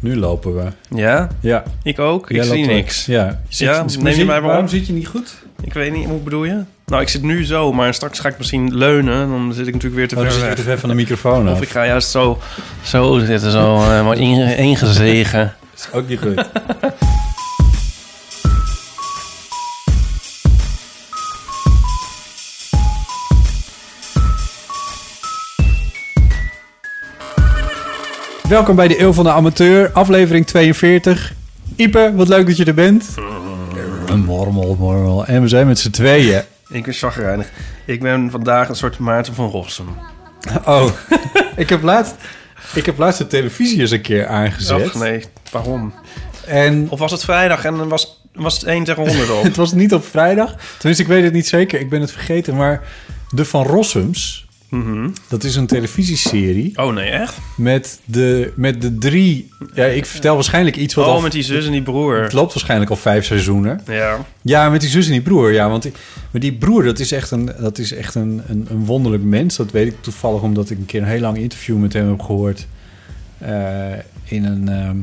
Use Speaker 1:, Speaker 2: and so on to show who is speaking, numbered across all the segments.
Speaker 1: Nu lopen we.
Speaker 2: Ja,
Speaker 1: Ja.
Speaker 2: ik ook. Ik
Speaker 1: Jij
Speaker 2: zie
Speaker 1: loopt weg.
Speaker 2: niks.
Speaker 1: Ja.
Speaker 2: Ja,
Speaker 1: zit-
Speaker 2: neem je mij maar
Speaker 1: waarom
Speaker 2: op?
Speaker 1: zit je niet goed?
Speaker 2: Ik weet niet, hoe bedoel je? Nou, ik zit nu zo, maar straks ga ik misschien leunen. en Dan zit ik natuurlijk weer te
Speaker 1: Oh, dan
Speaker 2: ver
Speaker 1: zit je
Speaker 2: weg.
Speaker 1: te ver van de microfoon
Speaker 2: Of
Speaker 1: af.
Speaker 2: ik ga juist zo, zo zitten, zo eh, maar inge- ingezegen.
Speaker 1: is ook niet goed. Welkom bij de Eeuw van de Amateur, aflevering 42. Ipe, wat leuk dat je er bent. Mormel, mormel. En we zijn met z'n tweeën.
Speaker 2: Ik ben chagrijnig. Ik ben vandaag een soort Maarten van Rossum.
Speaker 1: Oh, ik heb laatst... Ik heb laatst de televisie eens een keer aangezet.
Speaker 2: Ach Oh, nee, waarom?
Speaker 1: En
Speaker 2: Of was het vrijdag en dan was, was het 1 tegen 100 op?
Speaker 1: Het was niet op vrijdag. Tenminste, ik weet het niet zeker. Ik ben het vergeten. Maar de Van Rossums,
Speaker 2: Mhm.
Speaker 1: dat is een televisieserie
Speaker 2: Oh nee, echt?
Speaker 1: met de, met de drie... Ja, ik vertel waarschijnlijk iets wat al...
Speaker 2: Oh, met die zus en die
Speaker 1: Het
Speaker 2: broer.
Speaker 1: loopt waarschijnlijk al vijf seizoenen.
Speaker 2: Ja.
Speaker 1: Ja, met die zus en die broer. Ja, want die, maar die broer, dat is echt, een, dat is echt een, een, een wonderlijk mens. Dat weet ik toevallig omdat ik een keer een heel lang interview met hem heb gehoord. eh, in een... ehm,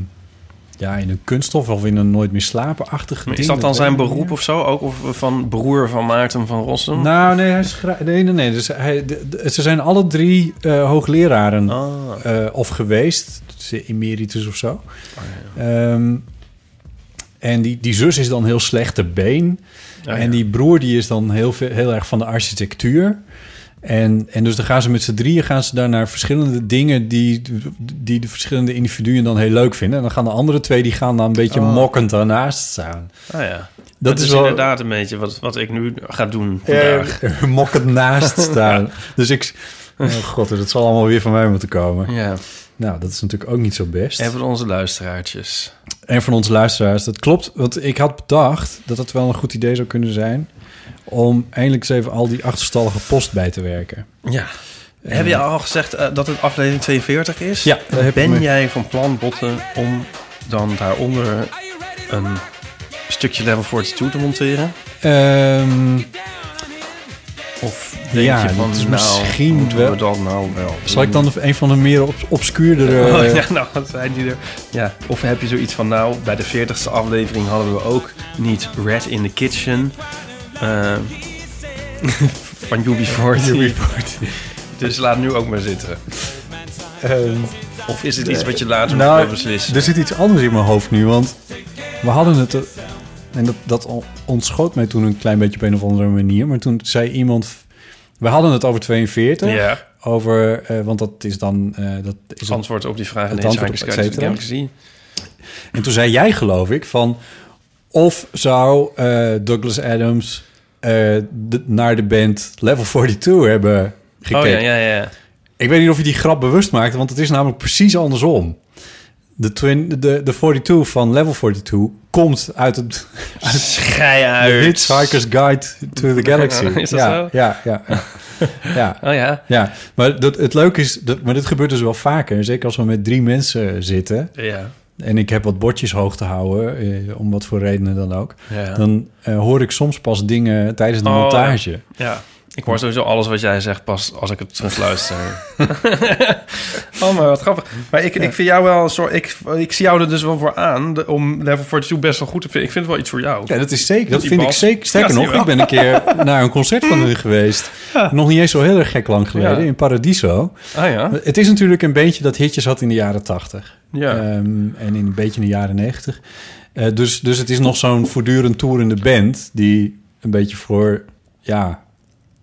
Speaker 1: ja, in een kunststof of in een nooit meer slapen-achtig
Speaker 2: Maar Is
Speaker 1: ding.
Speaker 2: dat dan zijn
Speaker 1: weet ik niet
Speaker 2: beroep
Speaker 1: meer.
Speaker 2: of zo? Ook of van broer van Maarten van Rossum?
Speaker 1: Nou, nee, hij schrijft. Nee, nee, nee. Dus hij, de- de- ze zijn alle drie eh, hoogleraren
Speaker 2: Ah.
Speaker 1: eh, of geweest, dus emeritus of
Speaker 2: Oh,
Speaker 1: zo. Ehm, en die, die zus is dan heel slecht te been.
Speaker 2: Ah, Ja,
Speaker 1: En die broer die is dan heel, veel, heel erg van de architectuur. En, en dus dan gaan ze met z'n drieën gaan ze daar naar verschillende dingen die, die de verschillende individuen dan heel leuk vinden. En dan gaan de andere twee die gaan dan een beetje
Speaker 2: Oh.
Speaker 1: mokkend daarnaast staan.
Speaker 2: Ah, ja.
Speaker 1: Dat
Speaker 2: Dat is,
Speaker 1: is wel
Speaker 2: inderdaad een beetje wat, wat ik nu ga doen vandaag.
Speaker 1: eh mokkend naast staan. Dus ik... Oh god, dat zal allemaal weer van mij moeten komen.
Speaker 2: Ja,
Speaker 1: Nou, dat is natuurlijk ook niet zo best.
Speaker 2: en van onze luisteraartjes.
Speaker 1: En van onze luisteraars, dat klopt. Want ik had bedacht dat dat wel een goed idee zou kunnen zijn... om eindelijk eens even al die achterstallige post bij te werken.
Speaker 2: Ja. Heb je al gezegd eh, dat het aflevering 42 is?
Speaker 1: Ja, daar heb ik
Speaker 2: Ben
Speaker 1: me-
Speaker 2: jij van plan, Botten, om dan daaronder een stukje Level 42 te monteren?
Speaker 1: Ehm,
Speaker 2: Of denk
Speaker 1: Ja,
Speaker 2: je van,
Speaker 1: dat is
Speaker 2: nou,
Speaker 1: misschien
Speaker 2: moeten
Speaker 1: wel-
Speaker 2: we dat nou wel
Speaker 1: zal ik
Speaker 2: doen?
Speaker 1: dan een van de meer obs- obscuurdere...
Speaker 2: Oh, ja, nou, wat zijn die er? Ja, of heb je zoiets van, nou, bij de 40ste aflevering hadden we ook niet Red in the Kitchen. eh, van UB40. Dus laat nu ook maar zitten.
Speaker 1: ehm,
Speaker 2: Of is het iets wat je later nog wil
Speaker 1: nou,
Speaker 2: beslissen?
Speaker 1: er zit iets anders in mijn hoofd nu, want we hadden het... eh, En dat, dat on- ontschoot mij toen een klein beetje op een of andere manier. Maar toen zei iemand... We hadden het over 42.
Speaker 2: Ja,
Speaker 1: Over, eh, want dat is dan... eh, dat is
Speaker 2: het
Speaker 1: het-
Speaker 2: antwoord op die vraag in
Speaker 1: het
Speaker 2: deze
Speaker 1: antwoord op
Speaker 2: Hackers Guide to the
Speaker 1: et
Speaker 2: Galaxy.
Speaker 1: En toen zei jij, geloof ik, van... Of zou eh, Douglas Adams eh, de- naar de band Level 42 hebben gekeken?
Speaker 2: Oh ja, ja, ja.
Speaker 1: Ik weet niet of je die grap bewust maakte, want het is namelijk precies andersom. De, twin, de, de 42 van Level 42 komt uit het
Speaker 2: Schij
Speaker 1: de
Speaker 2: uit.
Speaker 1: Hitchhiker's Guide to the Galaxy.
Speaker 2: Is dat
Speaker 1: ja,
Speaker 2: zo?
Speaker 1: Ja, ja, ja. ja.
Speaker 2: Oh ja.
Speaker 1: Ja, maar dat, het leuke is, dat, maar dit gebeurt dus wel vaker. Zeker als we met drie mensen zitten
Speaker 2: Ja.
Speaker 1: en ik heb wat bordjes hoog te houden, eh, om wat voor redenen dan ook.
Speaker 2: ja.
Speaker 1: Dan eh, hoor ik soms pas dingen tijdens de
Speaker 2: Oh,
Speaker 1: montage.
Speaker 2: Ja. Ik hoor sowieso alles wat jij zegt pas als ik het terugluister. oh, maar wat grappig. Maar ik, ik vind jou wel een soort... Ik, ik zie jou er dus wel voor aan de- om Level 42 best wel goed te vinden. Ik vind het wel iets voor jou.
Speaker 1: Ja, dat is zeker. Dat
Speaker 2: Die
Speaker 1: vind ik
Speaker 2: bas.
Speaker 1: zeker. Sterker
Speaker 2: Ja, zie
Speaker 1: nog,
Speaker 2: je
Speaker 1: ik ben een keer naar een concert van hun geweest. Nog niet eens zo heel erg gek lang geleden,
Speaker 2: Ja.
Speaker 1: in Paradiso.
Speaker 2: Ah ja?
Speaker 1: Het is natuurlijk een beetje dat hitjes had in de jaren tachtig. Ehm,
Speaker 2: Ja.
Speaker 1: en in een beetje in de jaren negentig. dus, dus het is nog zo'n voortdurend toerende band... die een beetje voor... Ja,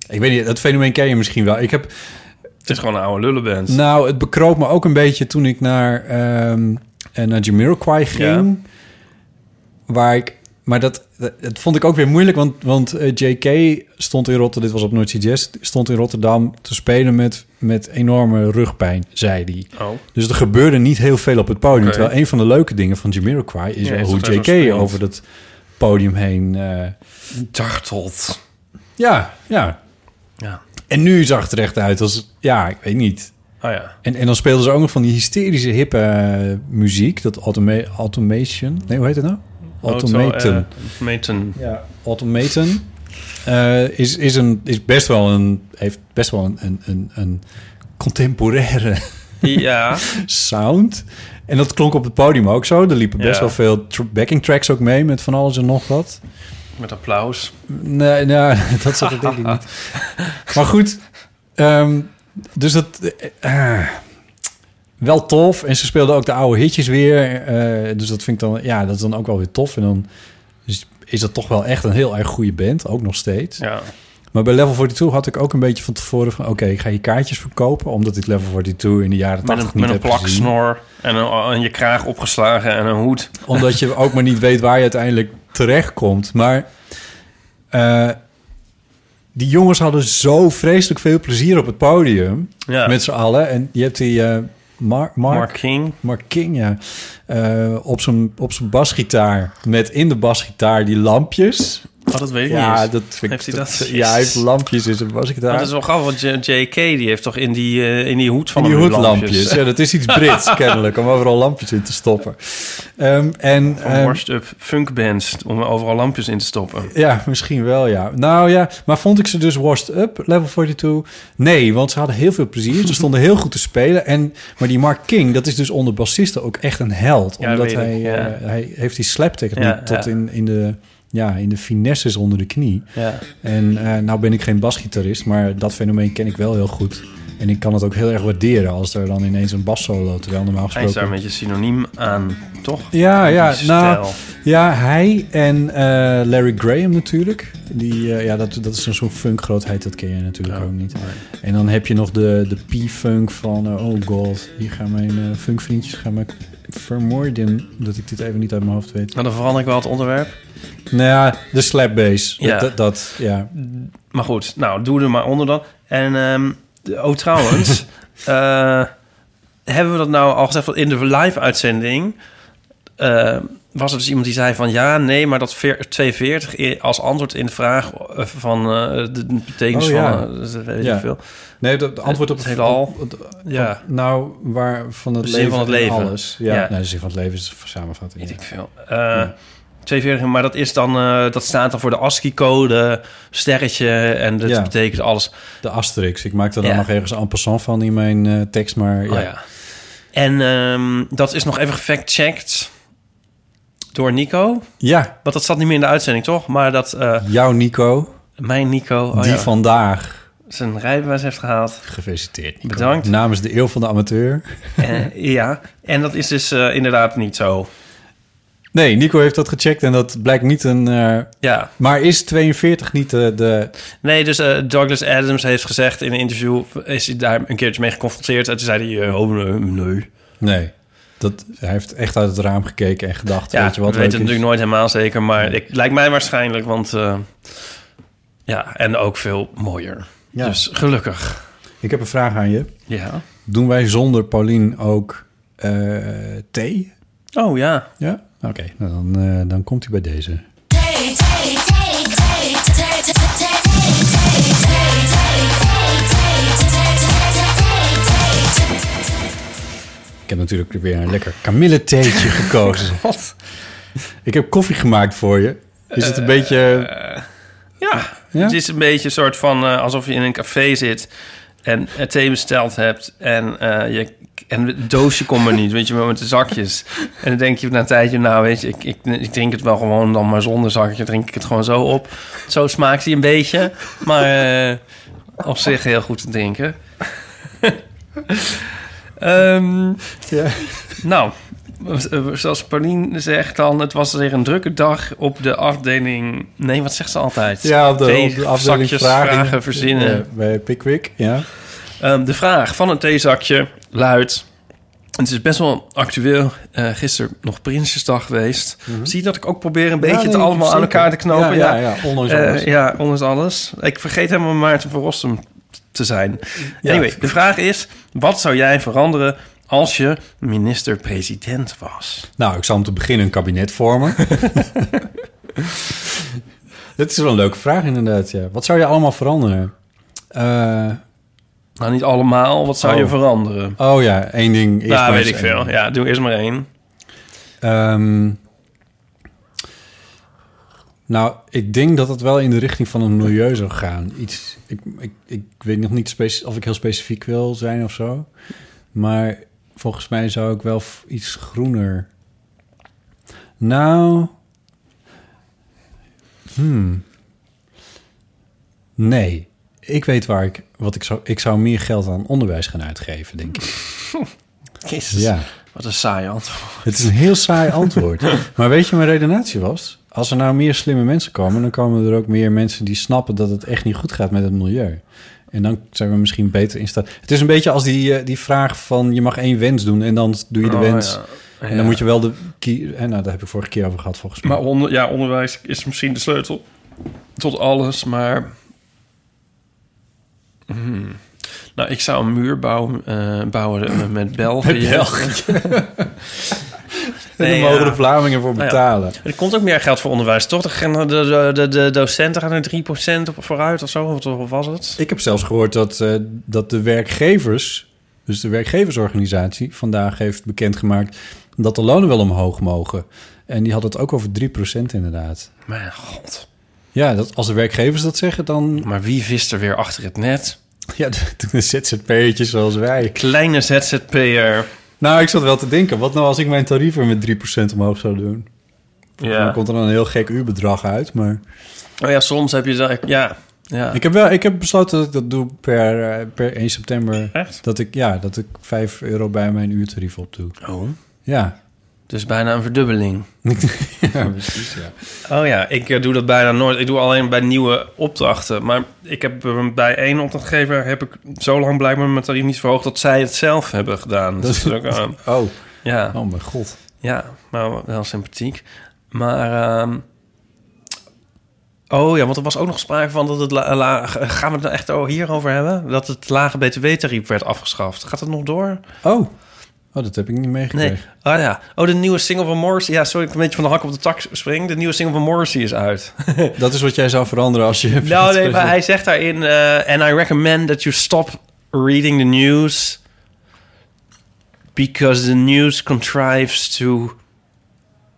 Speaker 1: ik weet niet, dat fenomeen ken je misschien wel. Ik heb,
Speaker 2: het is gewoon een oude lullenband.
Speaker 1: Nou, het bekroop me ook een beetje toen ik naar, ehm eh, naar Jamiroquai ging. Waar ik maar dat, dat, dat vond ik ook weer moeilijk, want, want eh, JK stond in Rotterdam, dit was op Noordse Jazz, stond in Rotterdam te spelen met, met enorme rugpijn, zei hij.
Speaker 2: Oh.
Speaker 1: Dus er gebeurde niet heel veel op het podium.
Speaker 2: Oké.
Speaker 1: Terwijl een van de leuke dingen van Jamiroquai is
Speaker 2: Ja,
Speaker 1: wel
Speaker 2: is
Speaker 1: hoe
Speaker 2: dat hij zo
Speaker 1: JK
Speaker 2: springt.
Speaker 1: over dat podium heen... eh,
Speaker 2: Dartelt.
Speaker 1: ja, ja.
Speaker 2: Ja.
Speaker 1: En nu zag het er echt uit als... Ja, ik weet niet.
Speaker 2: Oh ja.
Speaker 1: En, en dan speelden ze ook nog van die hysterische hippe eh, muziek. Dat automa- automation... Nee, hoe heet het nou? Automaten.
Speaker 2: Auto, eh, Automaten.
Speaker 1: Ja, automaten eh, is, is, een, is best wel een... Heeft best wel een, een, een, een contemporaire
Speaker 2: Ja.
Speaker 1: sound. En dat klonk op het podium ook zo. Er liepen best
Speaker 2: Ja.
Speaker 1: wel veel tr- backing tracks ook mee met van alles en nog wat.
Speaker 2: Met applaus.
Speaker 1: Nee, nou, dat zat er denk ik niet. Maar goed, ehm, dus dat... eh, eh, wel tof. En ze speelden ook de oude hitjes weer. eh, dus dat vind ik dan... Ja, dat is dan ook wel weer tof. En dan is, is dat toch wel echt een heel erg goede band. Ook nog steeds.
Speaker 2: Ja.
Speaker 1: Maar bij Level 42 had ik ook een beetje van tevoren van... Oké, ik ga je kaartjes verkopen. Omdat ik Level 42 in de jaren
Speaker 2: Met
Speaker 1: 80
Speaker 2: een,
Speaker 1: niet
Speaker 2: met een
Speaker 1: heb gezien.
Speaker 2: plaksnor en, een, en je kraag opgeslagen en een hoed.
Speaker 1: Omdat je ook maar niet weet waar je uiteindelijk terechtkomt. Maar eh, die jongens hadden zo vreselijk veel plezier op het podium.
Speaker 2: Ja.
Speaker 1: Met z'n allen. En je hebt die eh, Mar- Mark,
Speaker 2: Mark
Speaker 1: Mark,
Speaker 2: King.
Speaker 1: King, ja. eh, op zijn op zijn basgitaar. Met in de basgitaar die lampjes.
Speaker 2: Oh, dat weet ik
Speaker 1: Ja,
Speaker 2: niet.
Speaker 1: dat vind
Speaker 2: Heeft
Speaker 1: ik...
Speaker 2: hij dat?
Speaker 1: Ja, hij heeft lampjes in zijn basgitaar.
Speaker 2: Maar dat is wel grappig, want J- JK die heeft toch in die, eh, in die hoed van
Speaker 1: Van die
Speaker 2: hem
Speaker 1: hoedlampjes. Ja, dat is iets Brits kennelijk. Om overal lampjes in te stoppen. Ehm, en...
Speaker 2: Van
Speaker 1: ehm,
Speaker 2: eh, washed up funk bands om overal lampjes in te stoppen.
Speaker 1: Ja, misschien wel, ja. Nou ja, maar vond ik ze dus washed up, level 42? Nee, want ze hadden heel veel plezier. Ze stonden heel goed te spelen. En, maar die Mark King, dat is dus onder bassisten ook echt een held.
Speaker 2: Ja,
Speaker 1: omdat
Speaker 2: weet
Speaker 1: hij,
Speaker 2: ik, ja.
Speaker 1: eh, hij heeft die slaptechniek
Speaker 2: Ja,
Speaker 1: tot
Speaker 2: ja.
Speaker 1: In, in, de, ja, in de finesses onder de knie.
Speaker 2: Ja.
Speaker 1: En eh, nou ben ik geen basgitarist, maar dat fenomeen ken ik wel heel goed. En ik kan het ook heel erg waarderen als er dan ineens een bassolo, terwijl normaal
Speaker 2: Hij is daar
Speaker 1: gesproken...
Speaker 2: een beetje synoniem aan, toch?
Speaker 1: Ja, ja,
Speaker 2: Die
Speaker 1: nou,
Speaker 2: stijl.
Speaker 1: ja, hij en eh, Larry Graham natuurlijk. Die, eh, ja, dat, dat is een soort funkgrootheid, dat ken je natuurlijk
Speaker 2: Ja.
Speaker 1: ook niet. En dan heb je nog de, de P-funk van... eh, oh god, hier gaan mijn eh, funkvriendjes gaan me vermoorden. Dat ik dit even niet uit mijn hoofd weet.
Speaker 2: Nou, dan verander ik wel het onderwerp.
Speaker 1: Nou ja, de slap bass.
Speaker 2: Ja.
Speaker 1: Dat, dat, ja.
Speaker 2: Maar goed, nou, doe er maar onder dan. En, ehm, de- oh, trouwens, eh, hebben we dat nou al gezegd? Want In de live-uitzending eh, was er dus iemand die zei van... ja, nee, maar dat veer- 42 i- als antwoord in de vraag eh, van eh, de de betekenis
Speaker 1: Oh, ja.
Speaker 2: van... eh, dat weet ik
Speaker 1: Ja.
Speaker 2: niet veel.
Speaker 1: Nee, dat antwoord op
Speaker 2: Het heelal.
Speaker 1: op- op-
Speaker 2: Ja,
Speaker 1: nou, waar van het
Speaker 2: De zin
Speaker 1: leven
Speaker 2: van
Speaker 1: en
Speaker 2: het leven.
Speaker 1: alles. Ja,
Speaker 2: Ja.
Speaker 1: Nou, de zin van het leven is een samenvatting. ja.
Speaker 2: weet ik veel. Eh, 42, maar dat, is dan, eh, dat staat dan voor de ASCII-code, sterretje... en dat
Speaker 1: Ja.
Speaker 2: betekent alles.
Speaker 1: De Asterix. Ik maak er dan
Speaker 2: Ja.
Speaker 1: nog ergens een passant van in mijn eh, tekst, maar
Speaker 2: Oh, ja. En ehm, dat is nog even gefact-checked door Nico.
Speaker 1: ja.
Speaker 2: Want dat zat niet meer in de uitzending, toch? Maar dat eh,
Speaker 1: Jou, Nico.
Speaker 2: mijn Nico oh
Speaker 1: die
Speaker 2: ja,
Speaker 1: vandaag.
Speaker 2: zijn rijbewijs heeft gehaald.
Speaker 1: Gefeliciteerd. Nico.
Speaker 2: Bedankt.
Speaker 1: Namens de eeuw van de amateur.
Speaker 2: Eh, ja, en dat is dus eh, inderdaad niet zo.
Speaker 1: Nee, Nico heeft dat gecheckt en dat blijkt niet een. eh,
Speaker 2: Ja,
Speaker 1: maar is 42 niet de. de
Speaker 2: nee, dus eh, Douglas Adams heeft gezegd in een interview... is hij daar een keertje mee geconfronteerd. En toen zei hij, eh, oh nee, nee.
Speaker 1: nee. Dat, hij heeft echt uit het raam gekeken en gedacht.
Speaker 2: Ja,
Speaker 1: weet je wat
Speaker 2: we weten
Speaker 1: leuk
Speaker 2: het
Speaker 1: is?
Speaker 2: natuurlijk nooit helemaal zeker. Maar ik, lijkt mij waarschijnlijk, want... eh, ja, en ook veel mooier.
Speaker 1: Ja.
Speaker 2: Dus gelukkig.
Speaker 1: Ik heb een vraag aan je.
Speaker 2: Ja.
Speaker 1: Doen wij zonder Paulien ook eh, thee?
Speaker 2: Oh ja.
Speaker 1: Ja? Oké, nou, dan, eh, dan komt hij bij deze. Ik heb natuurlijk weer een lekker kamilletheetje gekozen.
Speaker 2: Wat? Eh,
Speaker 1: Ik heb koffie gemaakt voor je. Is het een beetje...
Speaker 2: Ja,
Speaker 1: Ja?
Speaker 2: het is een beetje een soort van eh, alsof je in een café zit en eh, thee besteld hebt en, eh, je, en het doosje komt er niet, weet je wel, met de zakjes. En dan denk je na een tijdje, nou weet je, ik, ik, ik drink het wel gewoon dan maar zonder zakje, drink ik het gewoon zo op. Zo smaakt hij een beetje, maar eh, op zich heel goed te drinken. Ehm,
Speaker 1: Ja.
Speaker 2: nou, eh, zoals Pauline zegt dan, het was weer een drukke dag op de afdeling... Nee, wat zegt ze altijd?
Speaker 1: Ja, op de,
Speaker 2: Thee,
Speaker 1: op de afdeling
Speaker 2: zakjes,
Speaker 1: vragen,
Speaker 2: vragen verzinnen.
Speaker 1: Eh, bij Pickwick, ja.
Speaker 2: Ehm, de vraag van een theezakje luidt... Het is best wel actueel. Eh gisteren nog Prinsjesdag geweest. Zie je dat ik ook probeer een beetje
Speaker 1: Mhm. Ja,
Speaker 2: het
Speaker 1: nee,
Speaker 2: allemaal aan
Speaker 1: zeker.
Speaker 2: elkaar te knopen?
Speaker 1: Ja, ja, ja, ondanks
Speaker 2: Eh,
Speaker 1: alles.
Speaker 2: ja, ondanks alles. Ik vergeet helemaal Maarten van Rossum te zijn. Anyway, de vraag is... Wat zou jij veranderen als je minister-president was?
Speaker 1: Nou, ik zal om te beginnen een kabinet vormen. Dat is wel een leuke vraag inderdaad, ja. Wat zou je allemaal veranderen? Eh,
Speaker 2: Nou, niet allemaal. Wat zou je
Speaker 1: Oh.
Speaker 2: veranderen?
Speaker 1: oh ja, één ding. Eerst
Speaker 2: nou,
Speaker 1: maar
Speaker 2: weet
Speaker 1: eens
Speaker 2: ik veel.
Speaker 1: één.
Speaker 2: Ja, doe eerst maar één.
Speaker 1: Ehm, nou, ik denk dat het wel in de richting van een milieu zou gaan. Iets, ik, ik, ik weet nog niet speci- of ik heel specifiek wil zijn of zo. Maar volgens mij zou ik wel f- iets groener. Nou. Hmm. Nee. Ik weet waar ik. Wat ik, zou, ik zou meer geld aan onderwijs gaan uitgeven, denk ik.
Speaker 2: Jezus,
Speaker 1: Ja.
Speaker 2: wat een saai antwoord.
Speaker 1: Het is een heel saai antwoord. maar weet je, mijn redenatie was... als er nou meer slimme mensen komen... dan komen er ook meer mensen die snappen... dat het echt niet goed gaat met het milieu. En dan zijn we misschien beter in staat... Het is een beetje als die, eh, die vraag van... je mag één wens doen en dan doe je de
Speaker 2: Oh,
Speaker 1: wens...
Speaker 2: ja.
Speaker 1: en dan
Speaker 2: Ja.
Speaker 1: moet je wel de... kie- En nou, daar heb ik vorige keer over gehad volgens mij.
Speaker 2: Maar onder, ja, onderwijs is misschien de sleutel tot alles, maar... Hmm. Nou, ik zou een muur bouwen, eh, bouwen met België.
Speaker 1: Met België. en dan
Speaker 2: Nee,
Speaker 1: mogen
Speaker 2: ja.
Speaker 1: de Vlamingen voor
Speaker 2: Nou ja.
Speaker 1: betalen.
Speaker 2: Er komt ook meer geld voor onderwijs, toch? De, de, de, de docenten gaan er 3% op vooruit of zo, of wat was het?
Speaker 1: Ik heb zelfs gehoord dat, eh, dat de werkgevers, dus de werkgeversorganisatie, vandaag heeft bekendgemaakt dat de lonen wel omhoog mogen. En die had het ook over 3% inderdaad.
Speaker 2: Mijn god.
Speaker 1: Ja, dat, als de werkgevers dat zeggen, dan.
Speaker 2: Maar wie vist er weer achter het net?
Speaker 1: Ja, de, de ZZP'ertjes zoals wij.
Speaker 2: Kleine ZZP'er.
Speaker 1: Nou, ik zat wel te denken, wat nou als ik mijn tarieven met 3% omhoog zou doen? Dan
Speaker 2: Ja.
Speaker 1: komt er dan een heel gek uurbedrag uit. Maar
Speaker 2: Oh ja, soms heb je dat... Ja, ja.
Speaker 1: ik heb wel ik heb besloten dat ik dat doe per, eh, per 1 september.
Speaker 2: Echt?
Speaker 1: Dat ik, ja, dat ik 5 euro bij mijn uurtarief op doe.
Speaker 2: Oh,
Speaker 1: Ja.
Speaker 2: dus bijna een verdubbeling.
Speaker 1: ja, precies, ja.
Speaker 2: Oh ja, ik eh, doe dat bijna nooit. Ik doe alleen bij nieuwe opdrachten. Maar ik heb eh, bij één opdrachtgever heb ik zo lang blijkbaar mijn tarief niet verhoogd dat zij het zelf hebben gedaan.
Speaker 1: Dat
Speaker 2: Dus
Speaker 1: is-
Speaker 2: ook, eh,
Speaker 1: Oh,
Speaker 2: ja,
Speaker 1: oh mijn god.
Speaker 2: ja, maar wel sympathiek. Maar ehm, oh ja, want er was ook nog sprake van dat het la, la- gaan we het nou echt o- hierover hebben? Dat het lage btw-tarief werd afgeschaft. Gaat dat nog door?
Speaker 1: Oh. oh, dat heb ik niet meegekregen.
Speaker 2: Nee. Ah ja. Oh, de nieuwe single van Morrissey. Ja, sorry, ik een beetje van de hak op de tak spring. De nieuwe single van Morrissey is uit.
Speaker 1: Dat is wat jij zou veranderen als je...
Speaker 2: Nou, nee, maar hij zegt daarin... eh, and I recommend that you stop reading the news... because the news contrives to...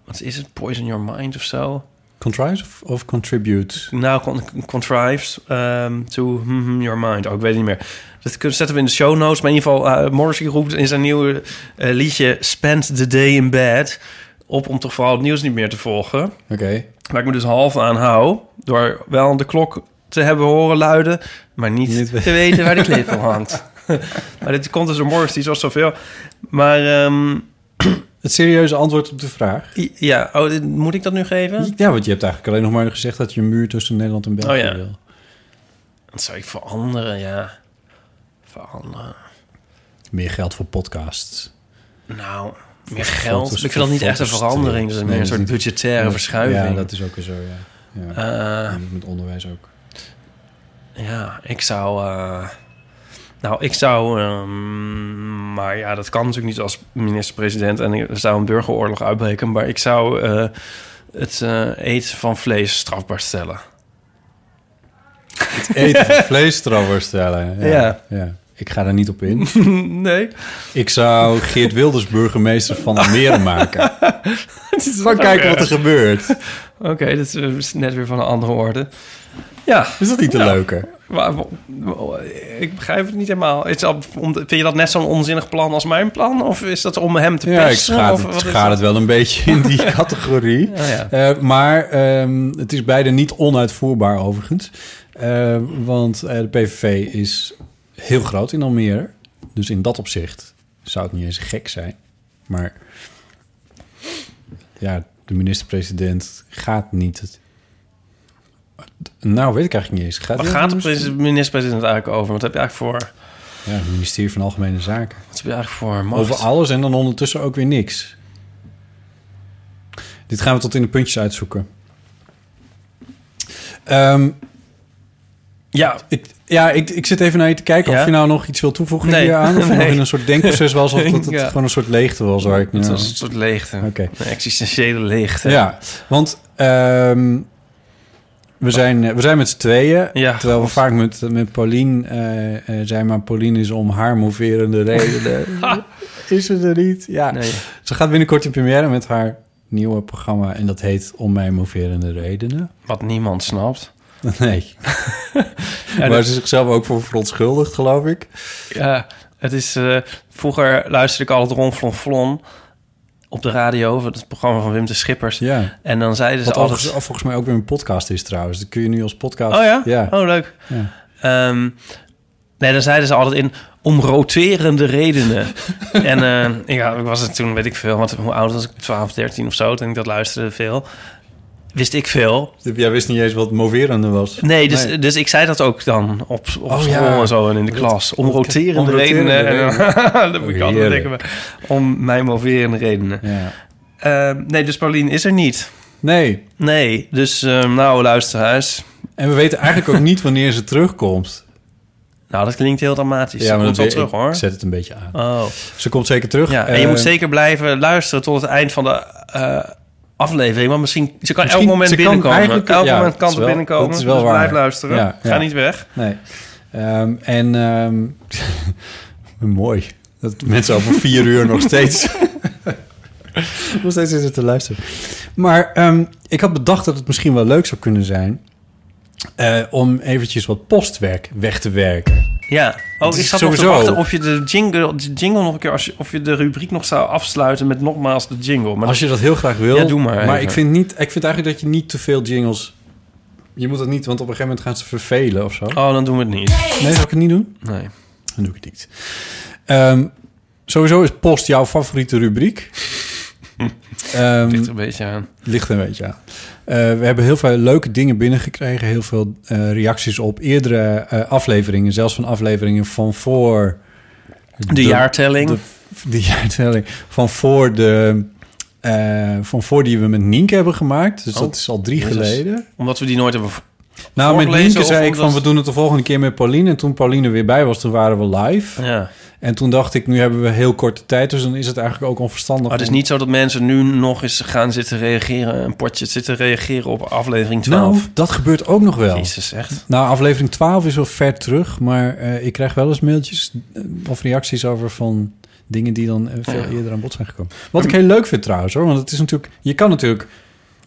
Speaker 2: Wat is het? Poison your mind of zo?
Speaker 1: Contrive of, of contribute?
Speaker 2: Nou, con- contrives ehm, to mhm, your mind. Oh, ik weet het niet meer. Dat kun- zetten we in de show notes. Maar in ieder geval, eh Morrissey roept in zijn nieuwe eh, liedje... Spend the day in bed... op om toch vooral het nieuws niet meer te volgen.
Speaker 1: Oké.
Speaker 2: Waar ik me dus half aan hou. Door wel de klok te hebben horen luiden. Maar niet,
Speaker 1: Niet
Speaker 2: te weten waar de klep op hangt. maar dit komt dus door Morris, die zoals zoveel. Maar ehm,
Speaker 1: Het serieuze antwoord op de vraag.
Speaker 2: i- ja, oh, dit- moet ik dat nu geven?
Speaker 1: Ja, want je hebt eigenlijk alleen nog maar gezegd dat je een muur tussen Nederland en België
Speaker 2: Oh, ja.
Speaker 1: wil.
Speaker 2: Dat zou ik veranderen, ja. Veranderen.
Speaker 1: Meer geld voor podcasts.
Speaker 2: Nou, meer
Speaker 1: Voor
Speaker 2: geld.
Speaker 1: foto's,
Speaker 2: Ik vind dat niet
Speaker 1: voor
Speaker 2: echt een
Speaker 1: foto's te-
Speaker 2: verandering. Dat is
Speaker 1: Nee,
Speaker 2: meer een
Speaker 1: dat
Speaker 2: soort
Speaker 1: is niet-
Speaker 2: budgettaire verschuiving.
Speaker 1: Ja, dat is ook weer zo, ja. ja.
Speaker 2: Eh,
Speaker 1: En met onderwijs ook.
Speaker 2: Ja, ik zou. eh, nou, ik zou. ehm, maar ja, dat kan natuurlijk niet als minister-president. En er zou een burgeroorlog uitbreken. Maar ik zou eh, het eh, eten van vlees strafbaar stellen.
Speaker 1: Eten van vlees trouwens stellen. Ja.
Speaker 2: Ja.
Speaker 1: Ja. Ik ga daar niet op in.
Speaker 2: nee.
Speaker 1: Ik zou Geert Wilders burgemeester van Almere maken.
Speaker 2: Van
Speaker 1: Dan kijken wat er gebeurt.
Speaker 2: Oké, dat is eh, net weer van een andere orde. Ja,
Speaker 1: Is dat niet te
Speaker 2: Ja.
Speaker 1: leuker?
Speaker 2: maar, ik begrijp het niet helemaal. Is dat, om- vind je dat net zo'n onzinnig plan als mijn plan? Of is dat om hem te
Speaker 1: Ja,
Speaker 2: pesten?
Speaker 1: ik schaad,
Speaker 2: Of
Speaker 1: het,
Speaker 2: wat is
Speaker 1: schaad
Speaker 2: dat?
Speaker 1: het wel een beetje in die categorie.
Speaker 2: Ja, ja.
Speaker 1: Eh, maar ehm, het is beide niet onuitvoerbaar overigens. Eh, want eh, de PVV is heel groot in Almere. Dus in dat opzicht zou het niet eens gek zijn. Maar ja, de minister-president gaat niet... Het... Nou, weet ik eigenlijk niet eens. Gaat
Speaker 2: Waar
Speaker 1: hij-
Speaker 2: gaat de president- minister-president eigenlijk over? Wat heb je eigenlijk voor
Speaker 1: Ja, het ministerie van Algemene Zaken.
Speaker 2: Wat heb je eigenlijk voor macht?
Speaker 1: Over alles en dan ondertussen ook weer niks. Dit gaan we tot in de puntjes uitzoeken. Ehm,
Speaker 2: Ja,
Speaker 1: ik, ja, ik, ik zit even naar je te kijken
Speaker 2: Ja?
Speaker 1: of je nou nog iets wil toevoegen
Speaker 2: Nee.
Speaker 1: hieraan. Of
Speaker 2: Nee.
Speaker 1: nog in een soort denkproces was of dat het
Speaker 2: Ja.
Speaker 1: gewoon een soort leegte was waar ik nu
Speaker 2: het
Speaker 1: aan-
Speaker 2: was een soort leegte.
Speaker 1: Oké.
Speaker 2: Een existentiële leegte.
Speaker 1: Ja, want ehm, we, zijn, eh, we zijn met z'n tweeën.
Speaker 2: Ja,
Speaker 1: terwijl we
Speaker 2: God.
Speaker 1: vaak met, met Paulien eh, eh, zijn, maar Paulien is om haar moverende redenen. is ze er niet? Ja.
Speaker 2: Nee.
Speaker 1: Ze gaat binnenkort in première met haar nieuwe programma. En dat heet Om mijn moverende redenen.
Speaker 2: Wat niemand snapt.
Speaker 1: Nee. Waar ze zichzelf ook voor verontschuldigt, geloof ik.
Speaker 2: Ja, het is... eh, vroeger luisterde ik altijd Ron Flon Flon op de radio. Het programma van Wim de Schippers.
Speaker 1: Ja.
Speaker 2: En dan zeiden ze
Speaker 1: Wat
Speaker 2: altijd...
Speaker 1: overigens, volgens mij ook weer een podcast is trouwens. Dat kun je nu als podcast...
Speaker 2: Oh ja?
Speaker 1: Ja.
Speaker 2: Oh, leuk.
Speaker 1: Ja.
Speaker 2: Ehm, nee, daar zeiden ze altijd in om roterende redenen. en eh, ja, ik was het toen, weet ik veel, want hoe oud was ik? 12, 13 of zo, toen ik dat luisterde veel. Wist ik veel.
Speaker 1: Dus Jij wist niet eens wat moverende was.
Speaker 2: Nee, dus,
Speaker 1: Nee.
Speaker 2: dus ik zei dat ook dan op, op
Speaker 1: Oh,
Speaker 2: school
Speaker 1: ja.
Speaker 2: en zo en in de
Speaker 1: Dat-
Speaker 2: klas. Om
Speaker 1: dat-
Speaker 2: roterende,
Speaker 1: om roterende
Speaker 2: redenen. En, dan- dat moet ik altijd
Speaker 1: Heerlijk.
Speaker 2: denken. maar Om mij moverende redenen.
Speaker 1: Ja.
Speaker 2: Ehm, nee, dus Paulien is er niet.
Speaker 1: Nee,
Speaker 2: Nee, dus ehm, nou, luisteraars.
Speaker 1: En we weten eigenlijk ook niet wanneer ze terugkomt.
Speaker 2: Nou, dat klinkt heel dramatisch. Ja, komt wel
Speaker 1: dat
Speaker 2: terug,
Speaker 1: weet- ik
Speaker 2: hoor.
Speaker 1: zet het een beetje aan.
Speaker 2: Oh.
Speaker 1: Ze komt zeker terug.
Speaker 2: Ja, en je
Speaker 1: Eh,
Speaker 2: moet zeker blijven luisteren tot het eind van de eh, aflevering. Want misschien, ze kan
Speaker 1: Misschien-
Speaker 2: elk moment
Speaker 1: ze kan
Speaker 2: binnenkomen.
Speaker 1: eigenlijk-
Speaker 2: elk
Speaker 1: ja,
Speaker 2: moment
Speaker 1: dat
Speaker 2: kan
Speaker 1: is
Speaker 2: ze
Speaker 1: wel-
Speaker 2: binnenkomen.
Speaker 1: dat is wel
Speaker 2: dus
Speaker 1: waar.
Speaker 2: blijf luisteren.
Speaker 1: Ja,
Speaker 2: Ga
Speaker 1: ja.
Speaker 2: niet weg.
Speaker 1: Nee. Ehm, en ehm, mooi. Dat mensen over vier uur nog steeds. nog steeds zitten te luisteren. Maar ehm, ik had bedacht dat het misschien wel leuk zou kunnen zijn. eh, om eventjes wat postwerk weg te werken.
Speaker 2: Ja.
Speaker 1: Het
Speaker 2: Oh,
Speaker 1: is
Speaker 2: ik zat nog te
Speaker 1: sowieso-
Speaker 2: wachten of je de jingle, de jingle nog een keer... Als je, of je de rubriek nog zou afsluiten met nogmaals de jingle. Maar
Speaker 1: Als je dat heel graag wil.
Speaker 2: Ja, doe maar
Speaker 1: Maar
Speaker 2: even.
Speaker 1: ik vind, niet, ik vind eigenlijk dat je niet te veel jingles. Je moet dat niet, want op een gegeven moment gaan ze vervelen of zo.
Speaker 2: Oh, dan doen we het niet.
Speaker 1: Nee, zou ik het niet doen?
Speaker 2: Nee.
Speaker 1: Dan doe ik het niet. Ehm, sowieso is post jouw favoriete rubriek. Ehm,
Speaker 2: Ligt er een beetje aan.
Speaker 1: ligt een beetje aan. Eh, we hebben heel veel leuke dingen binnengekregen. Heel veel eh, reacties op eerdere eh, afleveringen. Zelfs van afleveringen van voor...
Speaker 2: De, jaartelling.
Speaker 1: De, de jaartelling. Van voor de... eh, van voor die we met Nienke hebben gemaakt. Dus
Speaker 2: Oh,
Speaker 1: dat is al drie
Speaker 2: jezus.
Speaker 1: geleden.
Speaker 2: omdat we die nooit hebben...
Speaker 1: Nou, met
Speaker 2: Voorgelezen
Speaker 1: Nienke
Speaker 2: of
Speaker 1: zei ik
Speaker 2: omdat-
Speaker 1: van... we doen het de volgende keer met Pauline. En toen Pauline weer bij was, toen waren we live.
Speaker 2: Ja.
Speaker 1: En toen dacht ik, nu hebben we heel korte tijd, dus dan is het eigenlijk ook onverstandig.
Speaker 2: Maar Oh, het is niet zo dat mensen nu nog eens gaan zitten reageren... een potje zitten reageren op aflevering 12.
Speaker 1: Nou, dat gebeurt ook nog wel.
Speaker 2: Jezus, echt.
Speaker 1: Nou, aflevering 12 is wel ver terug, maar eh, ik krijg wel eens mailtjes eh, of reacties over van dingen die dan eh, veel
Speaker 2: Ja.
Speaker 1: eerder aan bod zijn gekomen. Wat ik heel leuk vind trouwens hoor, want het is natuurlijk, je kan natuurlijk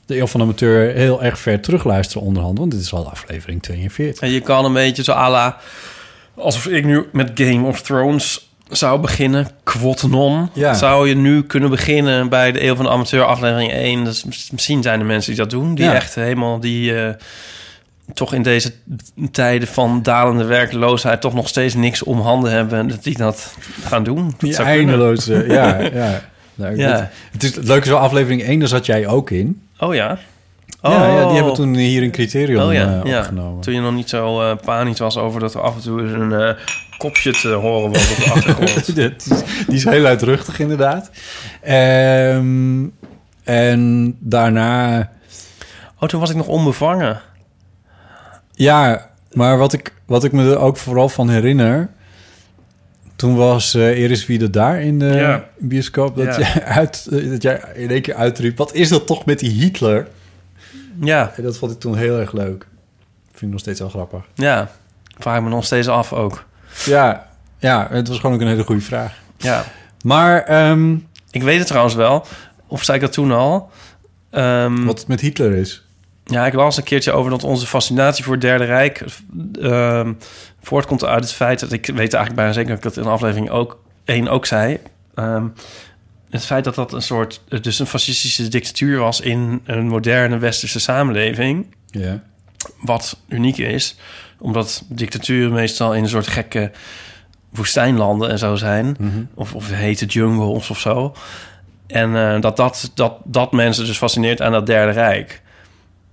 Speaker 1: de Eeuw van de Amateur heel erg ver terugluisteren onderhand, want dit is al aflevering 42.
Speaker 2: En je kan een beetje zo à la... Alsof ik nu met Game of Thrones zou beginnen. Quotnon.
Speaker 1: Ja.
Speaker 2: Zou je nu kunnen beginnen bij de Eeuw van de Amateur aflevering 1. Dus mis- misschien zijn er mensen die dat doen. Die
Speaker 1: Ja.
Speaker 2: echt helemaal die... eh, toch in deze tijden van dalende werkloosheid... toch nog steeds niks om handen hebben. en Dat die dat gaan doen. Dat
Speaker 1: Die
Speaker 2: zou kunnen.
Speaker 1: eindeloze, ja, ja. Leuk.
Speaker 2: Ja.
Speaker 1: Dat- Het, is, het leuke is wel, aflevering 1, daar zat jij ook in.
Speaker 2: Oh ja?
Speaker 1: Oh. Ja, ja, die hebben toen hier een criterium
Speaker 2: Oh ja,
Speaker 1: eh,
Speaker 2: ja.
Speaker 1: opgenomen.
Speaker 2: Toen je nog niet zo eh, panisch was over dat er af en toe eens een eh, kopje te horen was op de achtergrond.
Speaker 1: Dat is- die is heel luidruchtig, inderdaad. Ehm, en daarna...
Speaker 2: Oh, toen was ik nog onbevangen.
Speaker 1: Ja, maar wat ik, wat ik me er ook vooral van herinner... Toen was eh Iris Wiede daar in de
Speaker 2: Ja.
Speaker 1: bioscoop... Dat,
Speaker 2: Ja.
Speaker 1: jij uit, eh, dat jij in één keer uitriep... Wat is dat toch met die Hitler?
Speaker 2: Ja,
Speaker 1: En dat vond ik toen heel erg leuk. Vind ik nog steeds wel grappig.
Speaker 2: ja. Vraag ik me nog steeds af ook.
Speaker 1: Ja, ja het was gewoon ook een hele goede vraag.
Speaker 2: Ja.
Speaker 1: Maar ehm,
Speaker 2: Ik weet het trouwens wel. Of zei ik dat toen al? Ehm,
Speaker 1: wat het met Hitler is...
Speaker 2: Ja, ik las een keertje over dat onze fascinatie voor het Derde Rijk ehm, voortkomt uit het feit dat ik weet eigenlijk bijna zeker dat ik dat in aflevering ook één ook zei. ehm, het feit dat dat een soort, eh, dus een fascistische dictatuur was in een moderne westerse samenleving,
Speaker 1: Ja.
Speaker 2: wat uniek is, omdat dictaturen meestal in een soort gekke woestijnlanden en zo zijn of, of hete jungles of zo. En eh, dat, dat, dat, dat mensen dus fascineert aan dat derde rijk.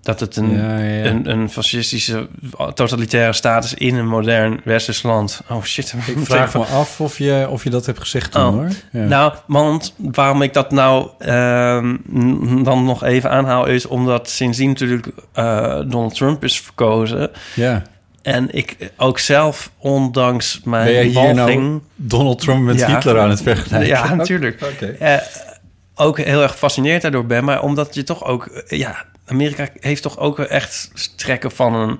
Speaker 2: Dat het een,
Speaker 1: Ja, ja.
Speaker 2: Een, een fascistische, totalitaire staat is in een modern westers land. Oh shit, daar ben
Speaker 1: Ik
Speaker 2: ik meteen
Speaker 1: vraag
Speaker 2: van-
Speaker 1: me af of je, of je dat hebt gezegd toen,
Speaker 2: Oh.
Speaker 1: hoor. Ja.
Speaker 2: Nou, want waarom ik dat nou ehm, n- dan nog even aanhaal... is omdat sindsdien natuurlijk eh, Donald Trump is verkozen...
Speaker 1: ja.
Speaker 2: En ik ook zelf, ondanks mijn
Speaker 1: Ben jij hier
Speaker 2: walging...
Speaker 1: nou Donald Trump met
Speaker 2: Ja.
Speaker 1: Hitler aan het vergelijken?
Speaker 2: Ja, natuurlijk.
Speaker 1: Oké.
Speaker 2: Eh, ook heel erg gefascineerd daardoor ben. Maar omdat je toch ook... eh, ja, Amerika heeft toch ook echt trekken van een...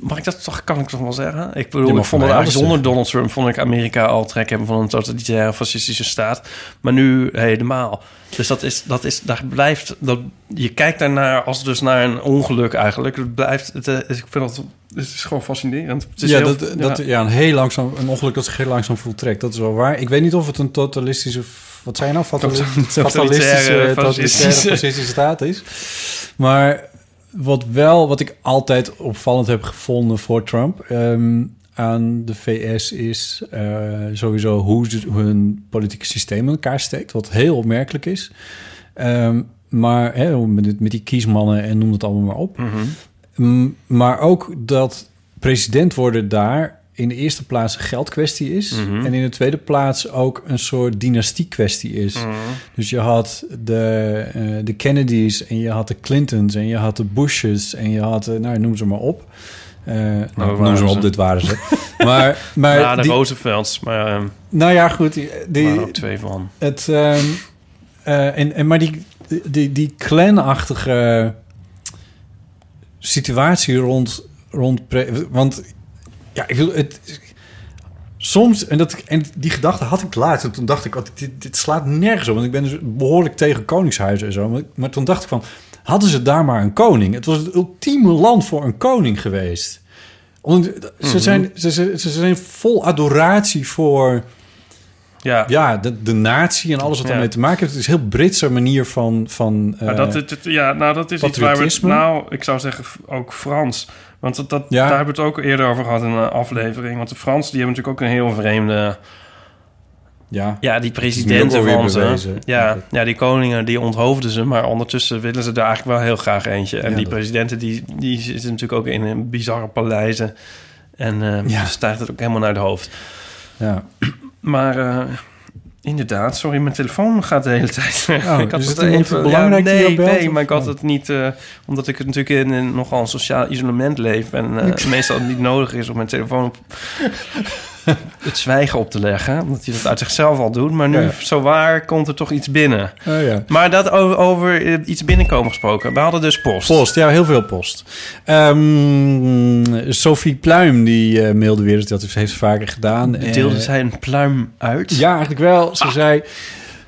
Speaker 2: Mag ik dat toch, kan ik toch wel zeggen? Ik
Speaker 1: Je
Speaker 2: bedoel,
Speaker 1: mag
Speaker 2: ik vond
Speaker 1: van
Speaker 2: het
Speaker 1: mij
Speaker 2: eigenlijk
Speaker 1: alles
Speaker 2: zonder Donald Trump... vond ik Amerika al trek hebben van een totalitaire fascistische staat. Maar nu helemaal. Dus dat is, dat is, daar blijft... Dat, je kijkt daarnaar als dus naar een ongeluk eigenlijk. Het blijft, het, eh, ik vind dat... Het is gewoon fascinerend. Het is
Speaker 1: ja,
Speaker 2: heel-
Speaker 1: dat, dat, ja. een heel langzaam, een ongeluk dat zich heel langzaam voltrekt. Dat is wel waar. Ik weet niet of het een totalistische, wat zijn nou, fatali-
Speaker 2: Totalitaire,
Speaker 1: fatalistische,
Speaker 2: fascistische.
Speaker 1: totalistische, fascistische staat is. Maar wat wel, wat ik altijd opvallend heb gevonden voor Trump ehm, aan de VS is eh, sowieso hoe ze hun politieke systeem in elkaar steekt, wat heel opmerkelijk is. Ehm, maar hè, met, dit- met die kiesmannen en noem het allemaal maar op.
Speaker 2: Mhm.
Speaker 1: Mm, Maar ook dat president worden daar in de eerste plaats een geldkwestie is.
Speaker 2: Mhm.
Speaker 1: En in de tweede plaats ook een soort dynastie-kwestie is.
Speaker 2: Mhm. Mm.
Speaker 1: Dus je had de, eh, de Kennedys en je had de Clintons en je had de Bushes en je had, eh, nou noem ze maar op. Eh, nou, noem
Speaker 2: waren
Speaker 1: ze maar
Speaker 2: ze?
Speaker 1: op, dit waren ze. maar, maar
Speaker 2: ja, de
Speaker 1: die-
Speaker 2: Roosevelts, maar ehm,
Speaker 1: nou ja, goed. Die,
Speaker 2: er
Speaker 1: die,
Speaker 2: waren ook twee van.
Speaker 1: het, ehm, eh, en, en, maar die, die, die clanachtige situatie rond... rond pre- want ja, ik wil het... Soms, en, dat, en die gedachte had ik laatst. En toen dacht ik, wat, dit, dit slaat nergens op. Want ik ben dus behoorlijk tegen koningshuizen en zo. Maar, maar toen dacht ik van, hadden ze daar maar een koning? Het was het ultieme land voor een koning geweest. Omdat, ze, zijn, ze, ze, ze zijn vol adoratie voor
Speaker 2: Ja,
Speaker 1: ja, de, de natie en alles wat
Speaker 2: Ja.
Speaker 1: daarmee te maken heeft. Het is een heel Britse manier van... van
Speaker 2: maar
Speaker 1: eh,
Speaker 2: dat, het, het- ja nou, dat is iets waar we...
Speaker 1: patriotisme?
Speaker 2: Nou, ik zou zeggen f- ook Frans. Want dat, dat,
Speaker 1: Ja.
Speaker 2: daar hebben we het ook eerder over gehad in een aflevering. Want de Fransen, die hebben natuurlijk ook een heel vreemde...
Speaker 1: ja.
Speaker 2: Ja, die
Speaker 1: Die
Speaker 2: presidenten
Speaker 1: ook alweer
Speaker 2: van ze.
Speaker 1: bewezen.
Speaker 2: Ja, ja, die koningen, die onthoofden ze. Maar ondertussen willen ze er eigenlijk wel heel graag eentje. En
Speaker 1: Ja,
Speaker 2: die
Speaker 1: dat-
Speaker 2: presidenten, die, die zitten natuurlijk ook in een bizarre paleizen. En eh
Speaker 1: Ja.
Speaker 2: stijgt het ook helemaal naar het hoofd.
Speaker 1: ja.
Speaker 2: Maar eh, inderdaad, sorry, mijn telefoon gaat de hele tijd weg.
Speaker 1: Oh, is het iemand belangrijk die
Speaker 2: nee,
Speaker 1: jou belt,
Speaker 2: Nee,
Speaker 1: of-
Speaker 2: maar ik had
Speaker 1: oh.
Speaker 2: het niet... eh, omdat ik het natuurlijk in, in nogal een sociaal isolement leef... en eh, meestal niet nodig is om mijn telefoon op het zwijgen op te leggen. Omdat hij dat uit zichzelf al doet. Maar nu,
Speaker 1: Ja.
Speaker 2: zowaar, komt er toch iets binnen.
Speaker 1: Oh, ja.
Speaker 2: Maar dat over, over eh, iets binnenkomen gesproken. We hadden dus post.
Speaker 1: Post, ja, heel veel post. Ehm, Sophie Pluim, die eh, mailde weer, dat heeft ze vaker gedaan.
Speaker 2: Deelde
Speaker 1: Eh,
Speaker 2: zij Ah. een pluim uit?
Speaker 1: Ja, eigenlijk wel. Ze zei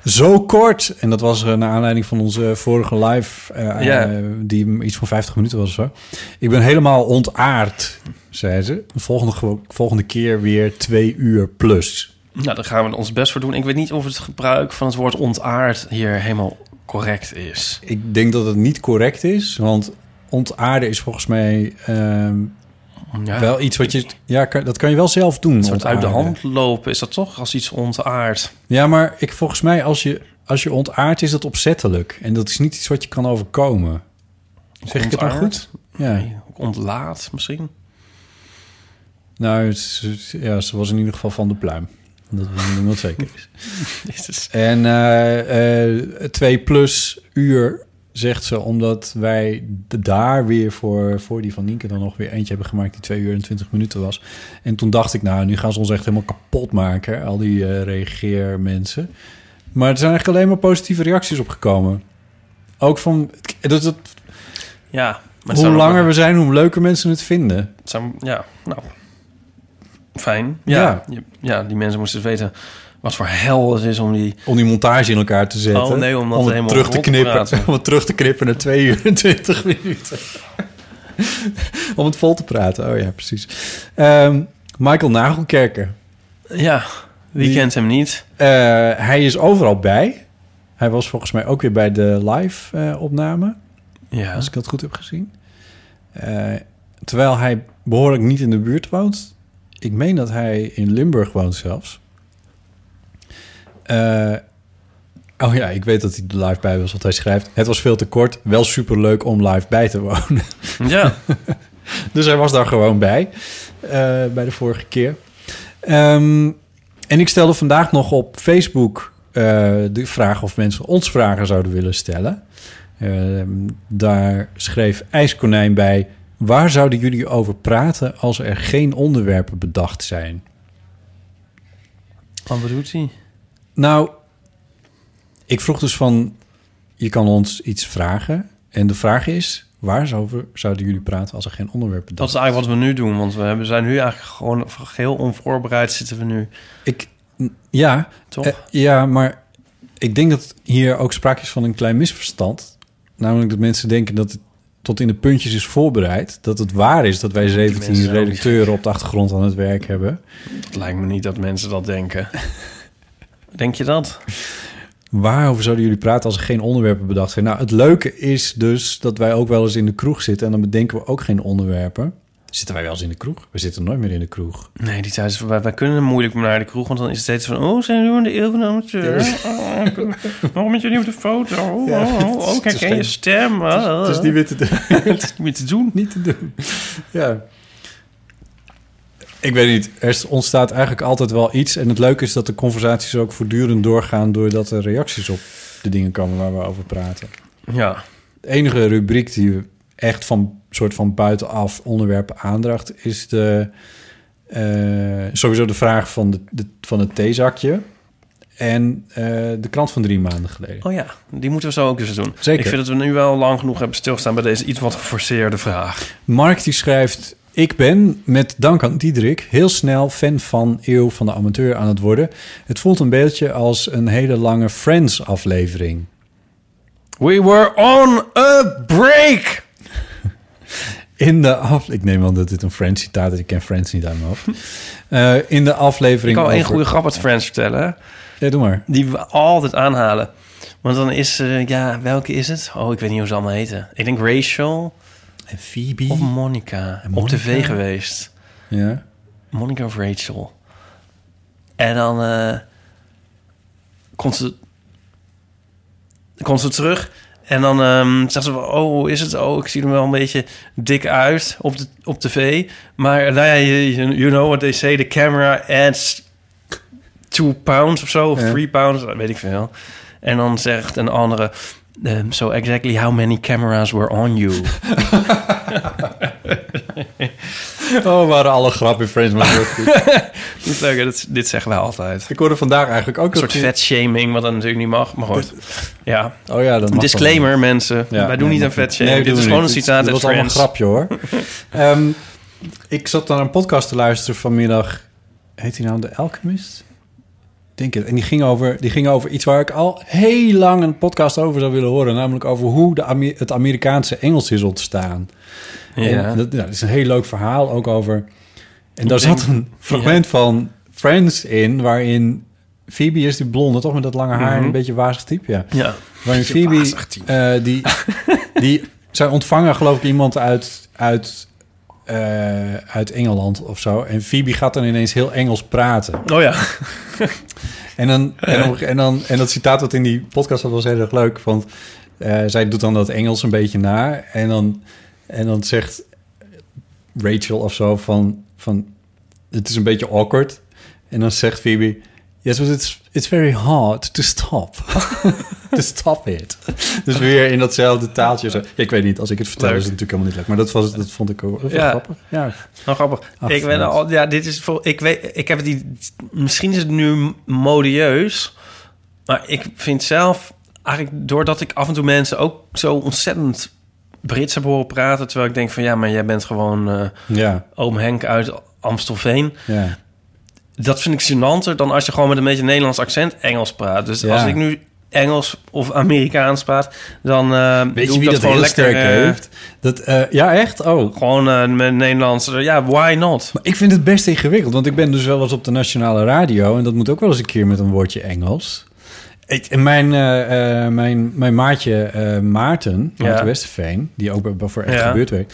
Speaker 1: zo kort. En dat was eh, naar aanleiding van onze vorige live, eh,
Speaker 2: Ja.
Speaker 1: eh, die iets van 50 minuten was of zo. Ik ben helemaal ontaard, zei ze. De volgende, ge- volgende keer weer twee uur plus.
Speaker 2: Nou, daar gaan we ons best voor doen. Ik weet niet of het gebruik van het woord ontaard hier helemaal correct is.
Speaker 1: Ik denk dat het niet correct is, want ontaarden is volgens mij ehm,
Speaker 2: Ja.
Speaker 1: wel iets wat je... Ja, kan- dat kan je wel zelf doen.
Speaker 2: Ah. Een soort uit de
Speaker 1: ontaarden.
Speaker 2: hand lopen is dat toch als iets ontaard.
Speaker 1: Ja, maar ik, volgens mij als je, als je ontaardt is dat opzettelijk. En dat is niet iets wat je kan overkomen. Zeg ik het nou
Speaker 2: Ontaard?
Speaker 1: goed? Ja.
Speaker 2: Nee, ook ontlaat misschien.
Speaker 1: Nou, het is- het- ja, ze was in ieder geval van de pluim. Dat we dat zeker is.
Speaker 2: Jezus.
Speaker 1: En eh, eh, twee plus uur, zegt ze, omdat wij de- daar weer voor, voor die van Nienke dan nog weer eentje hebben gemaakt die twee uur en twintig minuten was. En toen dacht ik, nou, nu gaan ze ons echt helemaal kapot maken, al die eh, reageermensen. Maar er zijn echt alleen maar positieve reacties op gekomen. Ook van, dat, dat,
Speaker 2: Ja, maar het
Speaker 1: hoe
Speaker 2: zou nog-
Speaker 1: langer we zijn, hoe leuker mensen het vinden.
Speaker 2: het zou- ja, nou. Fijn. Ja, ja. die mensen moesten dus weten wat voor hel het is om die...
Speaker 1: Om die montage in elkaar te zetten.
Speaker 2: Oh, nee, om dat
Speaker 1: het
Speaker 2: helemaal
Speaker 1: terug te
Speaker 2: rond te
Speaker 1: knippen.
Speaker 2: praten.
Speaker 1: om het terug te knippen naar 2 uur en 20 minuten. om het vol te praten. Oh ja, precies. Ehm, Michael Nagelkerker.
Speaker 2: Ja, wie
Speaker 1: Die-
Speaker 2: kent hem niet?
Speaker 1: Eh, hij is overal bij. Hij was volgens mij ook weer bij de live eh, opname.
Speaker 2: Ja.
Speaker 1: Als ik dat goed heb gezien. Eh, terwijl hij behoorlijk niet in de buurt woont. Ik meen dat hij in Limburg woont zelfs. Eh, Oh ja, ik weet dat hij de live bij was, want hij schrijft... Het was veel te kort, wel superleuk om live bij te wonen.
Speaker 2: Ja.
Speaker 1: Dus hij was daar gewoon bij, eh, bij de vorige keer. Ehm, en ik stelde vandaag nog op Facebook eh, de vraag of mensen ons vragen zouden willen stellen. Ehm, daar schreef IJskonijn bij... Waar zouden jullie over praten als er geen onderwerpen bedacht zijn?
Speaker 2: Wat bedoelt hij?
Speaker 1: Nou, ik vroeg dus van... Je kan ons iets vragen. En de vraag is... Waar zouden zouden jullie praten als er geen onderwerp
Speaker 2: Dat
Speaker 1: bedacht
Speaker 2: is eigenlijk wat we nu doen, want we hebben- zijn nu eigenlijk gewoon geheel onvoorbereid zitten we nu,
Speaker 1: Ik, ja,
Speaker 2: toch?
Speaker 1: eh, ja, maar ik denk dat hier ook sprake is van een klein misverstand. Namelijk dat mensen denken dat het tot in de puntjes is voorbereid. Dat het waar is dat wij
Speaker 2: mensen
Speaker 1: 17
Speaker 2: zijn ook niet
Speaker 1: redacteuren op de achtergrond aan het werk hebben.
Speaker 2: Het lijkt me niet dat mensen dat denken. Denk je dat?
Speaker 1: Waarover zouden jullie praten als er geen onderwerpen bedacht zijn? Nou, het leuke is dus dat wij ook wel eens in de kroeg zitten en dan bedenken we ook geen onderwerpen. Zitten wij wel eens in de kroeg? We zitten nooit meer in de kroeg.
Speaker 2: Nee, die tijd is voorbij. Wij kunnen moeilijk naar de kroeg, want dan is het steeds van... Oh, zijn we in de eeuw van de amateur? Oh, ik- Waarom met jullie op de foto? Oh,
Speaker 1: Ja,
Speaker 2: oh,
Speaker 1: het is-
Speaker 2: oh,
Speaker 1: het
Speaker 2: kijk,
Speaker 1: is
Speaker 2: en je
Speaker 1: geen-
Speaker 2: stem. Ah,
Speaker 1: Het is niet meer te doen.
Speaker 2: het is niet meer te doen.
Speaker 1: niet te doen. Ja. Ik weet niet, er ontstaat eigenlijk altijd wel iets. En het leuke is dat de conversaties ook voortdurend doorgaan... doordat er reacties op de dingen komen waar we over praten.
Speaker 2: Ja,
Speaker 1: De enige rubriek die echt van soort van buitenaf onderwerpen aandraagt... is de, eh, sowieso de vraag van, de, de- van het theezakje... en eh, de krant van drie maanden geleden.
Speaker 2: oh ja, die moeten we zo ook eens doen.
Speaker 1: Zeker.
Speaker 2: Ik vind dat we nu wel lang genoeg hebben stilgestaan bij deze iets wat geforceerde vraag.
Speaker 1: Mark die schrijft... Ik ben, met dank aan Diederik, heel snel fan van Eeuw van de Amateur aan het worden. Het voelt een beetje als een hele lange Friends-aflevering.
Speaker 2: We were on a break!
Speaker 1: In de af... Ik neem aan dat dit een Friends-citaat is. Ik ken Friends niet uit mijn hoofd. Eh, in de aflevering
Speaker 2: Ik kan wel één
Speaker 1: over-
Speaker 2: goede grap uit Friends vertellen. hè?
Speaker 1: Ja, doe maar.
Speaker 2: Die we altijd aanhalen. Want dan is, eh, ja, welke is het? Oh, ik weet niet hoe ze allemaal heten. Ik denk Rachel
Speaker 1: En Phoebe.
Speaker 2: of Monica. Op
Speaker 1: Monica?
Speaker 2: tv geweest.
Speaker 1: Ja.
Speaker 2: Monica of Rachel. En dan eh, komt ze... Komt ze terug en dan ehm zegt ze... van, Oh, is het? Oh, ik zie er wel een beetje dik uit op, de, op tv. Maar nou ja, you, you know what they say. The camera adds two pounds of zo. Of
Speaker 1: Ja.
Speaker 2: three pounds, weet ik veel. En dan zegt een andere... ehm, so exactly how many cameras were on you?
Speaker 1: Oh, waren alle grappen in Friends maar heel goed.
Speaker 2: Dat is leuk, hè? Dat- dit zeggen wij altijd.
Speaker 1: Ik hoorde vandaag eigenlijk ook...
Speaker 2: Een soort vetshaming, wat dan natuurlijk niet mag, maar goed. Ja.
Speaker 1: Oh ja, dat mag
Speaker 2: Disclaimer, mensen.
Speaker 1: Ja,
Speaker 2: Wij doen
Speaker 1: nee,
Speaker 2: niet aan
Speaker 1: maar-
Speaker 2: vetshaming.
Speaker 1: Nee,
Speaker 2: Dit
Speaker 1: doen
Speaker 2: is
Speaker 1: we
Speaker 2: gewoon een
Speaker 1: niet.
Speaker 2: citaat
Speaker 1: Dit
Speaker 2: uit
Speaker 1: was allemaal een
Speaker 2: Friends.
Speaker 1: grapje, hoor. Ehm, ik zat naar een podcast te luisteren vanmiddag. Heet die nou The Alchemist? Ik Denk het. En die ging, over, die ging over iets waar ik al heel lang een podcast over zou willen horen. Namelijk over hoe de Amer- het Amerikaanse Engels is ontstaan.
Speaker 2: Ja.
Speaker 1: En dat, nou, dat is een heel leuk verhaal ook over... En daar
Speaker 2: denk-
Speaker 1: zat een fragment van Friends in... waarin Phoebe is die blonde, toch met dat lange haar... en
Speaker 2: Mhm.
Speaker 1: een beetje wazig type, ja.
Speaker 2: ja.
Speaker 1: Waarin Phoebe, eh, die, die, zij ontvangen geloof ik iemand uit, uit, eh, uit Engeland of zo. En Phoebe gaat dan ineens heel Engels praten.
Speaker 2: Oh ja.
Speaker 1: En, dan, en, op- en, dan, en dat citaat wat in die podcast zat was heel erg leuk. Want eh, zij doet dan dat Engels een beetje na. En dan, en dan zegt Rachel of zo van, van... Het is een beetje awkward. En dan zegt Phoebe... Yes, but it's, it's very hard to stop. to stop it. Dus weer in datzelfde taaltje. Zo. Ik weet niet, als ik het vertel
Speaker 2: Leuk.
Speaker 1: is het natuurlijk helemaal niet leuk. Maar dat, was, dat vond ik ook wel
Speaker 2: Ja.
Speaker 1: grappig. Ja.
Speaker 2: Nou, grappig.
Speaker 1: Ach,
Speaker 2: ik, ben
Speaker 1: Friends.
Speaker 2: al, ja, dit is voor, ik, weet, ik heb die... Misschien is het nu modieus. Maar ik vind zelf... Eigenlijk doordat ik af en toe mensen ook zo ontzettend Brits heb horen praten... terwijl ik denk van... Ja, maar jij bent gewoon eh,
Speaker 1: ja,
Speaker 2: oom Henk uit Amstelveen.
Speaker 1: ja.
Speaker 2: dat vind ik gênanter dan als je gewoon met een beetje Nederlands accent Engels praat. Dus
Speaker 1: Ja.
Speaker 2: als ik nu Engels of Amerikaans praat, dan eh
Speaker 1: Weet
Speaker 2: doe
Speaker 1: je
Speaker 2: ik
Speaker 1: wie dat,
Speaker 2: dat gewoon
Speaker 1: heel
Speaker 2: lekker.
Speaker 1: sterk
Speaker 2: eh,
Speaker 1: heeft? Dat, eh, ja, echt? Oh,
Speaker 2: Gewoon eh, met Nederlands. eh, ja, why not?
Speaker 1: Maar ik vind het best ingewikkeld, want ik ben dus wel eens op de nationale radio en dat moet ook wel eens een keer met een woordje Engels. Ik, en mijn, eh, eh, mijn, mijn maatje eh, Maarten, Maarten
Speaker 2: Ja.
Speaker 1: Westerveen, die ook bij, bij voor echt
Speaker 2: Ja.
Speaker 1: gebeurd werkt,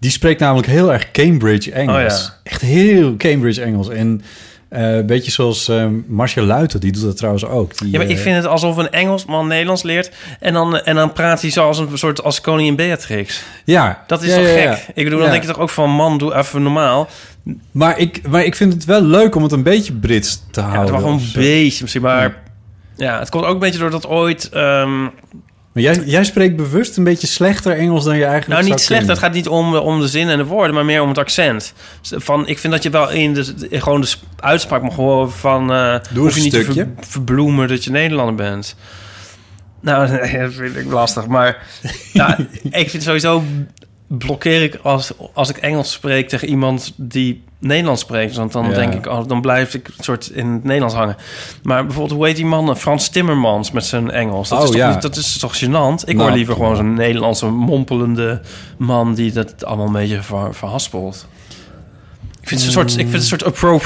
Speaker 1: die spreekt namelijk heel erg Cambridge Engels.
Speaker 2: Oh
Speaker 1: Echt heel Cambridge Engels. En eh, Eh, Een beetje zoals eh Marcia Luiten, die doet dat trouwens ook. Die,
Speaker 2: Ja, maar ik
Speaker 1: eh,
Speaker 2: vind het alsof een Engelsman Nederlands leert... en dan, eh, en dan praat hij zoals een soort als koningin Beatrix.
Speaker 1: ja,
Speaker 2: Dat is
Speaker 1: ja,
Speaker 2: toch
Speaker 1: ja,
Speaker 2: gek?
Speaker 1: ja.
Speaker 2: Ik bedoel, dan
Speaker 1: Ja.
Speaker 2: denk je toch ook van... man, doe even normaal.
Speaker 1: Maar ik, maar ik vind het wel leuk om het een beetje Brits te
Speaker 2: Ja, het
Speaker 1: houden.
Speaker 2: was gewoon
Speaker 1: of
Speaker 2: een
Speaker 1: zo.
Speaker 2: beetje misschien, maar... Ja. het komt ook een beetje door dat ooit... ehm,
Speaker 1: Maar jij, jij spreekt bewust een beetje slechter Engels dan je eigenlijk
Speaker 2: nou, niet
Speaker 1: zou
Speaker 2: slecht. Het
Speaker 1: kunnen.
Speaker 2: gaat niet om, eh, om de zin en de woorden, maar meer om het accent. Dus Van, ik vind dat je wel in de, in gewoon de sp- uitspraak mag horen van... eh
Speaker 1: Doe eens
Speaker 2: hoef je
Speaker 1: een
Speaker 2: niet
Speaker 1: stukje.
Speaker 2: te ver- verbloemen dat je Nederlander bent. Nou, dat vind ik lastig, maar... nou, ik vind sowieso... blokkeer ik als, als ik Engels spreek tegen iemand die Nederlands spreekt. Want dan
Speaker 1: Ja.
Speaker 2: denk ik, oh, dan blijf ik een soort in het Nederlands hangen. Maar bijvoorbeeld, hoe heet die man? eh, Frans Timmermans met zijn Engels. Dat,
Speaker 1: Oh,
Speaker 2: is, toch,
Speaker 1: ja.
Speaker 2: niet- dat is toch gênant? Ik
Speaker 1: Nou,
Speaker 2: hoor liever gewoon zo'n Nederlandse mompelende man... die dat allemaal een beetje ver, verhaspelt. Ik vind, het een soort, ik vind het een soort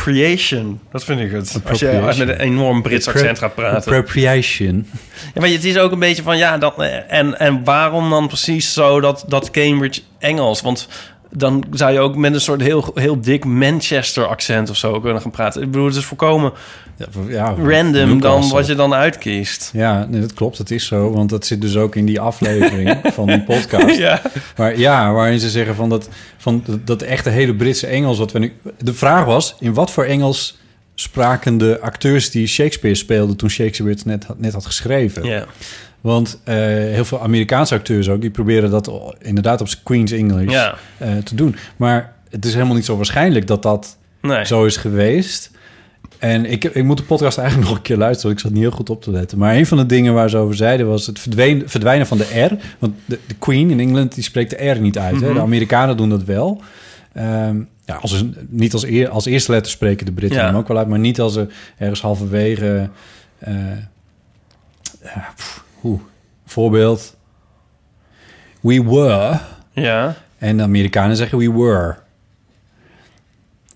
Speaker 2: appropriation. Dat vind ik het. Als je als je met een enorm Brits accent gaat praten.
Speaker 1: Appropriation.
Speaker 2: Ja, maar het is ook een beetje van, ja, dan, eh, en, en waarom dan precies zo dat, dat Cambridge Engels? Want dan zou je ook met een soort heel, heel dik Manchester accent of zo kunnen gaan praten. Ik bedoel, het is volkomen
Speaker 1: Ja, ja,
Speaker 2: random dan
Speaker 1: Newcastle.
Speaker 2: wat je dan uitkiest.
Speaker 1: Ja, nee, dat klopt. Dat is zo. Want dat zit dus ook in die aflevering van die podcast.
Speaker 2: Ja.
Speaker 1: Maar ja, waarin ze zeggen van dat, van dat, dat echte hele Britse Engels wat we nu... De vraag was, in wat voor Engels spraken de acteurs die Shakespeare speelden... toen Shakespeare het net, had- net had geschreven?
Speaker 2: ja.
Speaker 1: Want eh, heel veel Amerikaanse acteurs ook... die proberen dat al- inderdaad op zijn Queen's English
Speaker 2: Ja.
Speaker 1: eh, te doen. Maar het is helemaal niet zo waarschijnlijk dat dat
Speaker 2: Nee.
Speaker 1: zo is geweest. En ik, ik moet de podcast eigenlijk nog een keer luisteren, want ik zat niet heel goed op te letten. Maar een van de dingen waar ze over zeiden was het verdwenen, verdwijnen van de R. Want de, de Queen in Engeland die spreekt de R niet uit. hè?
Speaker 2: Mhm.
Speaker 1: De Amerikanen doen dat wel. Ehm, ja, als een- niet als, eer, als eerste letter spreken de Britten
Speaker 2: Ja.
Speaker 1: hem ook wel uit, maar niet als er ergens halverwege. eh eh, pff, hoe? Voorbeeld. We were.
Speaker 2: Ja.
Speaker 1: En de Amerikanen zeggen we were.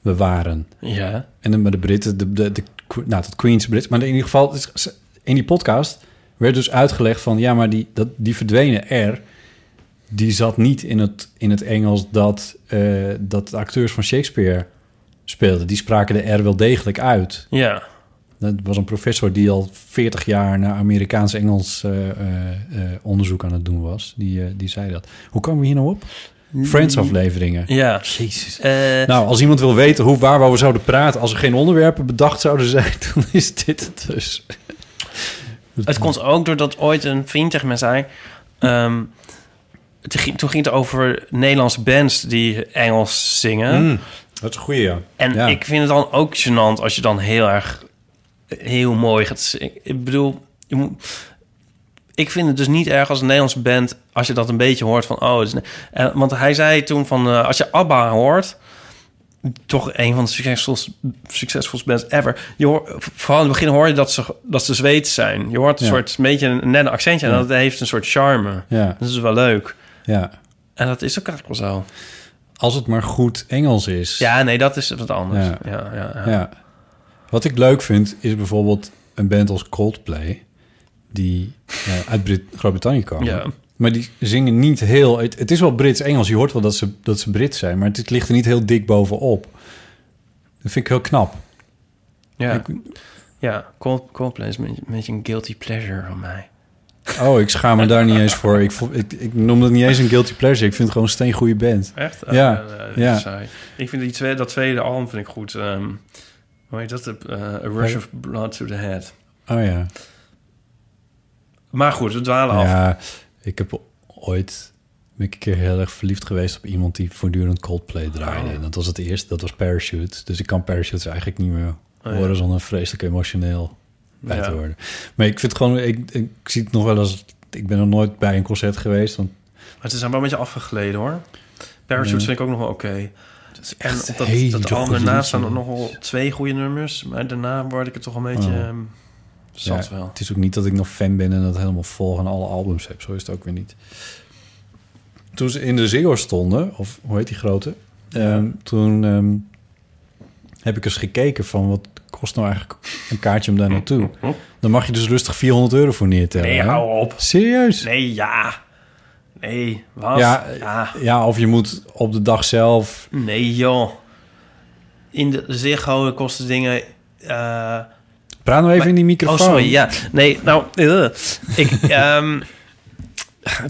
Speaker 1: We waren.
Speaker 2: Ja.
Speaker 1: En dan maar de Britten, de, de, de, nou, dat Queen's Brits. Maar in ieder geval, het is- in die podcast werd dus uitgelegd van... ja, maar die, dat, die verdwenen R, die zat niet in het, in het Engels... Dat, eh, dat de acteurs van Shakespeare speelden. Die spraken de R wel degelijk uit.
Speaker 2: Ja.
Speaker 1: Dat was een professor die al 40 jaar... naar Amerikaans-Engels eh, eh, eh, onderzoek aan het doen was. Die, eh, die zei dat. Hoe komen we hier nou op? Friends-afleveringen.
Speaker 2: Ja.
Speaker 1: Jezus.
Speaker 2: Eh,
Speaker 1: Nou, als iemand wil weten hoe, waar we over zouden praten... als er geen onderwerpen bedacht zouden zijn, dan is dit het dus.
Speaker 2: Het komt ook doordat ooit een vriend tegen mij zei... ehm, het ging- toen ging het over Nederlandse bands die Engels
Speaker 1: Mm.
Speaker 2: zingen.
Speaker 1: Hmm. Dat is een goeie, ja.
Speaker 2: En ik vind het dan ook gênant als je dan heel erg heel mooi gaat zingen. Ik bedoel, je moet, ik vind het dus niet erg als een Nederlandse band als je dat een beetje hoort van oh, het is, eh, want hij zei toen van eh, als je ABBA hoort toch een van de succesvolste, succesvolste bands ever. Je hoor, vooral in het begin hoor je dat ze, dat ze Zweeds zijn. Je hoort een
Speaker 1: Ja.
Speaker 2: soort een beetje een net een accentje en dat heeft een soort charme.
Speaker 1: Ja,
Speaker 2: Dat is wel leuk.
Speaker 1: ja.
Speaker 2: En dat is ook eigenlijk wel zo.
Speaker 1: Als het maar goed Engels is.
Speaker 2: Ja, nee, dat is wat anders.
Speaker 1: Ja.
Speaker 2: ja, ja. ja.
Speaker 1: Ja. Wat ik leuk vind, is bijvoorbeeld een band als Coldplay... die eh, uit Brit- Groot-Brittannië komen.
Speaker 2: Ja.
Speaker 1: Maar die zingen niet heel... Het, het is wel Brits-Engels. Je hoort wel dat ze, dat ze Brits zijn. Maar het ligt er niet heel dik bovenop. Dat vind ik heel knap.
Speaker 2: Ja,
Speaker 1: Ik-
Speaker 2: ja Cold, Coldplay is een beetje- een beetje een guilty pleasure van mij.
Speaker 1: Oh, ik schaam me daar niet eens voor. Ik, vo- ik, ik noem dat niet eens een guilty pleasure. Ik vind het gewoon een steengoeie band.
Speaker 2: Echt?
Speaker 1: Ah, Ja,
Speaker 2: Eh, eh,
Speaker 1: ja.
Speaker 2: saai. Ik vind die tweede, dat tweede album vind ik goed. ehm hoe heet dat? Eh, A Rush of Blood to the Head.
Speaker 1: Oh ja.
Speaker 2: Maar goed, we dwalen af.
Speaker 1: Ja, ik heb ooit ben ik een keer heel erg verliefd geweest op iemand die voortdurend Coldplay draaide.
Speaker 2: Oh.
Speaker 1: En dat was het eerste, dat was Parachute. Dus ik kan Parachutes eigenlijk niet meer
Speaker 2: Oh ja.
Speaker 1: horen zonder vreselijk emotioneel bij te
Speaker 2: Ja.
Speaker 1: worden. Maar ik vind gewoon, ik, ik zie het nog wel als, ik ben nog nooit bij een concert geweest. Want
Speaker 2: Maar ze zijn wel een beetje afgegleden hoor. Parachutes vind ik ook nog wel oké. En op dat,
Speaker 1: hele
Speaker 2: dat album
Speaker 1: goede
Speaker 2: daarna staan er
Speaker 1: liedjes.
Speaker 2: nogal twee goede nummers. Maar daarna word ik er toch een beetje
Speaker 1: Oh.
Speaker 2: ehm, zat
Speaker 1: ja,
Speaker 2: wel.
Speaker 1: het is ook niet dat ik nog fan ben en dat helemaal vol aan alle albums heb. Zo is het ook weer niet. Toen ze in de Ziggo stonden, of hoe heet die grote? Ehm, toen ehm, heb ik eens gekeken van wat kost nou eigenlijk een kaartje om daar naartoe. Dan mag je dus rustig 400 euro voor neertellen.
Speaker 2: Nee,
Speaker 1: hè?
Speaker 2: hou op.
Speaker 1: Serieus?
Speaker 2: Nee, ja. Nee, wat?
Speaker 1: Ja,
Speaker 2: ja.
Speaker 1: Ja, of je moet op de dag zelf...
Speaker 2: Nee joh. In de Ziggo kosten dingen eh,
Speaker 1: Praat nou even in die microfoon.
Speaker 2: Oh, sorry, ja. Nee, nou, eh, ik, ehm,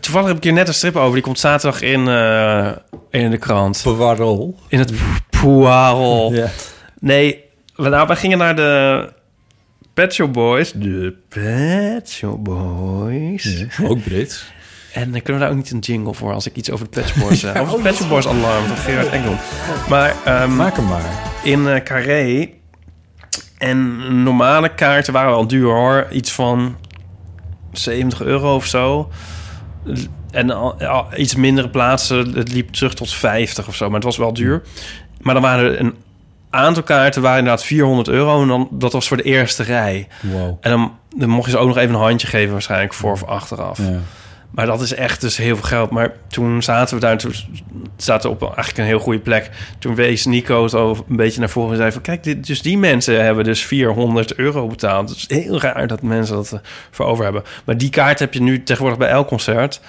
Speaker 2: toevallig heb ik hier net een strip over. Die komt zaterdag in, eh, in de krant.
Speaker 1: Poirol.
Speaker 2: In het Poirol.
Speaker 1: Ja.
Speaker 2: Nee, we- nou, wij gingen naar de Pet Shop Boys. De Pet Shop Boys.
Speaker 1: Ook Brits.
Speaker 2: En dan kunnen we daar ook niet een jingle voor als ik iets over de Pet Shop Boys zeg. Of het Pet Shop Boys alarm van Gerard Engel. Maar... ehm,
Speaker 1: Maak hem maar.
Speaker 2: in eh Carré. En normale kaarten waren wel duur hoor. Iets van 70 euro of zo. En al- al- iets mindere plaatsen, het liep terug tot 50 of zo. Maar het was wel duur. Maar dan waren er een aantal kaarten, waren inderdaad 400 euro. En dan, dat was voor de eerste rij.
Speaker 1: Wow.
Speaker 2: En dan, dan mocht je ze ook nog even een handje geven waarschijnlijk voor of achteraf.
Speaker 1: Ja.
Speaker 2: Maar dat is echt dus heel veel geld. Maar toen zaten we daar, toen zaten we op eigenlijk een heel goede plek. Toen wees Nico het over, een beetje naar voren en zei van... kijk, dit, dus die mensen hebben dus 400 euro betaald. Het is heel raar dat mensen dat eh, voor over hebben. Maar die kaart heb je nu tegenwoordig bij elk concert.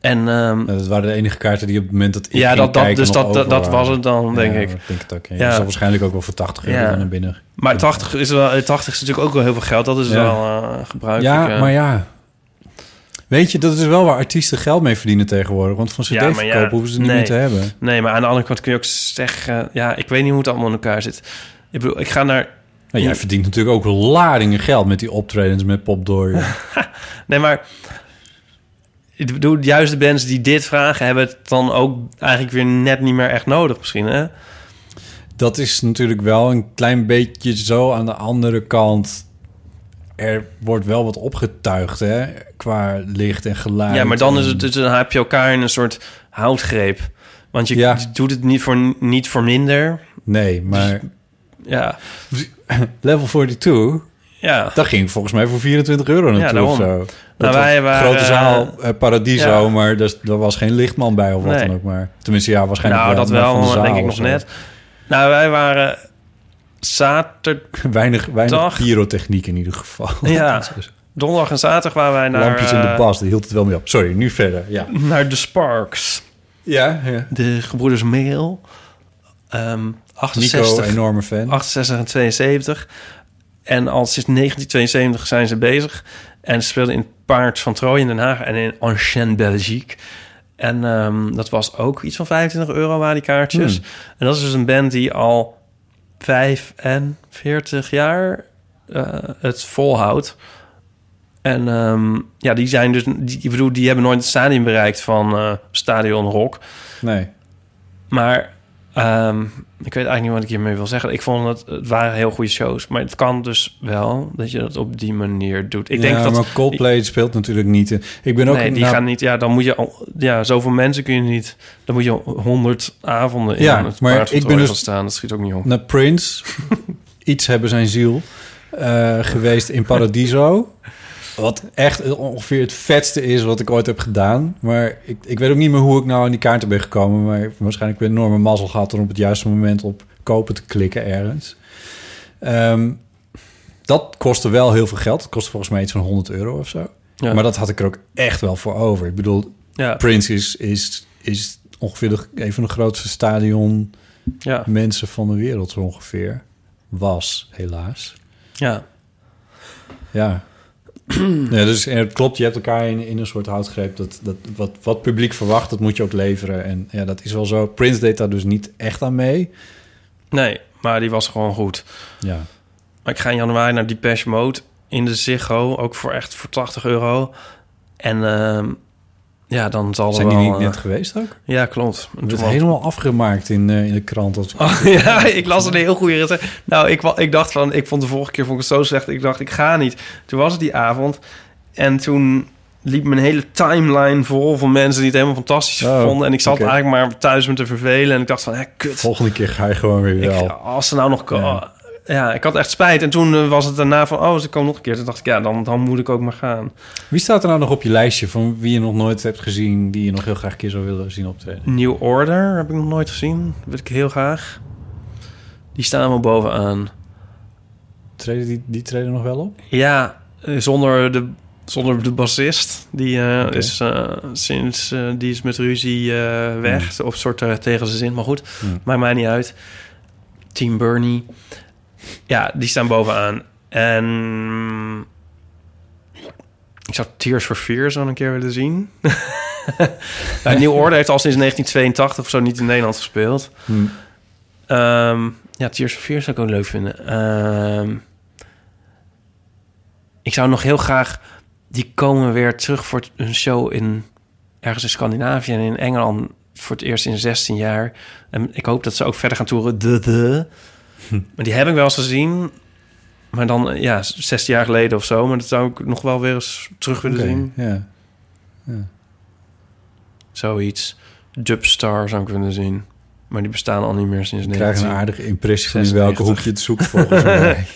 Speaker 2: En ehm,
Speaker 1: Nou, dat waren de enige kaarten Hmm. die op het moment dat ik
Speaker 2: ja,
Speaker 1: ging
Speaker 2: dat, dat,
Speaker 1: kijken
Speaker 2: dus
Speaker 1: nog
Speaker 2: dat, dat,
Speaker 1: over
Speaker 2: dat
Speaker 1: waren.
Speaker 2: was het dan, denk
Speaker 1: Ja,
Speaker 2: ik.
Speaker 1: dat denk ik ook. Ja.
Speaker 2: Ja.
Speaker 1: Dat zal waarschijnlijk ook wel voor 80 euro
Speaker 2: Ja.
Speaker 1: dan naar binnen.
Speaker 2: Maar 80 is, wel, eh, 80 is natuurlijk ook wel heel veel geld. Dat is
Speaker 1: Ja.
Speaker 2: wel eh, gebruikelijk.
Speaker 1: Ja,
Speaker 2: eh.
Speaker 1: maar ja. Weet je, dat is wel waar artiesten geld mee verdienen tegenwoordig. Want van
Speaker 2: Ja, maar ja,
Speaker 1: cd-verkoop hoeven ze het
Speaker 2: nee.
Speaker 1: niet meer te hebben.
Speaker 2: Nee, maar aan de andere kant kun je ook zeggen... ja, ik weet niet hoe het allemaal in elkaar zit. Ik bedoel, ik ga naar...
Speaker 1: Nou, jij verdient natuurlijk ook ladingen geld met die optredens met Pop Dory.
Speaker 2: Nee, maar ik bedoel, juist de bands die dit vragen... hebben het dan ook eigenlijk weer net niet meer echt nodig misschien, hè?
Speaker 1: dat is natuurlijk wel een klein beetje zo. Aan de andere kant, er wordt wel wat opgetuigd hè, qua licht en geluid.
Speaker 2: ja, maar dan,
Speaker 1: en-
Speaker 2: is het, dus dan heb je elkaar in een soort houtgreep. Want je
Speaker 1: Ja.
Speaker 2: doet het niet voor, niet voor minder.
Speaker 1: Nee, maar
Speaker 2: Ja,
Speaker 1: Level 42,
Speaker 2: ja.
Speaker 1: dat ging volgens mij voor 24 euro naartoe
Speaker 2: daarom. Nou,
Speaker 1: of zo. Dat
Speaker 2: wij
Speaker 1: was
Speaker 2: waren,
Speaker 1: grote zaal,
Speaker 2: eh,
Speaker 1: eh, Paradiso,
Speaker 2: ja.
Speaker 1: maar daar daar was geen lichtman bij of wat
Speaker 2: Nee.
Speaker 1: dan ook maar. Tenminste, ja, waarschijnlijk
Speaker 2: nou, dat
Speaker 1: maar van de
Speaker 2: wel,
Speaker 1: zaal
Speaker 2: denk ik
Speaker 1: of
Speaker 2: nog
Speaker 1: zo.
Speaker 2: net. Nou, wij waren zaterdag...
Speaker 1: Weinig, weinig
Speaker 2: Dag.
Speaker 1: pyrotechniek in ieder geval.
Speaker 2: Ja. Donderdag en zaterdag waren wij naar...
Speaker 1: Lampjes in de
Speaker 2: eh,
Speaker 1: bas, die hield het wel mee op. Sorry, nu verder. Ja,
Speaker 2: Naar de Sparks.
Speaker 1: ja, ja.
Speaker 2: De gebroeders Meel. Ehm
Speaker 1: Nico,
Speaker 2: 68
Speaker 1: enorme fan.
Speaker 2: 68 en 72. En al sinds 1972 zijn ze bezig. En ze speelden in het Paard van Troje in Den Haag en in Ancien Belgique. En ehm, dat was ook iets van 25 euro waren die kaartjes. En dat is dus een band die al 45 jaar eh, het volhoudt. En ehm, ja, die zijn dus, die, ik bedoel, die hebben nooit het stadion bereikt van eh, Stadion Rock.
Speaker 1: Nee.
Speaker 2: Maar ehm, ik weet eigenlijk niet wat ik hiermee wil zeggen. Ik vond het, het waren heel goede shows. Maar het kan dus wel dat je dat op die manier doet. Ik denk
Speaker 1: ja,
Speaker 2: dat...
Speaker 1: maar Coldplay speelt natuurlijk niet. in- Ik ben ook
Speaker 2: nee, die
Speaker 1: nou,
Speaker 2: gaan niet... Ja, dan moet je... al- Ja, zoveel mensen kun je niet... Dan moet je honderd avonden in
Speaker 1: Ja,
Speaker 2: het
Speaker 1: maar
Speaker 2: Paard van
Speaker 1: ik ben
Speaker 2: Troje
Speaker 1: dus-
Speaker 2: gaan staan. Dat schiet ook niet op.
Speaker 1: naar Prince. Iets hebben zijn ziel eh, geweest in Paradiso. Wat echt ongeveer het vetste is wat ik ooit heb gedaan. Maar ik, ik weet ook niet meer hoe ik nou aan die kaarten ben gekomen. Maar waarschijnlijk heb ik een enorme mazzel gehad... om op het juiste moment op kopen te klikken ergens. Ehm, dat kostte wel heel veel geld. Het kostte volgens mij iets van 100 euro of zo.
Speaker 2: Ja.
Speaker 1: Maar dat had ik er ook echt wel voor over. Ik bedoel,
Speaker 2: Ja,
Speaker 1: Prince is, is, is ongeveer de, een van de grootste stadion
Speaker 2: ja,
Speaker 1: mensen van de wereld zo ongeveer. Was, helaas.
Speaker 2: ja.
Speaker 1: Ja. ja dus en het klopt, je hebt elkaar in, in een soort houtgreep. Dat, dat, wat, wat publiek verwacht, dat moet je ook leveren. En ja, dat is wel zo. Prince deed daar dus niet echt aan mee.
Speaker 2: Nee, maar die was gewoon goed.
Speaker 1: Ja.
Speaker 2: Maar ik ga in januari naar Depeche Mode in de Ziggo. Ook voor echt voor 80 euro. En ehm, ja, dan zal er
Speaker 1: Zijn
Speaker 2: wel...
Speaker 1: die niet
Speaker 2: eh,
Speaker 1: net geweest ook?
Speaker 2: Ja, klopt.
Speaker 1: Het
Speaker 2: Toen
Speaker 1: werd
Speaker 2: was-
Speaker 1: helemaal afgemaakt in, eh, in de krant. Als...
Speaker 2: Oh, ja, ik las een heel goede ritten. Nou, ik, wa- ik dacht van, ik vond de vorige keer vond ik het zo slecht. Ik dacht, ik ga niet. Toen was het die avond. En toen liep mijn hele timeline vol van mensen die het helemaal fantastisch
Speaker 1: Oh,
Speaker 2: vonden. En ik zat
Speaker 1: oké.
Speaker 2: eigenlijk maar thuis me te vervelen. En ik dacht van, hè, kut.
Speaker 1: Volgende keer ga je gewoon weer
Speaker 2: Ik,
Speaker 1: wel.
Speaker 2: als ze nou nog... ko-
Speaker 1: Ja.
Speaker 2: Ja, ik had echt spijt. En toen eh, was het daarna van, oh, ze komen nog een keer. Toen dacht ik, ja, dan, dan moet ik ook maar gaan.
Speaker 1: Wie staat er nou nog op je lijstje van wie je nog nooit hebt gezien... die je nog heel graag een keer zou willen zien optreden?
Speaker 2: New Order heb ik nog nooit gezien. Dat wil ik heel graag. Die staan wel bovenaan.
Speaker 1: Treden die, die treden nog wel op?
Speaker 2: Ja, eh, zonder de, zonder de bassist. Die eh,
Speaker 1: Oké.
Speaker 2: is eh, sinds eh, die is met ruzie eh, weg. Of soort eh, tegen zijn zin, maar goed.
Speaker 1: Hmm.
Speaker 2: Maakt mij niet uit. Team Bernie. Ja, die staan bovenaan. En ik zou Tears for Fears al een keer willen zien. nou, New Order heeft al sinds 1982 of zo niet in Nederland gespeeld.
Speaker 1: Hmm.
Speaker 2: Ehm, ja, Tears for Fears zou ik ook leuk vinden. Ehm, ik zou nog heel graag... Die komen weer terug voor een show in... Ergens in Scandinavië en in Engeland voor het eerst in 16 jaar. En ik hoop dat ze ook verder gaan toeren. De, de. Maar die heb ik wel eens gezien. Maar dan, eh, ja, 16 jaar geleden of zo. Maar dat zou ik nog wel weer eens terug willen
Speaker 1: Oké,
Speaker 2: zien.
Speaker 1: Ja.
Speaker 2: Zoiets. Dubstar zou ik willen zien. Maar die bestaan al niet meer sinds
Speaker 1: Ik krijg een
Speaker 2: 19...
Speaker 1: aardige impressie van in welke
Speaker 2: 96.
Speaker 1: hoek je het zoekt volgens mij.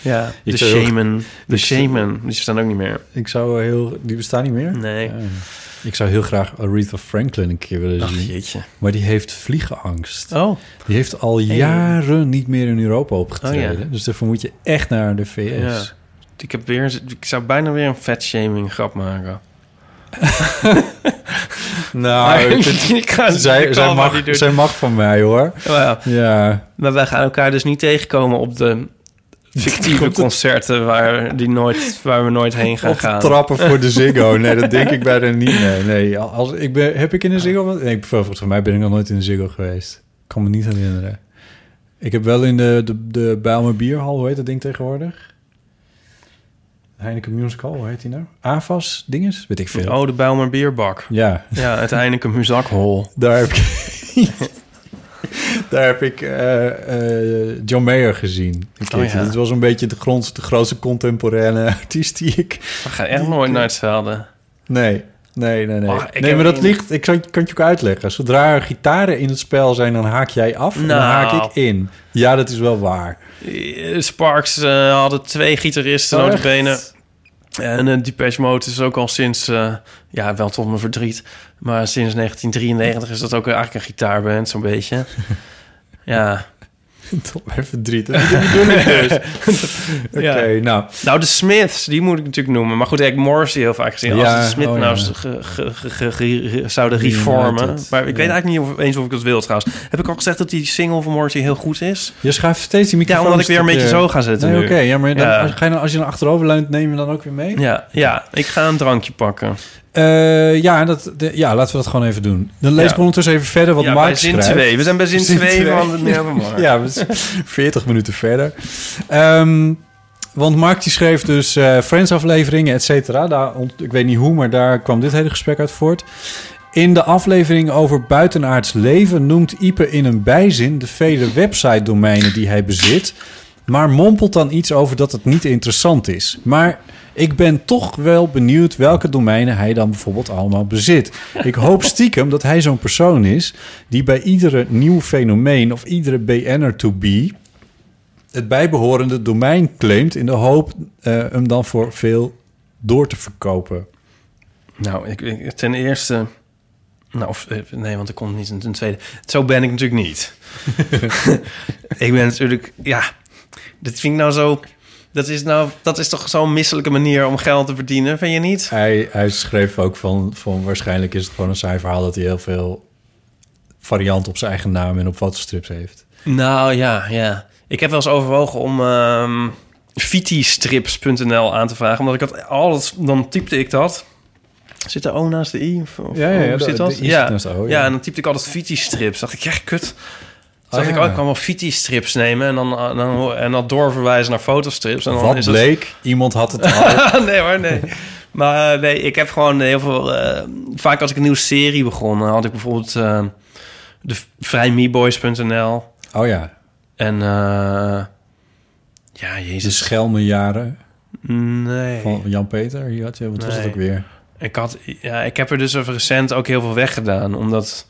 Speaker 2: Ja,
Speaker 1: Ik
Speaker 2: de
Speaker 1: zou heel-
Speaker 2: Shaman. De
Speaker 1: ik-
Speaker 2: Shaman. Die staan ook niet meer.
Speaker 1: Ik zou heel... Die bestaan niet meer?
Speaker 2: Nee.
Speaker 1: Ja. Ik zou heel graag Aretha Franklin een keer willen
Speaker 2: Ach,
Speaker 1: zien.
Speaker 2: jeetje.
Speaker 1: Maar die heeft vliegenangst.
Speaker 2: Oh.
Speaker 1: Die heeft al
Speaker 2: Hey.
Speaker 1: jaren niet meer in Europa opgetreden.
Speaker 2: Oh, ja.
Speaker 1: Dus daarvoor moet je echt naar de VS.
Speaker 2: Ja. Ik, heb weer, ik zou bijna weer een fat shaming grap maken.
Speaker 1: Nou, ik vind-
Speaker 2: ik ga
Speaker 1: zij,
Speaker 2: ik
Speaker 1: zij,
Speaker 2: kan maar niet
Speaker 1: mag,
Speaker 2: doen.
Speaker 1: zij mag van mij hoor.
Speaker 2: Oh, ja.
Speaker 1: Ja,
Speaker 2: Maar wij gaan elkaar dus niet tegenkomen op de
Speaker 1: Op
Speaker 2: fictieve
Speaker 1: de-
Speaker 2: concerten waar, die nooit, waar we nooit heen gaan
Speaker 1: op de
Speaker 2: gaan.
Speaker 1: trappen voor de Ziggo. Nee, dat denk ik bijna niet. Nee, nee. Als, ik ben, heb ik in de Ziggo... Nee, ik- volgens mij ben ik nog nooit in de Ziggo geweest. Ik kan me niet herinneren. Ik heb wel in de, de, de Bijlmer Bierhal, hoe heet dat ding tegenwoordig? Heineken Music Hall, hoe heet die nou? AFAS dinges? Weet ik veel.
Speaker 2: Oh, de Bijlmer Bierbak.
Speaker 1: Ja,
Speaker 2: Ja, het Heineken Muzakhol.
Speaker 1: Daar heb ik, daar heb ik eh, eh, John Mayer gezien. Een
Speaker 2: Oh,
Speaker 1: keertje.
Speaker 2: ja.
Speaker 1: Dat was een beetje de, grond, de grootste contemporaine artiest die ik...
Speaker 2: We gaan echt nooit naar hetzelfde.
Speaker 1: Nee, nee, nee, nee.
Speaker 2: Oh, ik
Speaker 1: nee,
Speaker 2: heb
Speaker 1: maar dat
Speaker 2: een-
Speaker 1: ligt... Ik kan, kan het je ook uitleggen. Zodra er gitaren in het spel zijn, dan haak jij af en dan
Speaker 2: Nou.
Speaker 1: haak ik in. Ja, dat is wel waar.
Speaker 2: Eh, Sparks eh, hadden twee gitaristen
Speaker 1: Oh,
Speaker 2: oh,
Speaker 1: echt?
Speaker 2: benen. En eh, Depeche Mode is ook al sinds... eh, ja, wel tot mijn verdriet. Maar sinds 1993 is dat ook eigenlijk een gitaarband, zo'n beetje. ja.
Speaker 1: Tot mijn verdriet. Dat bedoel ik dus. Oké, nou...
Speaker 2: Nou, de Smiths, die moet ik natuurlijk noemen. Maar goed, ik heb Morrissey heel vaak gezien.
Speaker 1: Ja,
Speaker 2: Als de Smith
Speaker 1: oh
Speaker 2: nou
Speaker 1: ja.
Speaker 2: eens ge- ge- ge- ge- ge- zouden reformen.
Speaker 1: Reunited,
Speaker 2: Maar ik weet
Speaker 1: ja.
Speaker 2: eigenlijk niet of, eens of ik dat wil trouwens. Heb ik al gezegd dat die single van Morrissey heel goed is?
Speaker 1: Je schuift steeds die
Speaker 2: Ja,
Speaker 1: microfoon...
Speaker 2: omdat ik weer een beetje zo ga zitten
Speaker 1: Nee,
Speaker 2: nu.
Speaker 1: oké. ja, maar dan,
Speaker 2: Ja.
Speaker 1: Als, ga je dan, als je dan achterover leunt, neem je dan ook weer mee?
Speaker 2: Ja, ja, ik ga een drankje pakken.
Speaker 1: Eh, ja, dat, de- ja, laten we dat gewoon even doen. Dan lees
Speaker 2: Ja.
Speaker 1: ik ondertussen even verder wat
Speaker 2: ja,
Speaker 1: Mike
Speaker 2: bij zin
Speaker 1: schrijft.
Speaker 2: 2. We zijn bij zin
Speaker 1: Zin
Speaker 2: 2
Speaker 1: twee.
Speaker 2: van het Nevermore.
Speaker 1: Ja, we zijn 40 minuten verder. Ehm, want Mark die schreef dus eh, Friends-afleveringen, et cetera. Daar ont- Ik weet niet hoe, maar daar kwam dit hele gesprek uit voort. In de aflevering over buitenaards leven noemt Ipe in een bijzin de vele website-domeinen die hij bezit. Maar mompelt dan iets over dat het niet interessant is. Maar ik ben toch wel benieuwd welke domeinen hij dan bijvoorbeeld allemaal bezit. Ik hoop stiekem dat hij zo'n persoon is die bij iedere nieuw fenomeen of iedere BN'er to be het bijbehorende domein claimt in de hoop eh, hem dan voor veel door te verkopen.
Speaker 2: Nou, ik, ik- ten eerste... Nou, of, eh, nee, want ik kon niet in ten tweede. Zo ben ik natuurlijk niet. ik ben natuurlijk... Ja, dit vind ik nou zo... Dat is, nou, dat is toch zo'n misselijke manier om geld te verdienen, vind je niet?
Speaker 1: Hij, hij schreef ook van, van waarschijnlijk is het gewoon een saai verhaal dat hij heel veel varianten op zijn eigen naam en op fotostrips heeft.
Speaker 2: Nou ja, ja. Ik heb wel eens overwogen om ehm vitistrips.nl aan te vragen. Omdat ik had alles... Dan typte ik dat. Zit de O naast de I? Of, of hoe zit dat?
Speaker 1: ja.
Speaker 2: Ja, en dan typte ik altijd viti-strips. Dacht ik, ja, kut.
Speaker 1: Oh,
Speaker 2: Dacht ik,
Speaker 1: ja.
Speaker 2: ook ik kan wel viti-strips nemen en dan, eh, dan, en dan doorverwijzen naar fotostrips. En dan
Speaker 1: Wat
Speaker 2: is het-
Speaker 1: bleek? Iemand had het al.
Speaker 2: nee hoor, nee. Maar eh, nee, ik heb gewoon heel veel... eh, vaak als ik een nieuwe serie begon, dan had ik bijvoorbeeld eh, de vrijmeboys.nl.
Speaker 1: Oh ja,
Speaker 2: En eh, ja,
Speaker 1: de
Speaker 2: jezus.
Speaker 1: schelmenjaren
Speaker 2: Nee.
Speaker 1: van Jan-Peter. Hier had je, wat was dat
Speaker 2: Nee.
Speaker 1: ook weer?
Speaker 2: Ik, had, ja, ik heb er dus recent ook heel veel weggedaan, omdat...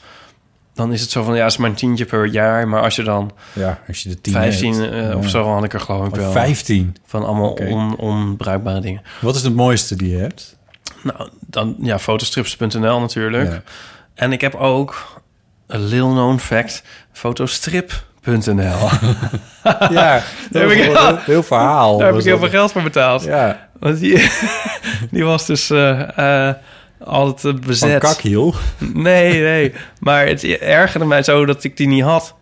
Speaker 2: Dan is het zo van, ja, het is maar een tientje per jaar. Maar als je dan
Speaker 1: Ja, als je de 10
Speaker 2: 15
Speaker 1: hebt.
Speaker 2: eh, of
Speaker 1: Ja.
Speaker 2: zo had ik er geloof ik
Speaker 1: Oh,
Speaker 2: wel.
Speaker 1: 15.
Speaker 2: Van allemaal
Speaker 1: Oké.
Speaker 2: on- onbruikbare dingen.
Speaker 1: Wat is het mooiste die je hebt?
Speaker 2: Nou, dan ja, fotostrips.nl natuurlijk.
Speaker 1: Ja.
Speaker 2: En ik heb ook, een lil known fact,
Speaker 1: Oh,
Speaker 2: fotostrip.nl.
Speaker 1: Ja,
Speaker 2: Daar heb ik-
Speaker 1: heel, heel, heel verhaal.
Speaker 2: Daar heb ik
Speaker 1: was
Speaker 2: heel veel
Speaker 1: dat.
Speaker 2: geld voor betaald.
Speaker 1: Ja,
Speaker 2: Want die, die was dus eh, eh, altijd eh,
Speaker 1: van
Speaker 2: bezet.
Speaker 1: kakhiel.
Speaker 2: Nee, nee. Maar het ergerde mij zo dat ik die niet had.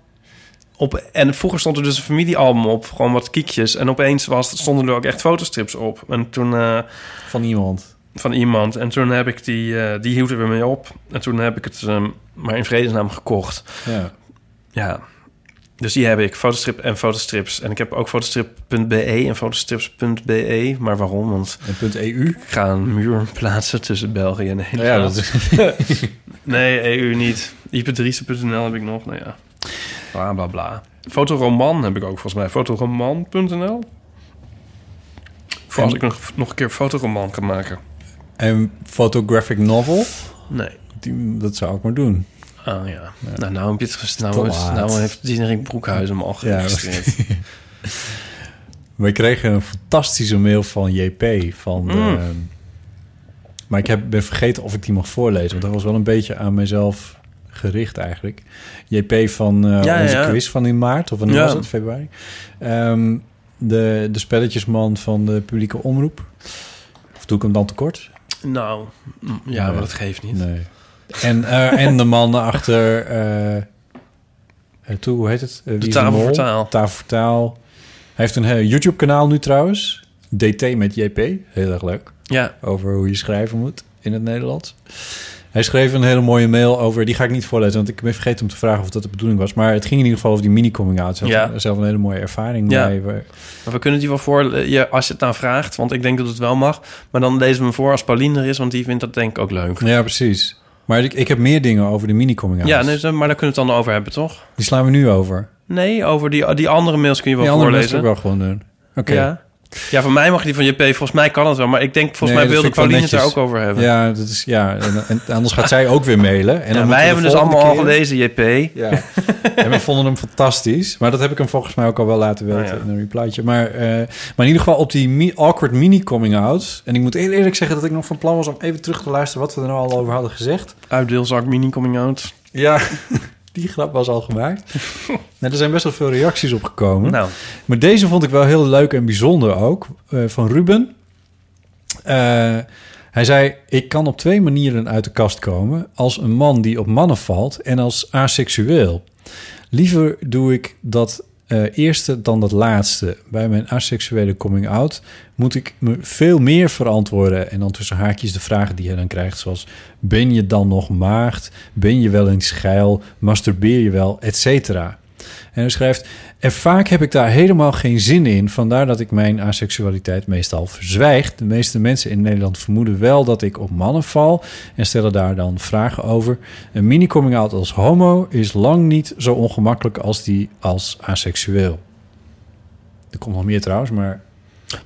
Speaker 2: Op, en vroeger stond er dus een familiealbum op, gewoon wat kiekjes. En opeens was, stonden er ook echt fotostrips op. En toen eh,
Speaker 1: Van iemand.
Speaker 2: van iemand. En toen heb ik die, eh, die hield er weer mee op. En toen heb ik het ehm, maar in vredesnaam gekocht.
Speaker 1: Ja.
Speaker 2: Ja. Dus die heb ik, fotostrip en fotostrips. En ik heb ook fotostrip.be E en fotostrips.be. E. Maar waarom? Want
Speaker 1: En punt EU.
Speaker 2: ik ga een muur plaatsen tussen België en Nederland.
Speaker 1: Ja, dat is,
Speaker 2: Nee, EU niet. Hyperdrice.nl heb ik nog. Nou ja, bla bla bla. Fotoroman heb ik ook volgens mij. Fotoroman.nl Voor als
Speaker 1: En-
Speaker 2: ik nog, nog een keer fotoroman kan maken.
Speaker 1: en photographic novel.
Speaker 2: Nee.
Speaker 1: Die, dat zou ik maar doen.
Speaker 2: Ah ja. Nou, nou, heb je het ges- nou,
Speaker 1: Te
Speaker 2: heeft,
Speaker 1: laat.
Speaker 2: nou heeft Diederik Broekhuizen hem al
Speaker 1: Ja,
Speaker 2: geregistreerd.
Speaker 1: We kregen een fantastische mail van JP. Van de-
Speaker 2: Mm.
Speaker 1: maar ik heb, ben vergeten of ik die mag voorlezen. Want dat was wel een beetje aan mezelf gericht eigenlijk. JP van eh,
Speaker 2: Ja, ja,
Speaker 1: onze
Speaker 2: ja.
Speaker 1: quiz van in maart. Of wanneer
Speaker 2: Ja.
Speaker 1: was het? Februari. Ehm, de, de spelletjesman van de publieke omroep. Of doe ik hem dan tekort?
Speaker 2: Nou, mm, ja,
Speaker 1: Nee.
Speaker 2: maar dat geeft niet.
Speaker 1: Nee. En, eh, en de man achter... eh, eh, toe, hoe heet het? Eh, Wie is
Speaker 2: Tafel
Speaker 1: Mol?
Speaker 2: voor Taal.
Speaker 1: Tafel voor Taal. Hij heeft een eh, YouTube-kanaal nu trouwens. DT met JP. Heel erg leuk.
Speaker 2: Ja,
Speaker 1: Over hoe je schrijven moet in het Nederlands. Hij schreef een hele mooie mail over... Die ga ik niet voorlezen, want ik ben vergeten om te vragen of dat de bedoeling was. Maar het ging in ieder geval over die mini-coming-out. Hij had
Speaker 2: Ja.
Speaker 1: zelf een hele mooie ervaring
Speaker 2: Ja.
Speaker 1: mee. waar-
Speaker 2: maar we kunnen die wel voor, ja, als je het nou vraagt, want ik denk dat het wel mag. Maar dan lezen we hem voor als Pauline er is, want die vindt dat denk ik ook leuk.
Speaker 1: Ja, precies. Maar ik, ik heb meer dingen over de mini-coming-out.
Speaker 2: Ja, nee, maar daar kunnen we het dan over hebben, toch?
Speaker 1: Die slaan we nu over.
Speaker 2: Nee, over die, die andere mails kun je wel
Speaker 1: Die andere mensen
Speaker 2: voorlezen.
Speaker 1: ook wel gewoon doen. Oké.
Speaker 2: Ja. ja, van mij mag die van JP. Volgens mij kan het wel. Maar ik denk, volgens
Speaker 1: Nee,
Speaker 2: mij
Speaker 1: dat
Speaker 2: wilde
Speaker 1: vind ik wel
Speaker 2: Pauline het daar
Speaker 1: netjes.
Speaker 2: ook over hebben. Ja,
Speaker 1: Ja, dat is, ja en, en anders gaat zij ook weer mailen. En dan moeten we
Speaker 2: wij
Speaker 1: de
Speaker 2: hebben dus
Speaker 1: volgende
Speaker 2: allemaal al
Speaker 1: keer-
Speaker 2: gelezen, JP.
Speaker 1: Ja. en we vonden hem fantastisch. Maar dat heb ik hem volgens mij ook al wel laten weten
Speaker 2: Ah, ja.
Speaker 1: in een replytje. Maar, eh, maar in ieder geval op die mi- awkward mini coming out. En ik moet heel eerlijk zeggen dat ik nog van plan was om even terug te luisteren wat we er nou al over hadden gezegd.
Speaker 2: Uitdeelzak mini coming out.
Speaker 1: Ja, die grap was al gemaakt. nou, er zijn best wel veel reacties op gekomen.
Speaker 2: Nou,
Speaker 1: Maar deze vond ik wel heel leuk en bijzonder ook, eh, van Ruben. Eh, hij zei, ik kan op twee manieren uit de kast komen... als een man die op mannen valt en als aseksueel. Liever doe ik dat eh, eerste dan dat laatste. Bij mijn aseksuele coming-out moet ik me veel meer verantwoorden... en dan tussen haakjes de vragen die hij dan krijgt, zoals... ben je dan nog maagd? Ben je wel eens geil? Masturbeer je wel? Et cetera. En hij schrijft... En vaak heb ik daar helemaal geen zin in. Vandaar dat ik mijn aseksualiteit meestal verzwijg. De meeste mensen in Nederland vermoeden wel dat ik op mannen val en stellen daar dan vragen over. Een mini-coming-out als homo is lang niet zo ongemakkelijk als die als aseksueel. Er komt nog meer trouwens, maar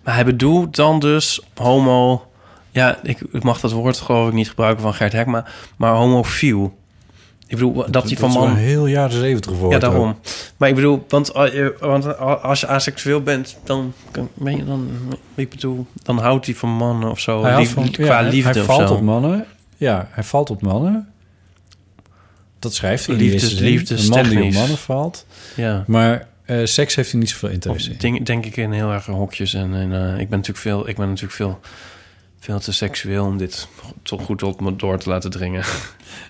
Speaker 2: maar hij bedoelt dan dus homo... Ja, ik, ik mag dat woord geloof ik niet gebruiken van Gert Hekma. Maar homofiel. Ik bedoel, dat, die van
Speaker 1: is wel
Speaker 2: man...
Speaker 1: heel jaren zeventig
Speaker 2: Ja,
Speaker 1: geworden.
Speaker 2: daarom. Maar ik bedoel, want, al- je- want al- als je asexueel bent, dan, kan- ben je dan, ik bedoel, dan houdt hij van mannen of zo.
Speaker 1: Hij houdt
Speaker 2: Lief-
Speaker 1: van- ja,
Speaker 2: qua
Speaker 1: hij-
Speaker 2: liefde
Speaker 1: hij
Speaker 2: of
Speaker 1: valt
Speaker 2: zo.
Speaker 1: op mannen. Ja, hij valt op mannen. Dat schrijft hij in de
Speaker 2: Liefdes-
Speaker 1: eerste zin.
Speaker 2: liefdes-
Speaker 1: Een man die op
Speaker 2: technisch.
Speaker 1: mannen valt.
Speaker 2: Ja.
Speaker 1: Maar eh, seks heeft hij niet zoveel
Speaker 2: Of
Speaker 1: interesse in.
Speaker 2: denk, denk ik in heel erg hokjes. En, en, eh, ik ben natuurlijk, veel, ik ben natuurlijk veel, veel te seksueel om dit toch goed op me door te laten dringen.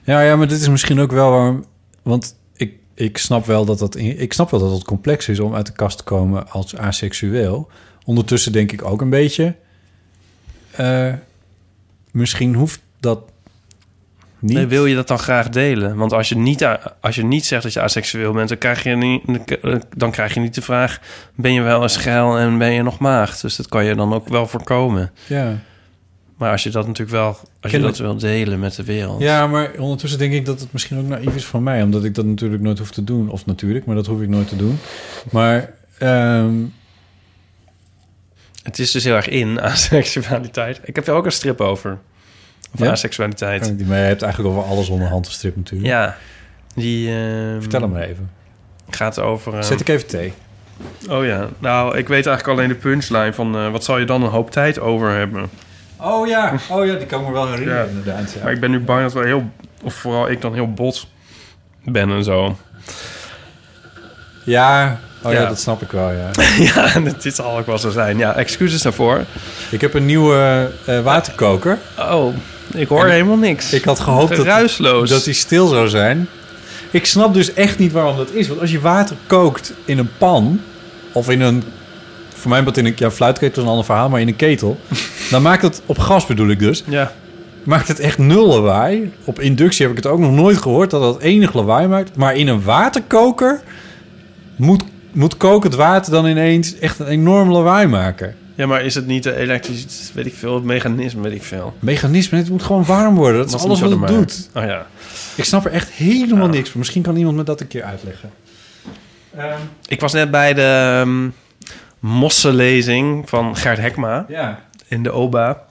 Speaker 1: Ja, ja, maar dit is misschien ook wel waarom. Want ik, ik snap wel dat dat. in- Ik snap wel dat het complex is om uit de kast te komen als aseksueel. Ondertussen denk ik ook een beetje. eh, misschien hoeft dat niet.
Speaker 2: Nee, wil je dat dan graag delen? Want als je, niet, a- als je niet zegt dat je asexueel bent, dan krijg je niet, dan krijg je niet de vraag: ben je wel eens geil en ben je nog maagd? Dus dat kan je dan ook wel voorkomen.
Speaker 1: Ja.
Speaker 2: Maar als je dat natuurlijk wel, als je dat
Speaker 1: Kennelijk-
Speaker 2: wil delen met de wereld.
Speaker 1: ja, maar ondertussen denk ik dat het misschien ook naïef is van mij. Omdat ik dat natuurlijk nooit hoef te doen. Of natuurlijk, maar dat hoef ik nooit te doen. Maar. ehm,
Speaker 2: Het is dus heel erg in aseksualiteit. Ik heb er ook een strip over. Of
Speaker 1: Ja?
Speaker 2: aseksualiteit.
Speaker 1: maar je hebt eigenlijk over alles onderhand gestript natuurlijk.
Speaker 2: Ja. Die ehm,
Speaker 1: Vertel hem maar even.
Speaker 2: gaat over. ehm,
Speaker 1: Zet ik even thee.
Speaker 2: Oh ja. Nou, ik weet eigenlijk alleen de punchline van eh, wat zal je dan een hoop tijd over hebben.
Speaker 1: Oh ja, oh ja, die kan ik me wel herinneren
Speaker 2: Ja.
Speaker 1: inderdaad. ja.
Speaker 2: Maar ik ben nu bang dat we heel, of vooral ik dan heel bot ben en zo.
Speaker 1: Ja, oh ja.
Speaker 2: Ja.
Speaker 1: dat snap ik wel, ja.
Speaker 2: ja, en dit zal ook wel zo zijn. Ja, excuses daarvoor.
Speaker 1: ik heb een nieuwe eh, waterkoker.
Speaker 2: Oh, ik hoor helemaal niks.
Speaker 1: Ik had gehoopt dat,
Speaker 2: Geruisloos.
Speaker 1: dat die stil zou zijn. Ik snap dus echt niet waarom dat is. Want als je water kookt in een pan of in een... Voor mij wat in een ja, fluitketel is een ander verhaal, maar in een ketel. dan maakt het, op gas bedoel ik dus,
Speaker 2: Ja.
Speaker 1: maakt het echt nul lawaai. Op inductie heb ik het ook nog nooit gehoord dat dat enig lawaai maakt. Maar in een waterkoker moet, moet kokend water dan ineens echt een enorm lawaai maken.
Speaker 2: ja, maar is het niet de elektrisch, weet ik veel, het mechanisme, weet ik veel?
Speaker 1: Mechanisme, het moet gewoon warm worden. Dat is
Speaker 2: Was
Speaker 1: alles
Speaker 2: niet
Speaker 1: wat
Speaker 2: zo
Speaker 1: het
Speaker 2: maar-
Speaker 1: doet.
Speaker 2: Oh ja.
Speaker 1: Ik snap er echt helemaal
Speaker 2: Ja.
Speaker 1: niks van. Misschien kan iemand me dat een keer uitleggen.
Speaker 2: Ik was net bij de ehm, mossenlezing van Gert Hekma
Speaker 1: Ja.
Speaker 2: in de OBA.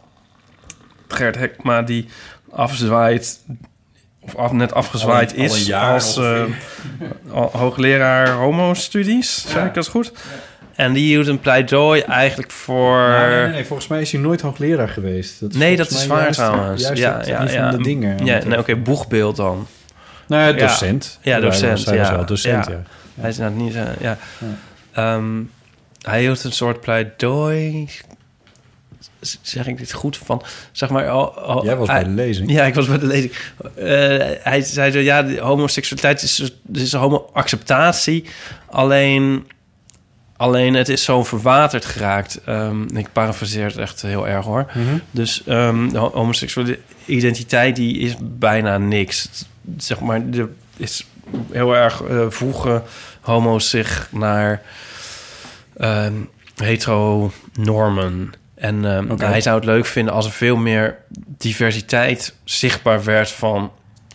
Speaker 2: Gert Hekma die afzwaait, of af, net afgezwaaid
Speaker 1: Al een- al
Speaker 2: is
Speaker 1: een jaar
Speaker 2: als eh, al- hoogleraar homo-studies, zeg ik dat is goed. En die hield een pleidooi eigenlijk voor...
Speaker 1: Nee, nee, nee, volgens mij is hij nooit hoogleraar geweest. Dat
Speaker 2: Nee, dat
Speaker 1: volgens
Speaker 2: is
Speaker 1: mij
Speaker 2: waar
Speaker 1: juist-
Speaker 2: trouwens.
Speaker 1: Juist
Speaker 2: ja,
Speaker 1: het-
Speaker 2: ja,
Speaker 1: een
Speaker 2: ja.
Speaker 1: van de dingen.
Speaker 2: Ja, nee, oké, boegbeeld dan.
Speaker 1: Nou,
Speaker 2: Ja.
Speaker 1: docent.
Speaker 2: Ja, docent,
Speaker 1: Zij was
Speaker 2: ja.
Speaker 1: wel docent,
Speaker 2: Ja.
Speaker 1: ja.
Speaker 2: Hij is nou niet... eh, ja. Ehm, hij hield een soort pleidooi... Z- Zeg ik dit goed? Van, zeg maar... Oh, oh,
Speaker 1: Jij was bij
Speaker 2: hij-
Speaker 1: de lezing.
Speaker 2: Ja, ik was bij de lezing. Eh, hij zei zo, ja, de homoseksualiteit is, dus- dus is homo-acceptatie. Alleen, alleen het is zo verwaterd geraakt. Ehm, ik parafraseer het echt heel erg hoor. Dus ehm, de ho- homoseksuele identiteit die is bijna niks. Het- Zeg maar, er is heel erg eh, voegen homo's zich naar ehm hetero-normen. En ehm,
Speaker 1: Oké.
Speaker 2: hij zou het leuk vinden als er veel meer diversiteit zichtbaar werd van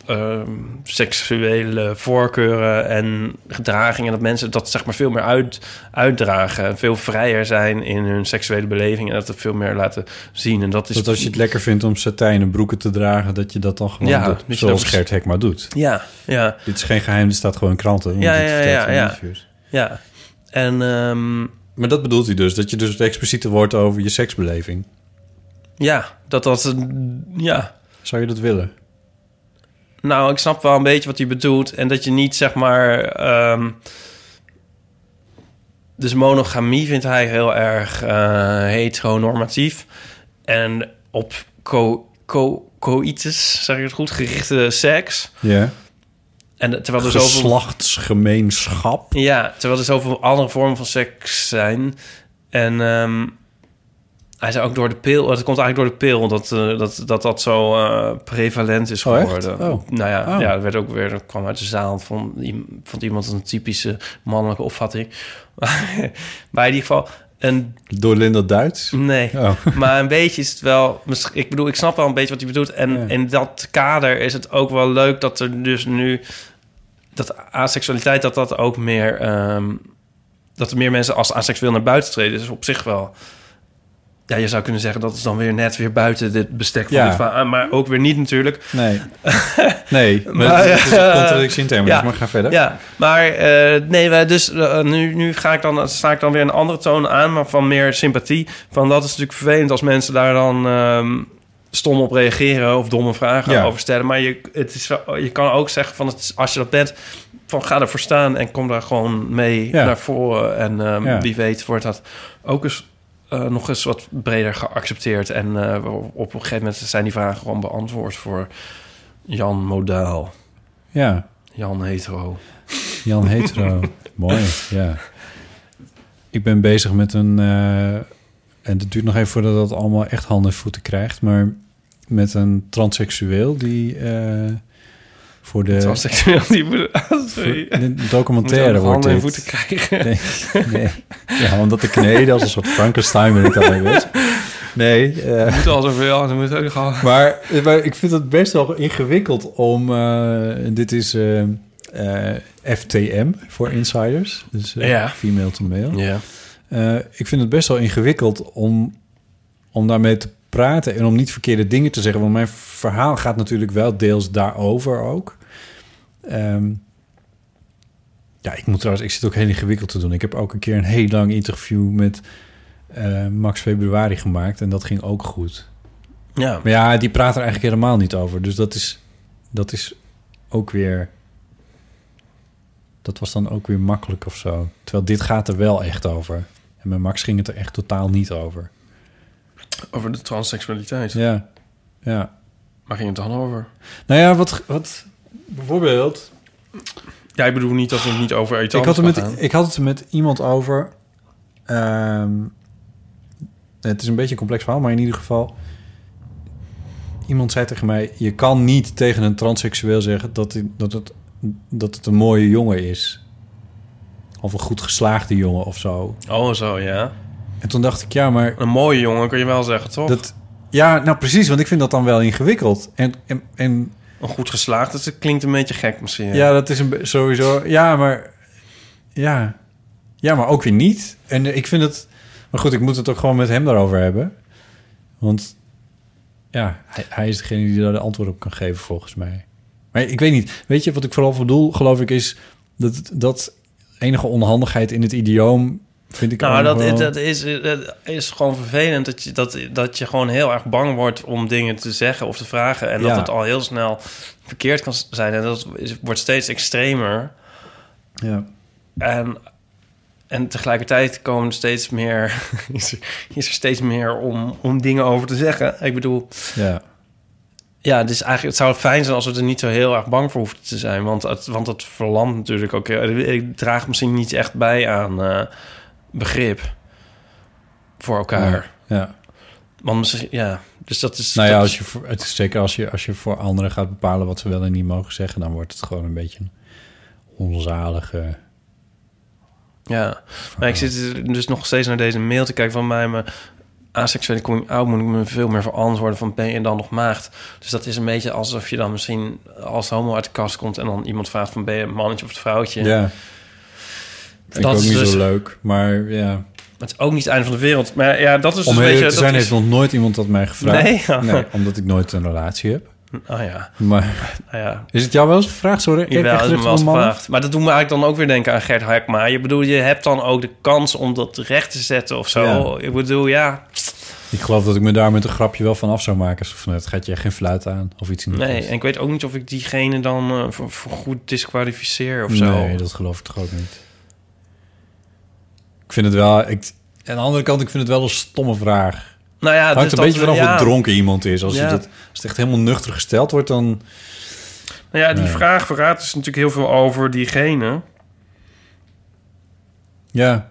Speaker 2: ehm, seksuele voorkeuren en gedragingen. Dat mensen dat zeg maar veel meer uit, uitdragen. En veel vrijer zijn in hun seksuele beleving. En dat het veel meer laten zien. En dat is.
Speaker 1: Dat als je het lekker vindt om satijnen broeken te dragen... dat je dat dan gewoon
Speaker 2: Ja,
Speaker 1: doet.
Speaker 2: dat je
Speaker 1: Zoals
Speaker 2: dat-
Speaker 1: Gert Hekma doet.
Speaker 2: Ja, ja.
Speaker 1: Dit is geen geheim, dit staat gewoon in kranten. want
Speaker 2: Ja,
Speaker 1: dit
Speaker 2: ja,
Speaker 1: vertelt
Speaker 2: ja,
Speaker 1: hij in
Speaker 2: ja.
Speaker 1: interviews.
Speaker 2: Ja. En ehm,
Speaker 1: Maar dat bedoelt hij dus. Dat je dus het expliciete wordt over je seksbeleving.
Speaker 2: ja, dat dat een. Ja.
Speaker 1: Zou je dat willen?
Speaker 2: Nou, ik snap wel een beetje wat hij bedoelt. En dat je niet zeg maar. ehm, dus monogamie vindt hij heel erg eh, heteronormatief. En op co co coïtus, zeg ik het goed, gerichte seks.
Speaker 1: Ja.
Speaker 2: En terwijl er zoveel.
Speaker 1: Geslachtsgemeenschap.
Speaker 2: Ja, terwijl er zoveel andere vormen van seks zijn. En ehm, hij zei ook door de pil, het komt eigenlijk door de pil, dat eh, dat, dat, dat zo eh, prevalent is
Speaker 1: Oh, echt?
Speaker 2: geworden.
Speaker 1: Oh.
Speaker 2: Nou ja,
Speaker 1: Oh.
Speaker 2: ja, dat werd ook weer, dat kwam uit de zaal van, iem- vond iemand een typische mannelijke opvatting. maar in ieder geval, een,
Speaker 1: Door Linda Duits.
Speaker 2: nee.
Speaker 1: Oh.
Speaker 2: Maar een beetje is het wel... misschien- Ik bedoel, ik snap wel een beetje wat hij bedoelt. En
Speaker 1: Ja.
Speaker 2: in dat kader is het ook wel leuk dat er dus nu... dat aseksualiteit, dat dat ook meer... ehm, dat er meer mensen als aseksueel naar buiten treden. Dus op zich wel... Ja, je zou kunnen zeggen dat is dan weer net weer buiten dit bestek van
Speaker 1: Ja.
Speaker 2: dit verhaal. Maar ook weer niet natuurlijk.
Speaker 1: Nee. nee. Maar,
Speaker 2: Maar,
Speaker 1: het is een
Speaker 2: eh,
Speaker 1: contradictie in termen,
Speaker 2: ja.
Speaker 1: dus maar ga verder.
Speaker 2: Ja, maar eh, nee, wij- dus eh, nu, nu ga ik dan, sta ik dan weer een andere toon aan, maar van meer sympathie. Van dat is natuurlijk vervelend als mensen daar dan ehm, stom op reageren of domme vragen
Speaker 1: Ja.
Speaker 2: over stellen. Maar je, het is, wel- je kan ook zeggen van het, is- als je dat bent, van ga ervoor staan en kom daar gewoon mee
Speaker 1: Ja.
Speaker 2: naar voren. En ehm,
Speaker 1: Ja.
Speaker 2: wie weet wordt dat ook eens. eh, nog eens wat breder geaccepteerd. En eh, op een gegeven moment zijn die vragen gewoon beantwoord voor Jan Modaal.
Speaker 1: Ja.
Speaker 2: Jan Hetero.
Speaker 1: Jan Hetero. Mooi, ja. Ik ben bezig met een... eh, en het duurt nog even voordat dat allemaal echt handen en voeten krijgt... maar met een transseksueel die eh, voor de...
Speaker 2: Transseksueel die moet- Sorry.
Speaker 1: voor- een
Speaker 2: Moet je ook
Speaker 1: documentaire
Speaker 2: nog
Speaker 1: wordt
Speaker 2: handen en
Speaker 1: dit.
Speaker 2: voeten krijgen.
Speaker 1: Nee, nee. Ja, omdat ik kneden als een soort Frankenstein ben ik daarmee bezig. Nee, eh,
Speaker 2: Moet al zoveel, dan moet ook nog al-
Speaker 1: Maar, eh, maar ik vind het best wel ingewikkeld om. eh, dit is eh, eh, FTM voor insiders. Dus eh,
Speaker 2: Ja.
Speaker 1: female to male.
Speaker 2: Ja.
Speaker 1: Eh, ik vind het best wel ingewikkeld om, om daarmee te praten en om niet verkeerde dingen te zeggen. Want mijn verhaal gaat natuurlijk wel deels daarover ook. Ehm, ja, ik moet trouwens, ik zit ook heel ingewikkeld te doen. Ik heb ook een keer een heel lang interview met eh, Max Februari gemaakt en dat ging ook goed.
Speaker 2: Ja.
Speaker 1: Maar ja, die praat er eigenlijk helemaal niet over. Dus dat is, dat is ook weer. Dat was dan ook weer makkelijk of zo. Terwijl dit gaat er wel echt over. En met Max ging het er echt totaal niet over.
Speaker 2: Over de transseksualiteit.
Speaker 1: Ja. Ja.
Speaker 2: Waar ging het dan over?
Speaker 1: Nou ja, wat. wat bijvoorbeeld.
Speaker 2: Ja, ik bedoel niet dat we het niet over iets
Speaker 1: Dus Ik had,
Speaker 2: anders
Speaker 1: het met,
Speaker 2: gaan.
Speaker 1: ik had het met iemand over. ehm, het is een beetje een complex verhaal, maar in ieder geval. Iemand zei tegen mij: Je kan niet tegen een transseksueel zeggen dat, hij- dat, het, dat het een mooie jongen is. Of een goed geslaagde jongen of zo.
Speaker 2: Oh, zo, ja.
Speaker 1: En toen dacht ik: Ja, maar
Speaker 2: Een mooie jongen kun je wel zeggen, toch?
Speaker 1: dat. Ja, nou precies, want ik vind dat dan wel ingewikkeld. En, en, en
Speaker 2: Een goed geslaagd, dat klinkt een beetje gek misschien.
Speaker 1: ja. dat is een be- sowieso. Ja, maar. Ja. Ja, maar ook weer niet. En eh, ik vind het. Maar goed, ik moet het ook gewoon met hem daarover hebben. Want. Ja, hij, hij is degene die daar de antwoord op kan geven, volgens mij. Maar ik weet niet. Weet je, wat ik vooral bedoel, geloof ik, is. Dat, dat enige onhandigheid in het idioom. Vind ik
Speaker 2: Nou,
Speaker 1: ook nog
Speaker 2: dat,
Speaker 1: wel-
Speaker 2: dat, is, dat is gewoon vervelend. Dat je, dat, dat je gewoon heel erg bang wordt om dingen te zeggen of te vragen. En dat
Speaker 1: Ja.
Speaker 2: het al heel snel verkeerd kan s- zijn. En dat is- wordt steeds extremer.
Speaker 1: Ja.
Speaker 2: En, en tegelijkertijd komen er steeds meer, is, er, is er steeds meer om, om dingen over te zeggen. Ik bedoel,
Speaker 1: ja.
Speaker 2: ja, dus eigenlijk, het zou fijn zijn als we er niet zo heel erg bang voor hoeven te zijn. Want, het, want dat verlamt natuurlijk ook. heel- Ik draag misschien niet echt bij aan eh, begrip voor elkaar.
Speaker 1: Ja.
Speaker 2: Want misschien, ja, dus dat is.
Speaker 1: Nou
Speaker 2: dat
Speaker 1: ja,
Speaker 2: is-
Speaker 1: als je voor, het is zeker als je, als je voor anderen gaat bepalen wat ze wel en niet mogen zeggen, dan wordt het gewoon een beetje een onzalige.
Speaker 2: ja. Maar ik zit dus nog steeds naar deze mail te kijken van mij. Mijn aseksuele coming out moet ik me veel meer verantwoorden van ben je dan nog maagd? Dus dat is een beetje alsof je dan misschien als homo uit de kast komt en dan iemand vraagt van ben je een mannetje of een vrouwtje?
Speaker 1: Vind
Speaker 2: Dat
Speaker 1: ik ook
Speaker 2: is
Speaker 1: niet
Speaker 2: dus-
Speaker 1: zo leuk. Maar ja.
Speaker 2: Het is ook niet het einde van de wereld. Maar ja, dat is dus
Speaker 1: Om
Speaker 2: een beetje...
Speaker 1: eerlijk te
Speaker 2: dat
Speaker 1: zijn,
Speaker 2: is-
Speaker 1: heeft nog nooit iemand dat mij gevraagd.
Speaker 2: Nee, Oh. ja.
Speaker 1: Nee, omdat ik nooit een relatie heb.
Speaker 2: Oh ja,
Speaker 1: Maar
Speaker 2: nou ja.
Speaker 1: is het jou wel eens gevraagd? Sorry, ik
Speaker 2: Jawel,
Speaker 1: echt
Speaker 2: dat is me
Speaker 1: terug
Speaker 2: wel eens
Speaker 1: van mannen?
Speaker 2: gevraagd. Maar dat doet me eigenlijk dan ook weer denken aan Gert Haakma. Je bedoel, je hebt dan ook de kans om dat recht te zetten of zo.
Speaker 1: Ja.
Speaker 2: Ik bedoel, ja.
Speaker 1: Ik geloof dat ik me daar met een grapje wel van af zou maken. Zo van, het gaat je echt geen fluit aan of iets. in die
Speaker 2: Nee,
Speaker 1: geest.
Speaker 2: en ik weet ook niet of ik diegene dan eh, voor, voor goed disqualificeer of zo.
Speaker 1: Nee, dat geloof ik toch ook niet. Ik vind het wel... Ik, aan de andere kant, ik vind het wel een stomme vraag.
Speaker 2: Nou ja,
Speaker 1: Het hangt
Speaker 2: dus
Speaker 1: een beetje
Speaker 2: dat-
Speaker 1: vanaf
Speaker 2: ja.
Speaker 1: hoe dronken iemand is. Als, je
Speaker 2: Ja.
Speaker 1: dat, als het echt helemaal nuchter gesteld wordt, dan...
Speaker 2: Nou ja, die
Speaker 1: Nee.
Speaker 2: vraag verraadt dus natuurlijk heel veel over diegene.
Speaker 1: Ja,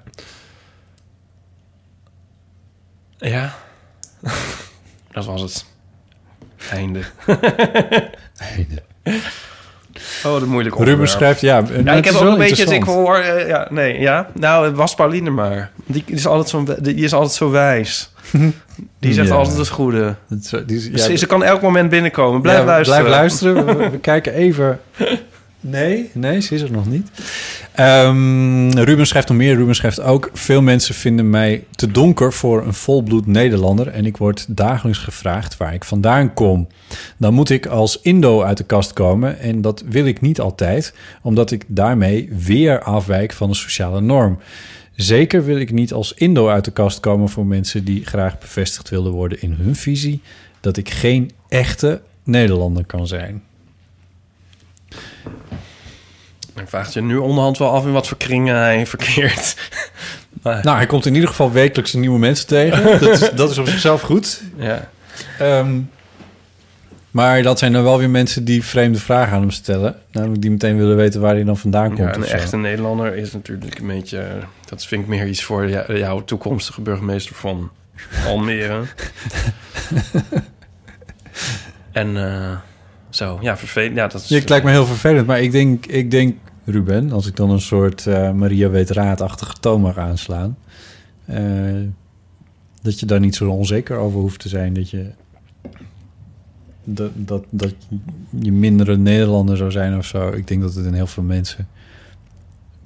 Speaker 2: Ja. dat was het. Einde. Oh, dat moeilijke
Speaker 1: Ruben
Speaker 2: onderwerp.
Speaker 1: schrijft... Ja, nou,
Speaker 2: Ja,
Speaker 1: het
Speaker 2: ik heb
Speaker 1: is
Speaker 2: ook
Speaker 1: wel
Speaker 2: een beetje... het- Ik
Speaker 1: interessant.
Speaker 2: hoor... eh, ja, nee, ja. Nou, het was Pauline maar. Die is altijd zo, die is altijd zo wijs. Die zegt
Speaker 1: Ja.
Speaker 2: altijd het goede.
Speaker 1: Het is- die is- ja,
Speaker 2: ze, ze kan elk moment binnenkomen. Blijf
Speaker 1: ja,
Speaker 2: luisteren.
Speaker 1: Blijf luisteren. We, we- we kijken even... Nee, nee, ze is er nog niet. Ehm, Ruben schrijft nog meer. Ruben schrijft ook... Veel mensen vinden mij te donker voor een volbloed Nederlander... en ik word dagelijks gevraagd waar ik vandaan kom. Dan moet ik als Indo uit de kast komen en dat wil ik niet altijd... omdat ik daarmee weer afwijk van de sociale norm. Zeker wil ik niet als Indo uit de kast komen voor mensen die graag bevestigd wilden worden in hun visie dat ik geen echte Nederlander kan zijn.
Speaker 2: Ik vraag je nu onderhand wel af in wat voor kringen hij verkeert. Maar,
Speaker 1: Nou, hij komt in ieder geval wekelijks nieuwe mensen tegen. dat, is, dat is op zichzelf goed.
Speaker 2: ja.
Speaker 1: Ehm, maar dat zijn dan wel weer mensen die vreemde vragen aan hem stellen. Namelijk die meteen willen weten waar hij dan vandaan komt.
Speaker 2: ja,
Speaker 1: of
Speaker 2: een
Speaker 1: zo.
Speaker 2: echte Nederlander is natuurlijk een beetje... eh, Dat vind ik meer iets voor jou- jouw toekomstige burgemeester van Almere. en eh, zo, ja, vervelend. Ja, dat is eh,
Speaker 1: Ja, het lijkt me heel vervelend, maar ik denk, ik denk Ruben, als ik dan een soort eh, Maria weet raadachtige toon mag aanslaan, eh, dat je daar niet zo onzeker over hoeft te zijn, dat je dat, dat, dat je minder een Nederlander zou zijn of zo. Ik denk dat het in heel veel mensen,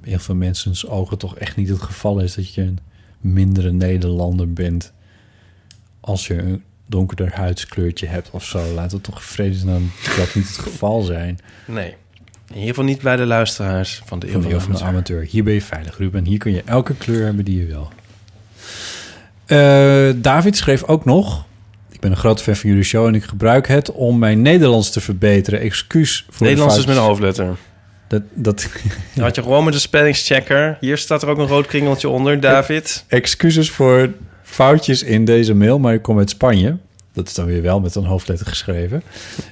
Speaker 1: in heel veel mensen's ogen toch echt niet het geval is dat je een mindere Nederlander bent als je een donkerder huidskleurtje hebt of zo. Laat het toch vredesnaam dat niet het geval zijn.
Speaker 2: Nee. In ieder geval niet bij de luisteraars van de Eeuw
Speaker 1: Heel
Speaker 2: van
Speaker 1: veel
Speaker 2: de
Speaker 1: van de
Speaker 2: Amateur.
Speaker 1: amateur. Hier ben je veilig, Ruben. Hier kun je elke kleur hebben die je wil. Eh, David schreef ook nog... Ik ben een grote fan van jullie show en ik gebruik het om mijn Nederlands te verbeteren. Excuus voor
Speaker 2: Nederlands
Speaker 1: de
Speaker 2: is met een
Speaker 1: fout.
Speaker 2: hoofdletter.
Speaker 1: Dat, dat,
Speaker 2: Dan had je gewoon met de spellingschecker. Hier staat er ook een rood kringeltje onder, David.
Speaker 1: excuses voor foutjes in deze mail, maar ik kom uit Spanje. Dat is dan weer wel met een hoofdletter geschreven.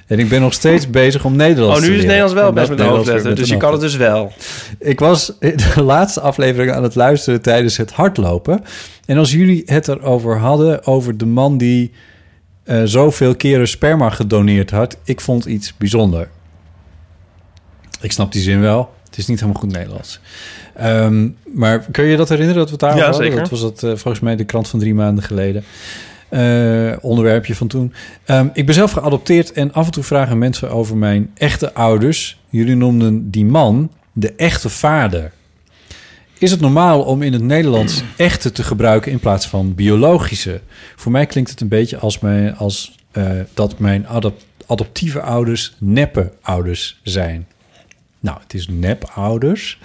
Speaker 1: En ik ben nog steeds bezig om Nederlands
Speaker 2: Oh, nu
Speaker 1: te
Speaker 2: is
Speaker 1: leren.
Speaker 2: Nederlands wel
Speaker 1: En
Speaker 2: best
Speaker 1: dat
Speaker 2: met een
Speaker 1: Nederlands
Speaker 2: hoofdletter,
Speaker 1: weer
Speaker 2: dus
Speaker 1: met een
Speaker 2: je kan het dus wel.
Speaker 1: ik was de laatste aflevering aan het luisteren tijdens het hardlopen. En als jullie het erover hadden, over de man die eh, zoveel keren sperma gedoneerd had, ik vond iets bijzonder. Ik snap die zin wel. Het is niet helemaal goed Nederlands. Ehm, maar kun je dat herinneren dat we het daarover
Speaker 2: Ja,
Speaker 1: hadden?
Speaker 2: zeker.
Speaker 1: Dat was dat, eh, volgens mij de krant van drie maanden geleden. Eh, onderwerpje van toen. Ehm, ik ben zelf geadopteerd en af en toe vragen mensen over mijn echte ouders. Jullie noemden die man de echte vader. Is het normaal om in het Nederlands echte te gebruiken in plaats van biologische? Voor mij klinkt het een beetje als, mijn, als eh, dat mijn adop- adoptieve ouders neppe ouders zijn. Nou, het is nepouders.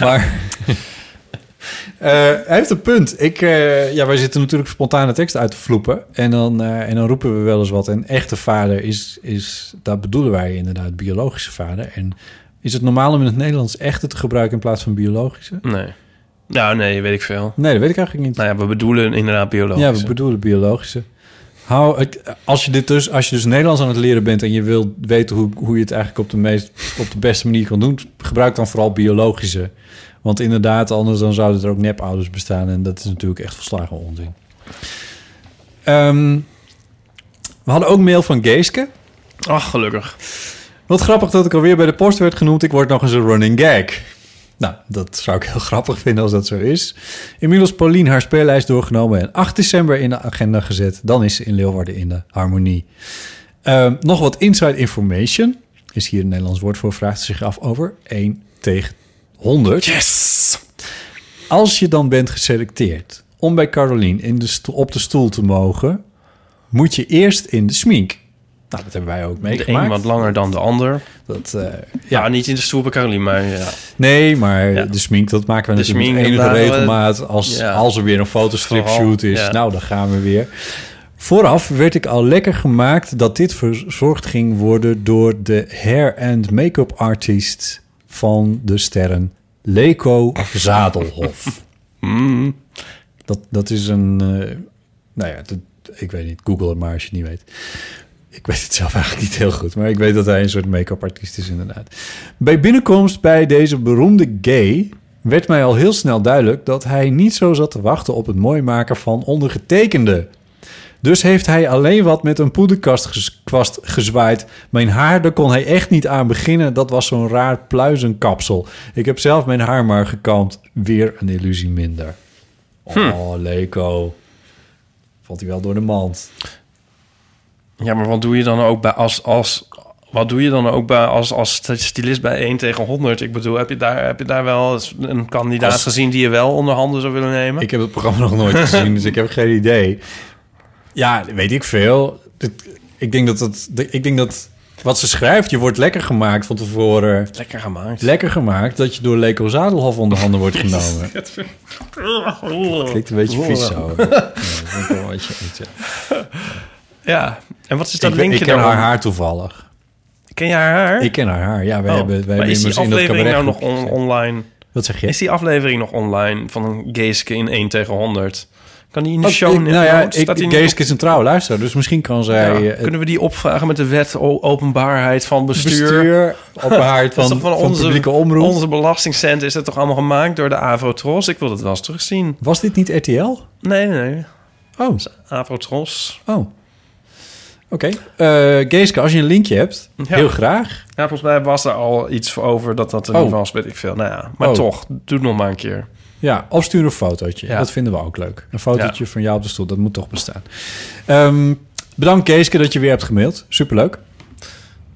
Speaker 1: maar eh, hij heeft een punt. Ik, eh, ja, wij zitten natuurlijk spontane teksten uit te vloepen. En dan, eh, en dan roepen we wel eens wat. En echte vader is, is, daar bedoelen wij inderdaad, biologische vader. En is het normaal om in het Nederlands echte te gebruiken in plaats van biologische?
Speaker 2: Nee. Nou, nee, weet ik veel.
Speaker 1: Nee, dat weet ik eigenlijk niet.
Speaker 2: Nou ja, we bedoelen inderdaad biologisch.
Speaker 1: Ja, we bedoelen biologische. Hou, het- als, je dit dus, als je dus Nederlands aan het leren bent en je wil weten hoe, hoe je het eigenlijk op de, meest, op de beste manier kan doen, gebruik dan vooral biologische. Want inderdaad, anders dan zouden er ook nepouders bestaan en dat is natuurlijk echt verslagen onzin. Ehm, we hadden ook mail van Geeske.
Speaker 2: Ach, gelukkig.
Speaker 1: Wat grappig dat ik alweer bij de post werd genoemd. Ik word nog eens een running gag. Nou, dat zou ik heel grappig vinden als dat zo is. Inmiddels Paulien haar speellijst doorgenomen en 8 december in de agenda gezet. Dan is ze in Leeuwarden in de harmonie. Ehm, nog wat inside information. Is hier een Nederlands woord voor, vraagt ze zich af over 1 tegen 100.
Speaker 2: Yes!
Speaker 1: Als je dan bent geselecteerd om bij Caroline in de sto- op de stoel te mogen, moet je eerst in de smink. Nou, dat hebben wij ook
Speaker 2: De Nou, een wat
Speaker 1: meegemaakt.
Speaker 2: langer dan de ander.
Speaker 1: Dat, eh,
Speaker 2: Ja, niet in de stoel bij Caroline, maar ja.
Speaker 1: Nee, maar
Speaker 2: Ja.
Speaker 1: de smink, dat maken we
Speaker 2: De
Speaker 1: natuurlijk met
Speaker 2: smink,
Speaker 1: enige
Speaker 2: dat waren we-
Speaker 1: regelmaat. Als,
Speaker 2: Ja.
Speaker 1: als er weer een fotostripshoot
Speaker 2: Vooral,
Speaker 1: is,
Speaker 2: ja.
Speaker 1: nou, dan gaan we weer. Vooraf werd ik al lekker gemaakt dat dit verzorgd ging worden... door de hair- en make-up artist van de sterren Leko Zadelhof.
Speaker 2: Mm.
Speaker 1: Dat, dat is een... eh, nou ja, dat- ik weet niet, google het maar als je het niet weet. Ik weet het zelf eigenlijk niet heel goed, maar ik weet dat hij een soort make-up artiest is inderdaad. Bij binnenkomst bij deze beroemde gay werd mij al heel snel duidelijk dat hij niet zo zat te wachten op het mooi maken van ondergetekende. Dus heeft hij alleen wat met een poederkast ges- kwast gezwaaid. Mijn haar, daar kon hij echt niet aan beginnen. Dat was zo'n raar pluizenkapsel. Ik heb zelf mijn haar maar gekamd. Weer een illusie minder. Oh, Leko. Valt hij wel door de mand.
Speaker 2: Ja, maar wat doe je dan ook bij als... als wat doe je dan ook bij als, als stylist bij 1 tegen 100? Ik bedoel, heb je daar, heb je daar wel eens een kandidaat
Speaker 1: Als-
Speaker 2: gezien die je wel onder handen zou willen nemen?
Speaker 1: Ik heb het programma nog nooit gezien, dus ik heb geen idee. Ja, weet ik veel. Dit- Ik denk dat, dat, ik denk dat wat ze schrijft, je wordt lekker gemaakt van tevoren.
Speaker 2: Lekker gemaakt.
Speaker 1: Lekker gemaakt dat je door Leko Zadelhof onder handen wordt genomen. Klinkt een beetje vies zo. Ja, dat vind ik wel een beetje- beetje-
Speaker 2: Ja, en wat is dat
Speaker 1: Ik, ben- ik
Speaker 2: linkje
Speaker 1: ken
Speaker 2: daarom?
Speaker 1: haar haar toevallig.
Speaker 2: Ken je haar haar?
Speaker 1: Ik ken haar haar. Ja, wij
Speaker 2: Oh,
Speaker 1: hebben, wij
Speaker 2: maar
Speaker 1: hebben
Speaker 2: is die
Speaker 1: immers in dat
Speaker 2: aflevering nou nog
Speaker 1: cabaretgroepje
Speaker 2: on-
Speaker 1: gezeten.
Speaker 2: online?
Speaker 1: Wat zeg je?
Speaker 2: Is die aflevering nog online van een Geeske in 1 tegen 100? Kan die in de show...
Speaker 1: ik, nou ja,
Speaker 2: notes?
Speaker 1: ik,
Speaker 2: Staat die niet op-
Speaker 1: Geeske is een trouwe luisteraar, dus misschien kan zij...
Speaker 2: Ja,
Speaker 1: eh, het-
Speaker 2: Kunnen we die opvragen met de wet o- openbaarheid van bestuur?
Speaker 1: bestuur op haar
Speaker 2: Dat is
Speaker 1: van,
Speaker 2: toch
Speaker 1: van, publieke omroep.
Speaker 2: Onze belastingcent is dat toch allemaal gemaakt door de Avrotros? Ik wil dat wel eens terugzien.
Speaker 1: Was dit niet RTL?
Speaker 2: Nee, nee, nee.
Speaker 1: Oh,
Speaker 2: Avrotros.
Speaker 1: oh. Oké. Eh, Geeske, als je een linkje hebt,
Speaker 2: Ja.
Speaker 1: heel graag.
Speaker 2: Ja, volgens mij was er al iets voor over dat dat er
Speaker 1: Oh.
Speaker 2: niet was, weet ik veel. Nou ja, maar
Speaker 1: Oh.
Speaker 2: toch, doe het nog maar een keer.
Speaker 1: Ja, of stuur een fotootje.
Speaker 2: Ja.
Speaker 1: Dat vinden we ook leuk. Een fotootje van jou op de stoel, dat moet toch bestaan. Ehm, bedankt Geeske dat je weer hebt gemaild. Superleuk.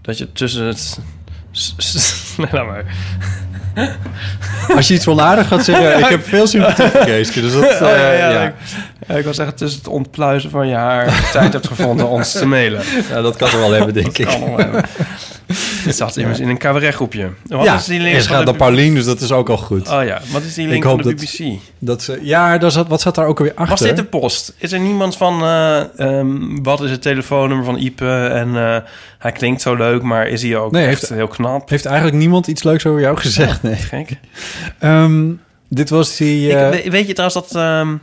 Speaker 2: Dat je tussen het... Nee, laat maar.
Speaker 1: Als je iets wel aardig gaat zeggen, ik heb veel sympathie voor Geeske. Dus dat, eh,
Speaker 2: Oh, ja, ja,
Speaker 1: ja.
Speaker 2: Ik, ja, ik wil zeggen, tussen het ontpluizen van je haar... tijd hebt gevonden ons te mailen.
Speaker 1: Ja, dat kan er wel hebben, denk ik.
Speaker 2: Kan nog hebben. Het zat immers in een cabaretgroepje. Wat
Speaker 1: Ja,
Speaker 2: is die
Speaker 1: en
Speaker 2: link
Speaker 1: ze
Speaker 2: van
Speaker 1: gaat
Speaker 2: de
Speaker 1: naar Paulien, dus dat is ook al goed.
Speaker 2: Oh ja, wat is die link
Speaker 1: Ik hoop
Speaker 2: van de
Speaker 1: dat-
Speaker 2: BBC?
Speaker 1: Dat ze, ja, daar zat, wat zat daar ook alweer achter?
Speaker 2: Was dit de post? Is er niemand van... eh, ehm, wat is het telefoonnummer van Ipe? En eh, hij klinkt zo leuk, maar is hij ook
Speaker 1: Nee,
Speaker 2: echt
Speaker 1: heeft-
Speaker 2: heel knap?
Speaker 1: Heeft eigenlijk niemand iets leuks over jou gezegd? Nee.
Speaker 2: Gek.
Speaker 1: Ehm, dit was die... eh,
Speaker 2: Ik, we- weet je trouwens dat... ehm,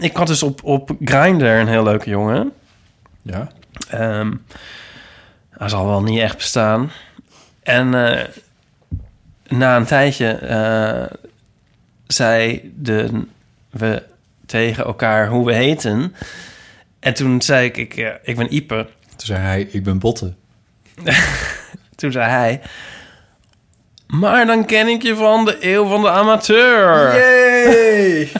Speaker 2: ik had dus op, op Grindr een heel leuke jongen.
Speaker 1: Ja.
Speaker 2: Ehm hij zal wel niet echt bestaan. En eh, na een tijdje eh, zeiden we tegen elkaar hoe we heten. En toen zei ik, ik, eh, ik ben Ieper.
Speaker 1: Toen zei hij, ik ben Botten.
Speaker 2: Toen zei hij, maar dan ken ik je van de eeuw van de amateur.
Speaker 1: Yay!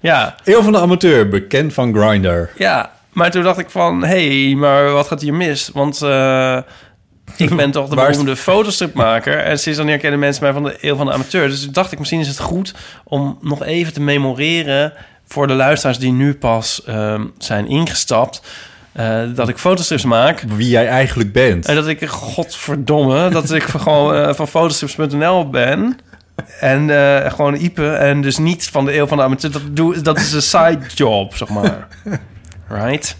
Speaker 2: Ja,
Speaker 1: Eeuw van de amateur, bekend van Grindr.
Speaker 2: ja. Maar toen dacht ik van, hé, hey, maar wat gaat hier mis? Want eh, ik ben toch de
Speaker 1: Waar is-
Speaker 2: beroemde fotostripmaker. En sinds wanneer kennen mensen mij van de eeuw van de amateur? Dus toen dacht ik, misschien is het goed om nog even te memoreren... voor de luisteraars die nu pas ehm, zijn ingestapt... eh, dat ik fotostrips maak.
Speaker 1: Wie jij eigenlijk bent.
Speaker 2: En dat ik, godverdomme, dat ik gewoon eh, van fotostrips.nl ben. En eh, gewoon Ipe. En dus niet van de eeuw van de amateur. Dat, doe, dat is een side job, zeg maar. Right?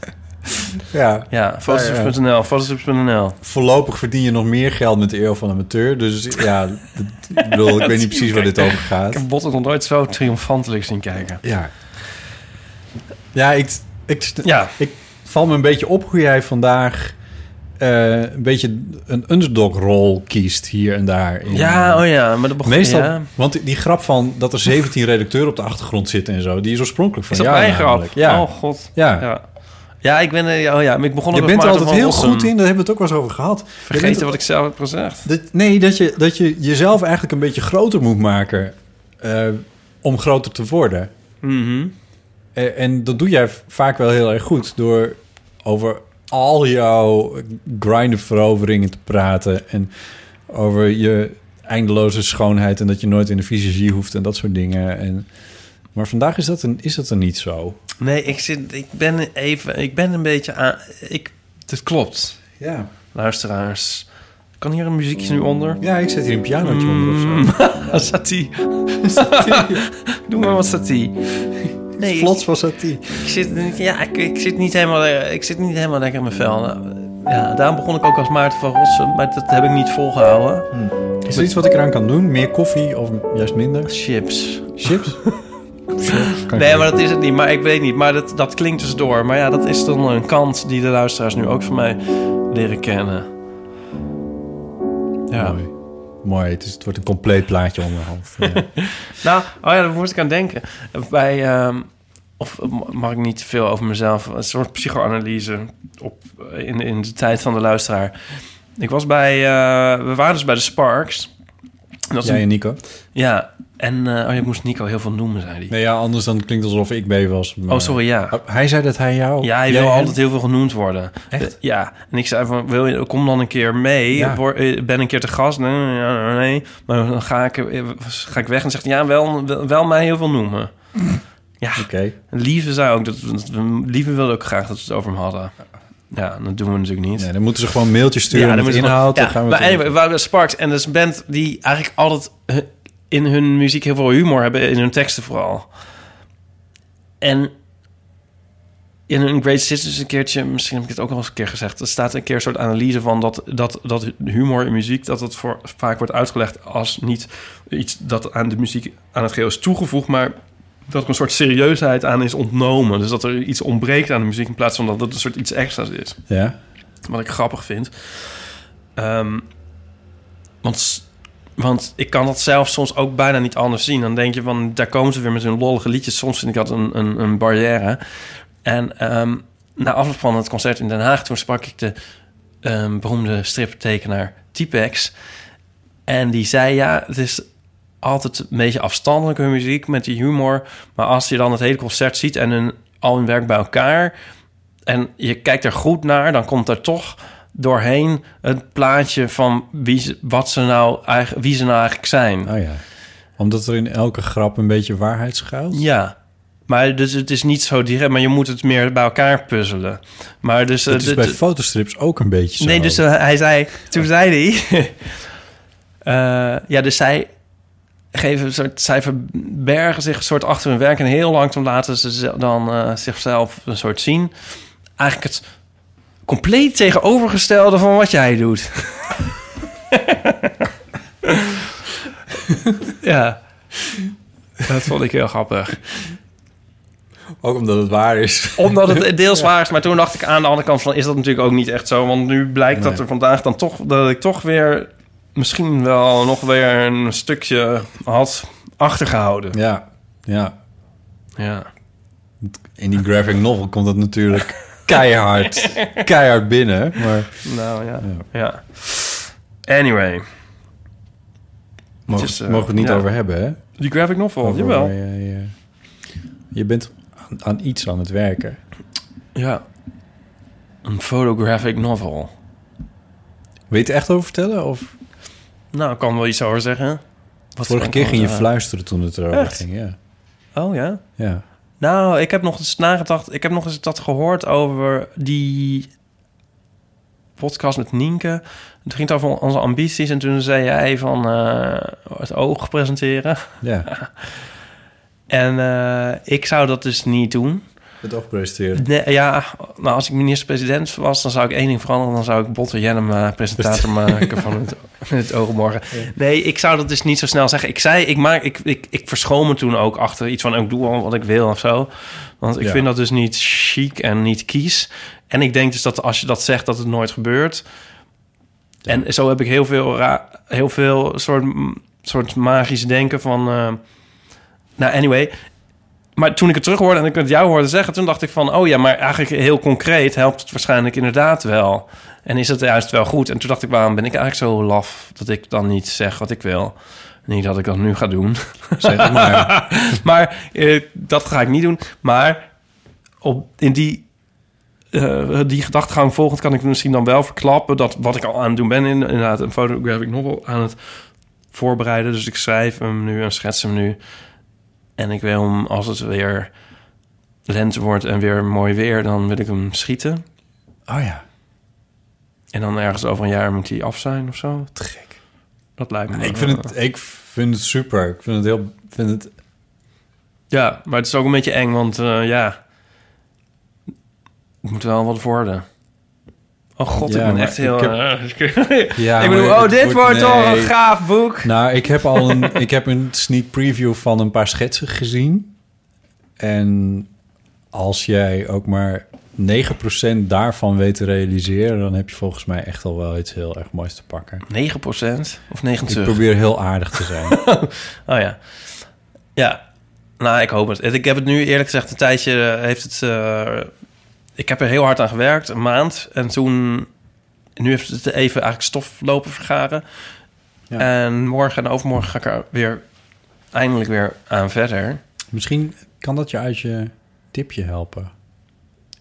Speaker 1: Ja.
Speaker 2: Ja, fotostrips.nl, fotostrips.nl.
Speaker 1: Voorlopig verdien je nog meer geld met de eeuw van de amateur. Dus ja, dat- ik bedoel, ik weet niet precies waar dit over
Speaker 2: Ik
Speaker 1: gaat.
Speaker 2: heb Botten nog nooit zo triomfantelijk zien kijken.
Speaker 1: Ja. Ja, ik, ik,
Speaker 2: Ja,
Speaker 1: ik val me een beetje op hoe jij vandaag eh, een beetje een underdog-rol kiest hier en daar. in-
Speaker 2: ja, oh ja, maar dat begon...
Speaker 1: Meestal,
Speaker 2: ja.
Speaker 1: want die- die grap van dat er 17 redacteuren op de achtergrond zitten en zo, die is oorspronkelijk van
Speaker 2: Is dat
Speaker 1: jou.
Speaker 2: mijn grap?
Speaker 1: namelijk. Ja.
Speaker 2: Oh, god.
Speaker 1: ja.
Speaker 2: Ja. Ja, ik ben... eh, Oh ja, maar ik begon ook
Speaker 1: Je
Speaker 2: met
Speaker 1: bent er
Speaker 2: Maarten
Speaker 1: altijd
Speaker 2: van
Speaker 1: heel
Speaker 2: Rossum.
Speaker 1: goed in, daar hebben we het ook wel eens over gehad. Je bent-
Speaker 2: Vergeten wat ik zelf heb gezegd.
Speaker 1: dat, nee, dat je, dat je jezelf eigenlijk een beetje groter moet maken eh, om groter te worden. Eh, en dat doe jij v- vaak wel heel erg goed door over al jouw grinderveroveringen te praten en over je eindeloze schoonheid en dat je nooit in de visagie hoeft en dat soort dingen. En, maar vandaag is dat, een, is dat er niet zo.
Speaker 2: Nee, ik, zit, ik ben even... Ik ben een beetje aan... Ik, het klopt.
Speaker 1: Ja.
Speaker 2: Luisteraars, kan hier een muziekje nu onder?
Speaker 1: Ja, ik zet hier een pianootje onder of zo.
Speaker 2: Satie. Doe maar wat satie. Nee, ik,
Speaker 1: Plots was dat die.
Speaker 2: ik zit, ja, ik, ik zit niet helemaal, eh, ik zit niet helemaal lekker in mijn vel. Nou, Ja, daarom begon ik ook als Maarten van Rossum, maar dat heb ik niet volgehouden.
Speaker 1: Is er iets wat ik eraan kan doen? Meer koffie of juist minder?
Speaker 2: Chips.
Speaker 1: Chips? Kan ik
Speaker 2: Nee, maar dat is het niet. Maar ik weet niet. Maar dat, dat klinkt dus door. Maar ja, dat is dan een kant die de luisteraars nu ook van mij leren kennen. Ja.
Speaker 1: Mooi. Mooi, het, is, het wordt een compleet plaatje onderhand. Ja.
Speaker 2: Nou, oh ja, daar moest ik aan denken. Bij, ehm, of eh, mag ik niet te veel over mezelf, een soort psychoanalyse op, eh, in, in de tijd van de luisteraar. Ik was bij, eh, we waren dus bij de Sparks. En dat is
Speaker 1: Jij
Speaker 2: een-
Speaker 1: en Nico?
Speaker 2: ja, en eh, oh, je moest Nico heel veel noemen, zei hij.
Speaker 1: Nee, ja, anders dan klinkt het alsof ik B was. maar-
Speaker 2: oh, sorry, ja.
Speaker 1: Oh, Hij zei dat hij jou...
Speaker 2: Ja, hij
Speaker 1: jij
Speaker 2: wil
Speaker 1: hem-
Speaker 2: altijd heel veel genoemd worden.
Speaker 1: Echt?
Speaker 2: Eh, Ja, en ik zei van, wil je, kom dan een keer mee.
Speaker 1: Ja.
Speaker 2: Wor- eh, Ben een keer te gast. Nee, nee, nee, nee. Maar dan ga ik, eh, ga ik weg en zegt, hij, ja, wel, wel, wel mij heel veel noemen. Ja,
Speaker 1: Oké.
Speaker 2: Lieve zei ook dat, dat we- Lieve wilde ook graag dat we het over hem hadden. Ja, dat doen we natuurlijk niet.
Speaker 1: Nee, dan moeten ze gewoon mailtjes sturen
Speaker 2: dan
Speaker 1: met
Speaker 2: moeten we-
Speaker 1: inhoud.
Speaker 2: ja,
Speaker 1: dan gaan we
Speaker 2: maar
Speaker 1: het-
Speaker 2: anyway, we waren bij Sparks en dat is een band die eigenlijk altijd hu- in hun muziek heel veel humor hebben, in hun teksten vooral. En in een Great Sisters een keertje, misschien heb ik het ook al eens een keer gezegd, er staat een keer een soort analyse van dat, dat, dat humor in muziek, dat dat voor, vaak wordt uitgelegd als niet iets dat aan de muziek, aan het geheel is toegevoegd, maar dat er een soort serieusheid aan is ontnomen. Dus dat er iets ontbreekt aan de muziek in plaats van dat het een soort iets extra's is
Speaker 1: Ja?
Speaker 2: wat ik grappig vind. Ehm, want, s- want ik kan dat zelf soms ook bijna niet anders zien. Dan denk je van, daar komen ze weer met hun lollige liedjes. Soms vind ik dat een, een, een barrière. En ehm, na afloop van het concert in Den Haag... toen sprak ik de ehm, beroemde striptekenaar T-Pex. En die zei, ja, het is altijd een beetje afstandelijke muziek... met die humor. Maar als je dan het hele concert ziet en hun, al hun werk bij elkaar en je kijkt er goed naar, dan komt er toch doorheen het plaatje van wie ze, wat ze nou, eigen- wie ze nou eigenlijk zijn.
Speaker 1: Oh ja. Omdat er in elke grap een beetje waarheid schuilt?
Speaker 2: Ja, maar dus het is niet zo direct, maar je moet het meer bij elkaar puzzelen. Maar dus, eh,
Speaker 1: Dat is
Speaker 2: de-
Speaker 1: bij
Speaker 2: de-
Speaker 1: fotostrips ook een beetje zo.
Speaker 2: nee, dus eh, hij zei, toen zei hij, eh, ja, dus zij geven een soort, zij verbergen zich een soort achter hun werk en heel langzaam laten ze ze- dan eh, zichzelf een soort zien. Eigenlijk het compleet tegenovergestelde van wat jij doet. ja. Dat vond ik heel grappig.
Speaker 1: Ook omdat het waar is.
Speaker 2: Omdat het deels waar is. Maar toen dacht ik aan de andere kant van... is dat natuurlijk ook niet echt zo. Want nu blijkt dat
Speaker 1: Nee.
Speaker 2: er vandaag dan toch... dat ik toch weer misschien wel nog weer een stukje had achtergehouden.
Speaker 1: Ja, ja.
Speaker 2: Ja.
Speaker 1: In die graphic novel komt dat natuurlijk keihard, keihard binnen. Maar
Speaker 2: Nou ja. ja. Anyway.
Speaker 1: mogen,
Speaker 2: is, eh,
Speaker 1: mogen we het niet
Speaker 2: ja.
Speaker 1: over hebben, hè?
Speaker 2: Die graphic novel.
Speaker 1: Over
Speaker 2: jawel.
Speaker 1: waar jij, eh, je bent aan, aan iets aan het werken.
Speaker 2: Ja. Een photographic novel.
Speaker 1: Wil je het echt over vertellen? Of
Speaker 2: Nou, ik kan wel iets over zeggen. Wat
Speaker 1: vorige
Speaker 2: kan
Speaker 1: keer
Speaker 2: ik
Speaker 1: ging je
Speaker 2: over
Speaker 1: fluisteren toen het erover
Speaker 2: Echt?
Speaker 1: ging, ja.
Speaker 2: zeggen? Oh ja?
Speaker 1: ja.
Speaker 2: Nou, ik heb nog eens nagedacht. Ik heb nog eens dat gehoord over die podcast met Nienke. Het ging het over onze ambities. En toen zei jij van eh, het oog presenteren.
Speaker 1: Ja,
Speaker 2: En eh, ik zou dat dus niet doen.
Speaker 1: het afpresteren.
Speaker 2: Nee, ja, nou, als ik minister-president was, dan zou ik één ding veranderen. Dan zou ik Botte Jennema presentator maken van het, het Oog op Morgen. Nee, ik zou dat dus niet zo snel zeggen. Ik zei, ik, maak, ik, ik, ik verschoon me toen ook achter iets van... oh, ik doe al wat ik wil of zo. Want ik
Speaker 1: Ja.
Speaker 2: vind dat dus niet chic en niet kies. En ik denk dus dat als je dat zegt, dat het nooit gebeurt. En zo heb ik heel veel, ra- heel veel soort, soort magisch denken van... eh, nou, anyway. Maar toen ik het terug hoorde en ik het jou hoorde zeggen... toen dacht ik van, oh ja, maar eigenlijk heel concreet... helpt het waarschijnlijk inderdaad wel. En is het juist wel goed? En toen dacht ik, waarom ben ik eigenlijk zo laf... dat ik dan niet zeg wat ik wil? Niet dat ik dat nu ga doen.
Speaker 1: Zeg het maar.
Speaker 2: maar eh, dat ga ik niet doen. Maar op, in die, eh, die gedachtegang volgend kan ik misschien dan wel verklappen... dat wat ik al aan het doen ben, in- inderdaad een photographic novel aan het voorbereiden. Dus ik schrijf hem nu en schets hem nu. En ik wil hem, als het weer lente wordt en weer mooi weer... dan wil ik hem schieten.
Speaker 1: Oh ja,
Speaker 2: En dan ergens over een jaar moet hij af zijn of zo.
Speaker 1: te gek.
Speaker 2: Dat lijkt me...
Speaker 1: Ik vind het, ik vind het super. Ik vind het heel... Vind het,
Speaker 2: Ja, maar het is ook een beetje eng, want eh, ja... Het moet wel wat worden. Oh god,
Speaker 1: Ja,
Speaker 2: ik ben
Speaker 1: maar
Speaker 2: echt heel...
Speaker 1: ik heb-
Speaker 2: eh,
Speaker 1: ja,
Speaker 2: ik bedoel,
Speaker 1: maar
Speaker 2: oh,
Speaker 1: het
Speaker 2: dit wordt toch
Speaker 1: nee.
Speaker 2: een gaaf boek.
Speaker 1: Nou, ik heb al een, ik heb een sneak preview van een paar schetsen gezien. En als jij ook maar 9% daarvan weet te realiseren, dan heb je volgens mij echt al wel iets heel erg moois te pakken.
Speaker 2: 9% of
Speaker 1: Ik
Speaker 2: 90?
Speaker 1: probeer heel aardig te zijn.
Speaker 2: Oh ja. Ja. Nou, ik hoop het. Ik heb het nu eerlijk gezegd een tijdje... eh, heeft het, eh, ik heb er heel hard aan gewerkt, een maand. En toen... Nu heeft het even eigenlijk stof lopen vergaren.
Speaker 1: Ja.
Speaker 2: En morgen en overmorgen ga ik er weer... eindelijk weer aan verder.
Speaker 1: Misschien kan dat je uit je tipje helpen.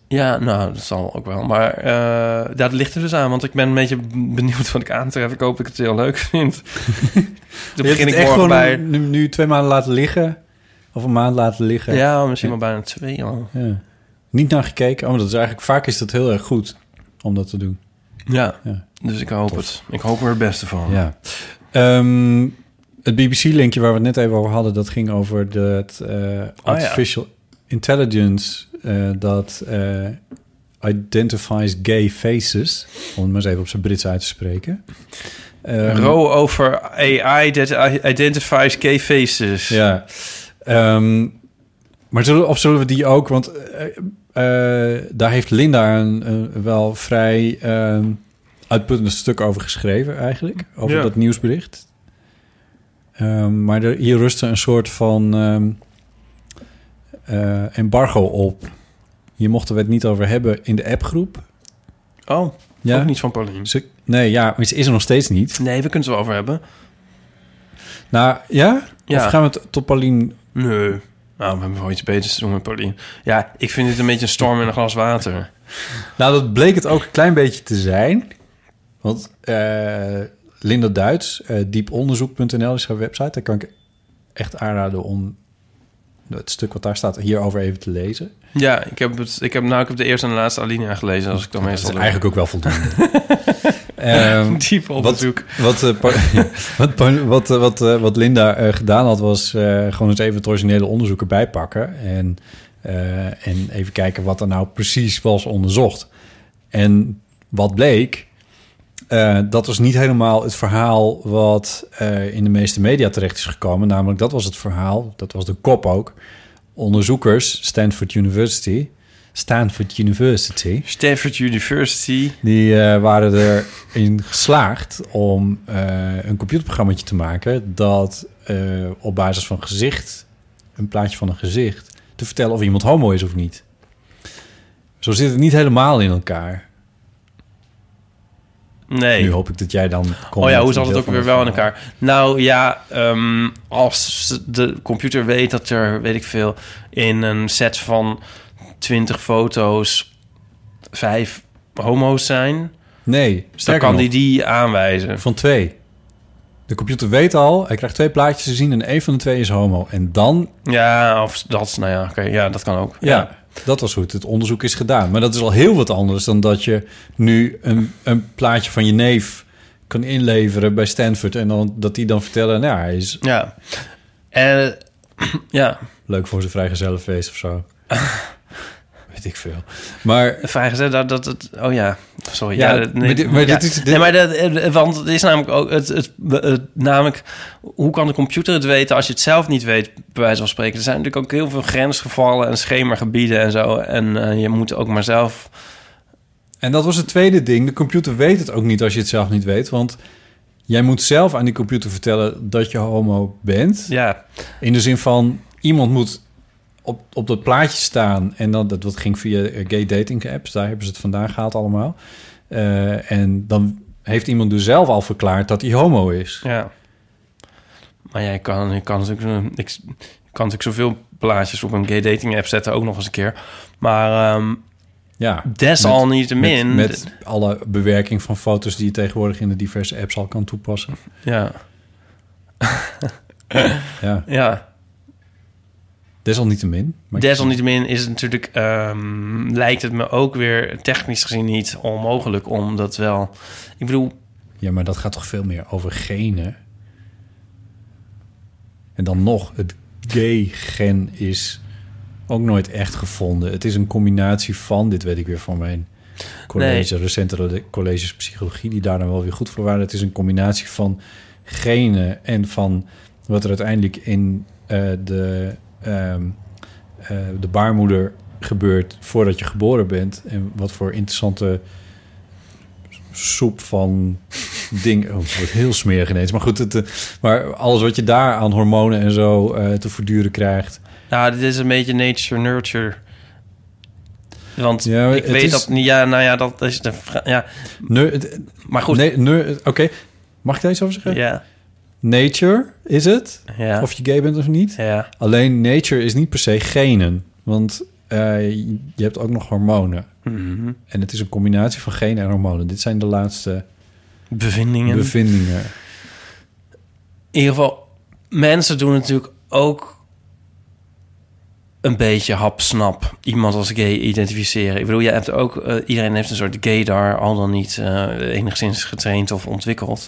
Speaker 2: Ja, nou, dat zal ook wel. Maar eh dat ligt er dus aan, want ik ben een beetje benieuwd wat ik aantref. Ik hoop dat ik het heel leuk vind. Dan
Speaker 1: Je hebt het
Speaker 2: begin ik
Speaker 1: echt
Speaker 2: morgen
Speaker 1: gewoon
Speaker 2: bij...
Speaker 1: nu, nu twee maanden laten liggen. Of een maand laten liggen.
Speaker 2: Ja, misschien wel bijna twee al.
Speaker 1: Ja. Niet naar gekeken. Oh, maar dat is eigenlijk, vaak is dat heel erg goed om dat te doen.
Speaker 2: Ja,
Speaker 1: Ja.
Speaker 2: dus ik hoop het. Ik hoop er het beste van.
Speaker 1: Ja. Ehm, het BBC-linkje waar we het net even over hadden, dat ging over de het,
Speaker 2: Oh,
Speaker 1: eh, artificial intelligence eh, dat eh, identifies gay faces, om het maar eens even op zijn Brits uit te spreken. Ehm,
Speaker 2: Row over AI that identifies gay faces.
Speaker 1: Ja. Ehm, maar zullen, of zullen we die ook? Want eh, eh, daar heeft Linda een, een wel vrij ehm uitputtend stuk over geschreven, eigenlijk. Over
Speaker 2: Ja.
Speaker 1: dat nieuwsbericht. Ehm, maar er, hier rustte een soort van ehm, eh, embargo op. Hier mochten we het niet over hebben in de appgroep.
Speaker 2: Oh,
Speaker 1: Ja.
Speaker 2: ook niet van Paulien.
Speaker 1: Ze- nee, ja, maar ze is er nog steeds niet.
Speaker 2: Nee, we kunnen het er wel over hebben.
Speaker 1: Nou, ja?
Speaker 2: Ja.
Speaker 1: Of gaan we het tot Paulien...
Speaker 2: Nee. Nou, we hebben wel iets beters te doen met Paulien. Ja, ik vind dit een beetje een storm in een glas water.
Speaker 1: Nou, dat bleek het ook een klein beetje te zijn. Want eh, Linda Duits, eh, dieponderzoek.nl is haar website. Daar kan ik echt aanraden om het stuk wat daar staat hierover even te lezen.
Speaker 2: Ja, ik heb, het, ik heb, nou, ik heb de eerste en de laatste alinea gelezen, als ik dan
Speaker 1: Dat is
Speaker 2: meestal doe.
Speaker 1: eigenlijk ook wel voldoende. Ehm,
Speaker 2: diep onderzoek.
Speaker 1: wat, eh, Pa- wat, Pa- wat, eh, wat, eh, wat Linda eh, gedaan had, was eh, gewoon eens even het originele onderzoek erbij pakken. En, eh, en even kijken wat er nou precies was onderzocht. En wat bleek, eh, dat was niet helemaal het verhaal wat eh, in de meeste media terecht is gekomen. Namelijk, dat was het verhaal, dat was de kop ook. onderzoekers, Stanford University. Stanford University.
Speaker 2: Stanford University.
Speaker 1: Die eh, waren erin geslaagd om eh, een computerprogrammaatje te maken dat eh, op basis van gezicht, een plaatje van een gezicht, te vertellen of iemand homo is of niet. Zo zit het niet helemaal in elkaar.
Speaker 2: Nee.
Speaker 1: Nu hoop ik dat jij dan.
Speaker 2: Oh
Speaker 1: comment
Speaker 2: ja, hoe zat
Speaker 1: deel
Speaker 2: het ook
Speaker 1: van
Speaker 2: weer wel in
Speaker 1: verhaal.
Speaker 2: elkaar? Nou ja, ehm, als de computer weet dat er, weet ik veel, in een set van 20 foto's vijf homo's zijn,
Speaker 1: Nee, sterker
Speaker 2: Dus dan kan
Speaker 1: nog,
Speaker 2: die die aanwijzen.
Speaker 1: van twee. De computer weet al, hij krijgt twee plaatjes te zien en één van de twee is homo. En dan,
Speaker 2: Ja, of dat, nou ja, oké, ja, dat kan ook.
Speaker 1: ja, dat was hoe het, het onderzoek is gedaan. Maar dat is al heel wat anders dan dat je nu een, een plaatje van je neef kan inleveren bij Stanford. En dan, dat die dan vertellen, nou, hij is
Speaker 2: Ja. En, ja,
Speaker 1: leuk voor zijn vrijgezellenfeest of zo. weet ik veel. Maar
Speaker 2: vragen ze dat, dat, dat, oh ja, sorry.
Speaker 1: Ja,
Speaker 2: dat-
Speaker 1: maar dit- maar
Speaker 2: ja.
Speaker 1: dit is- dit-
Speaker 2: Nee, maar dat, eh, want het is namelijk ook, het, het, het- namelijk, hoe kan de computer het weten als je het zelf niet weet, bij wijze van spreken. Er zijn natuurlijk ook heel veel grensgevallen en schemergebieden en zo. En eh, je moet ook maar zelf,
Speaker 1: En dat was het tweede ding. De computer weet het ook niet als je het zelf niet weet. Want jij moet zelf aan die computer vertellen dat je homo bent.
Speaker 2: ja,
Speaker 1: In de zin van, iemand moet op, op dat plaatje staan. En dan, dat, dat ging via eh, gay dating apps. Daar hebben ze het vandaan gehaald allemaal. Eh, en dan heeft iemand dus zelf al verklaard dat hij homo is.
Speaker 2: ja. Maar jij kan, je kan natuurlijk, zo- ik kan natuurlijk zoveel plaatjes op een gay dating app zetten, ook nog eens een keer. Maar ehm,
Speaker 1: Ja.
Speaker 2: desalniettemin...
Speaker 1: Met, met alle bewerking van foto's die je tegenwoordig in de diverse apps al kan toepassen.
Speaker 2: Ja,
Speaker 1: Ja,
Speaker 2: ja.
Speaker 1: desalniettemin. Maar-
Speaker 2: Desalniettemin is het natuurlijk, ehm, lijkt het me ook weer technisch gezien niet onmogelijk om dat wel. Ik bedoel,
Speaker 1: Ja, maar dat gaat toch veel meer over genen? En dan nog, het gay-gen is ook nooit echt gevonden. Het is een combinatie van, dit weet ik weer van mijn college, recentere colleges psychologie, die daar dan wel weer goed voor waren. Het is een combinatie van genen en van wat er uiteindelijk in eh, de, ehm, eh, de baarmoeder gebeurt voordat je geboren bent. En wat voor interessante soep van ding. Oh, het wordt heel smerig ineens. Maar goed, het, eh, maar alles wat je daar aan hormonen en zo eh, te verduren krijgt.
Speaker 2: nou, dit is een beetje nature-nurture. Want
Speaker 1: Ja, maar
Speaker 2: ik
Speaker 1: het
Speaker 2: weet
Speaker 1: is-
Speaker 2: dat niet. Ja, nou ja, dat is de vraag. Ja,
Speaker 1: Nu, het-
Speaker 2: maar goed.
Speaker 1: nee, nu, het- Oké, mag ik daar iets over zeggen?
Speaker 2: Ja,
Speaker 1: Nature is het,
Speaker 2: ja,
Speaker 1: of je gay bent of niet.
Speaker 2: ja,
Speaker 1: Alleen nature is niet per se genen. Want eh, je hebt ook nog hormonen.
Speaker 2: Mhm.
Speaker 1: En het is een combinatie van genen en hormonen. Dit zijn de laatste
Speaker 2: Bevindingen.
Speaker 1: bevindingen.
Speaker 2: In ieder geval, mensen doen natuurlijk ook een beetje hapsnap iemand als gay identificeren. Ik bedoel, je hebt ook, eh, iedereen heeft een soort gaydar, al dan niet eh, enigszins getraind of ontwikkeld.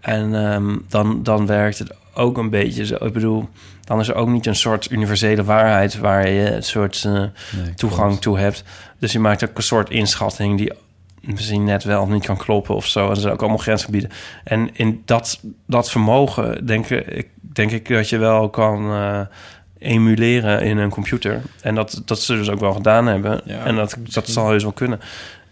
Speaker 2: En ehm, dan, dan werkt het ook een beetje zo. Ik bedoel, dan is er ook niet een soort universele waarheid waar je een soort eh,
Speaker 1: Nee,
Speaker 2: toegang toe hebt. Dus je maakt ook een soort inschatting die misschien net wel of niet kan kloppen of zo. En er zijn ook allemaal grensgebieden. En in dat, dat vermogen denk ik, denk ik dat je wel kan eh, emuleren in een computer. En dat, dat ze dus ook wel gedaan hebben.
Speaker 1: Ja.
Speaker 2: en dat, dat zal heus wel kunnen.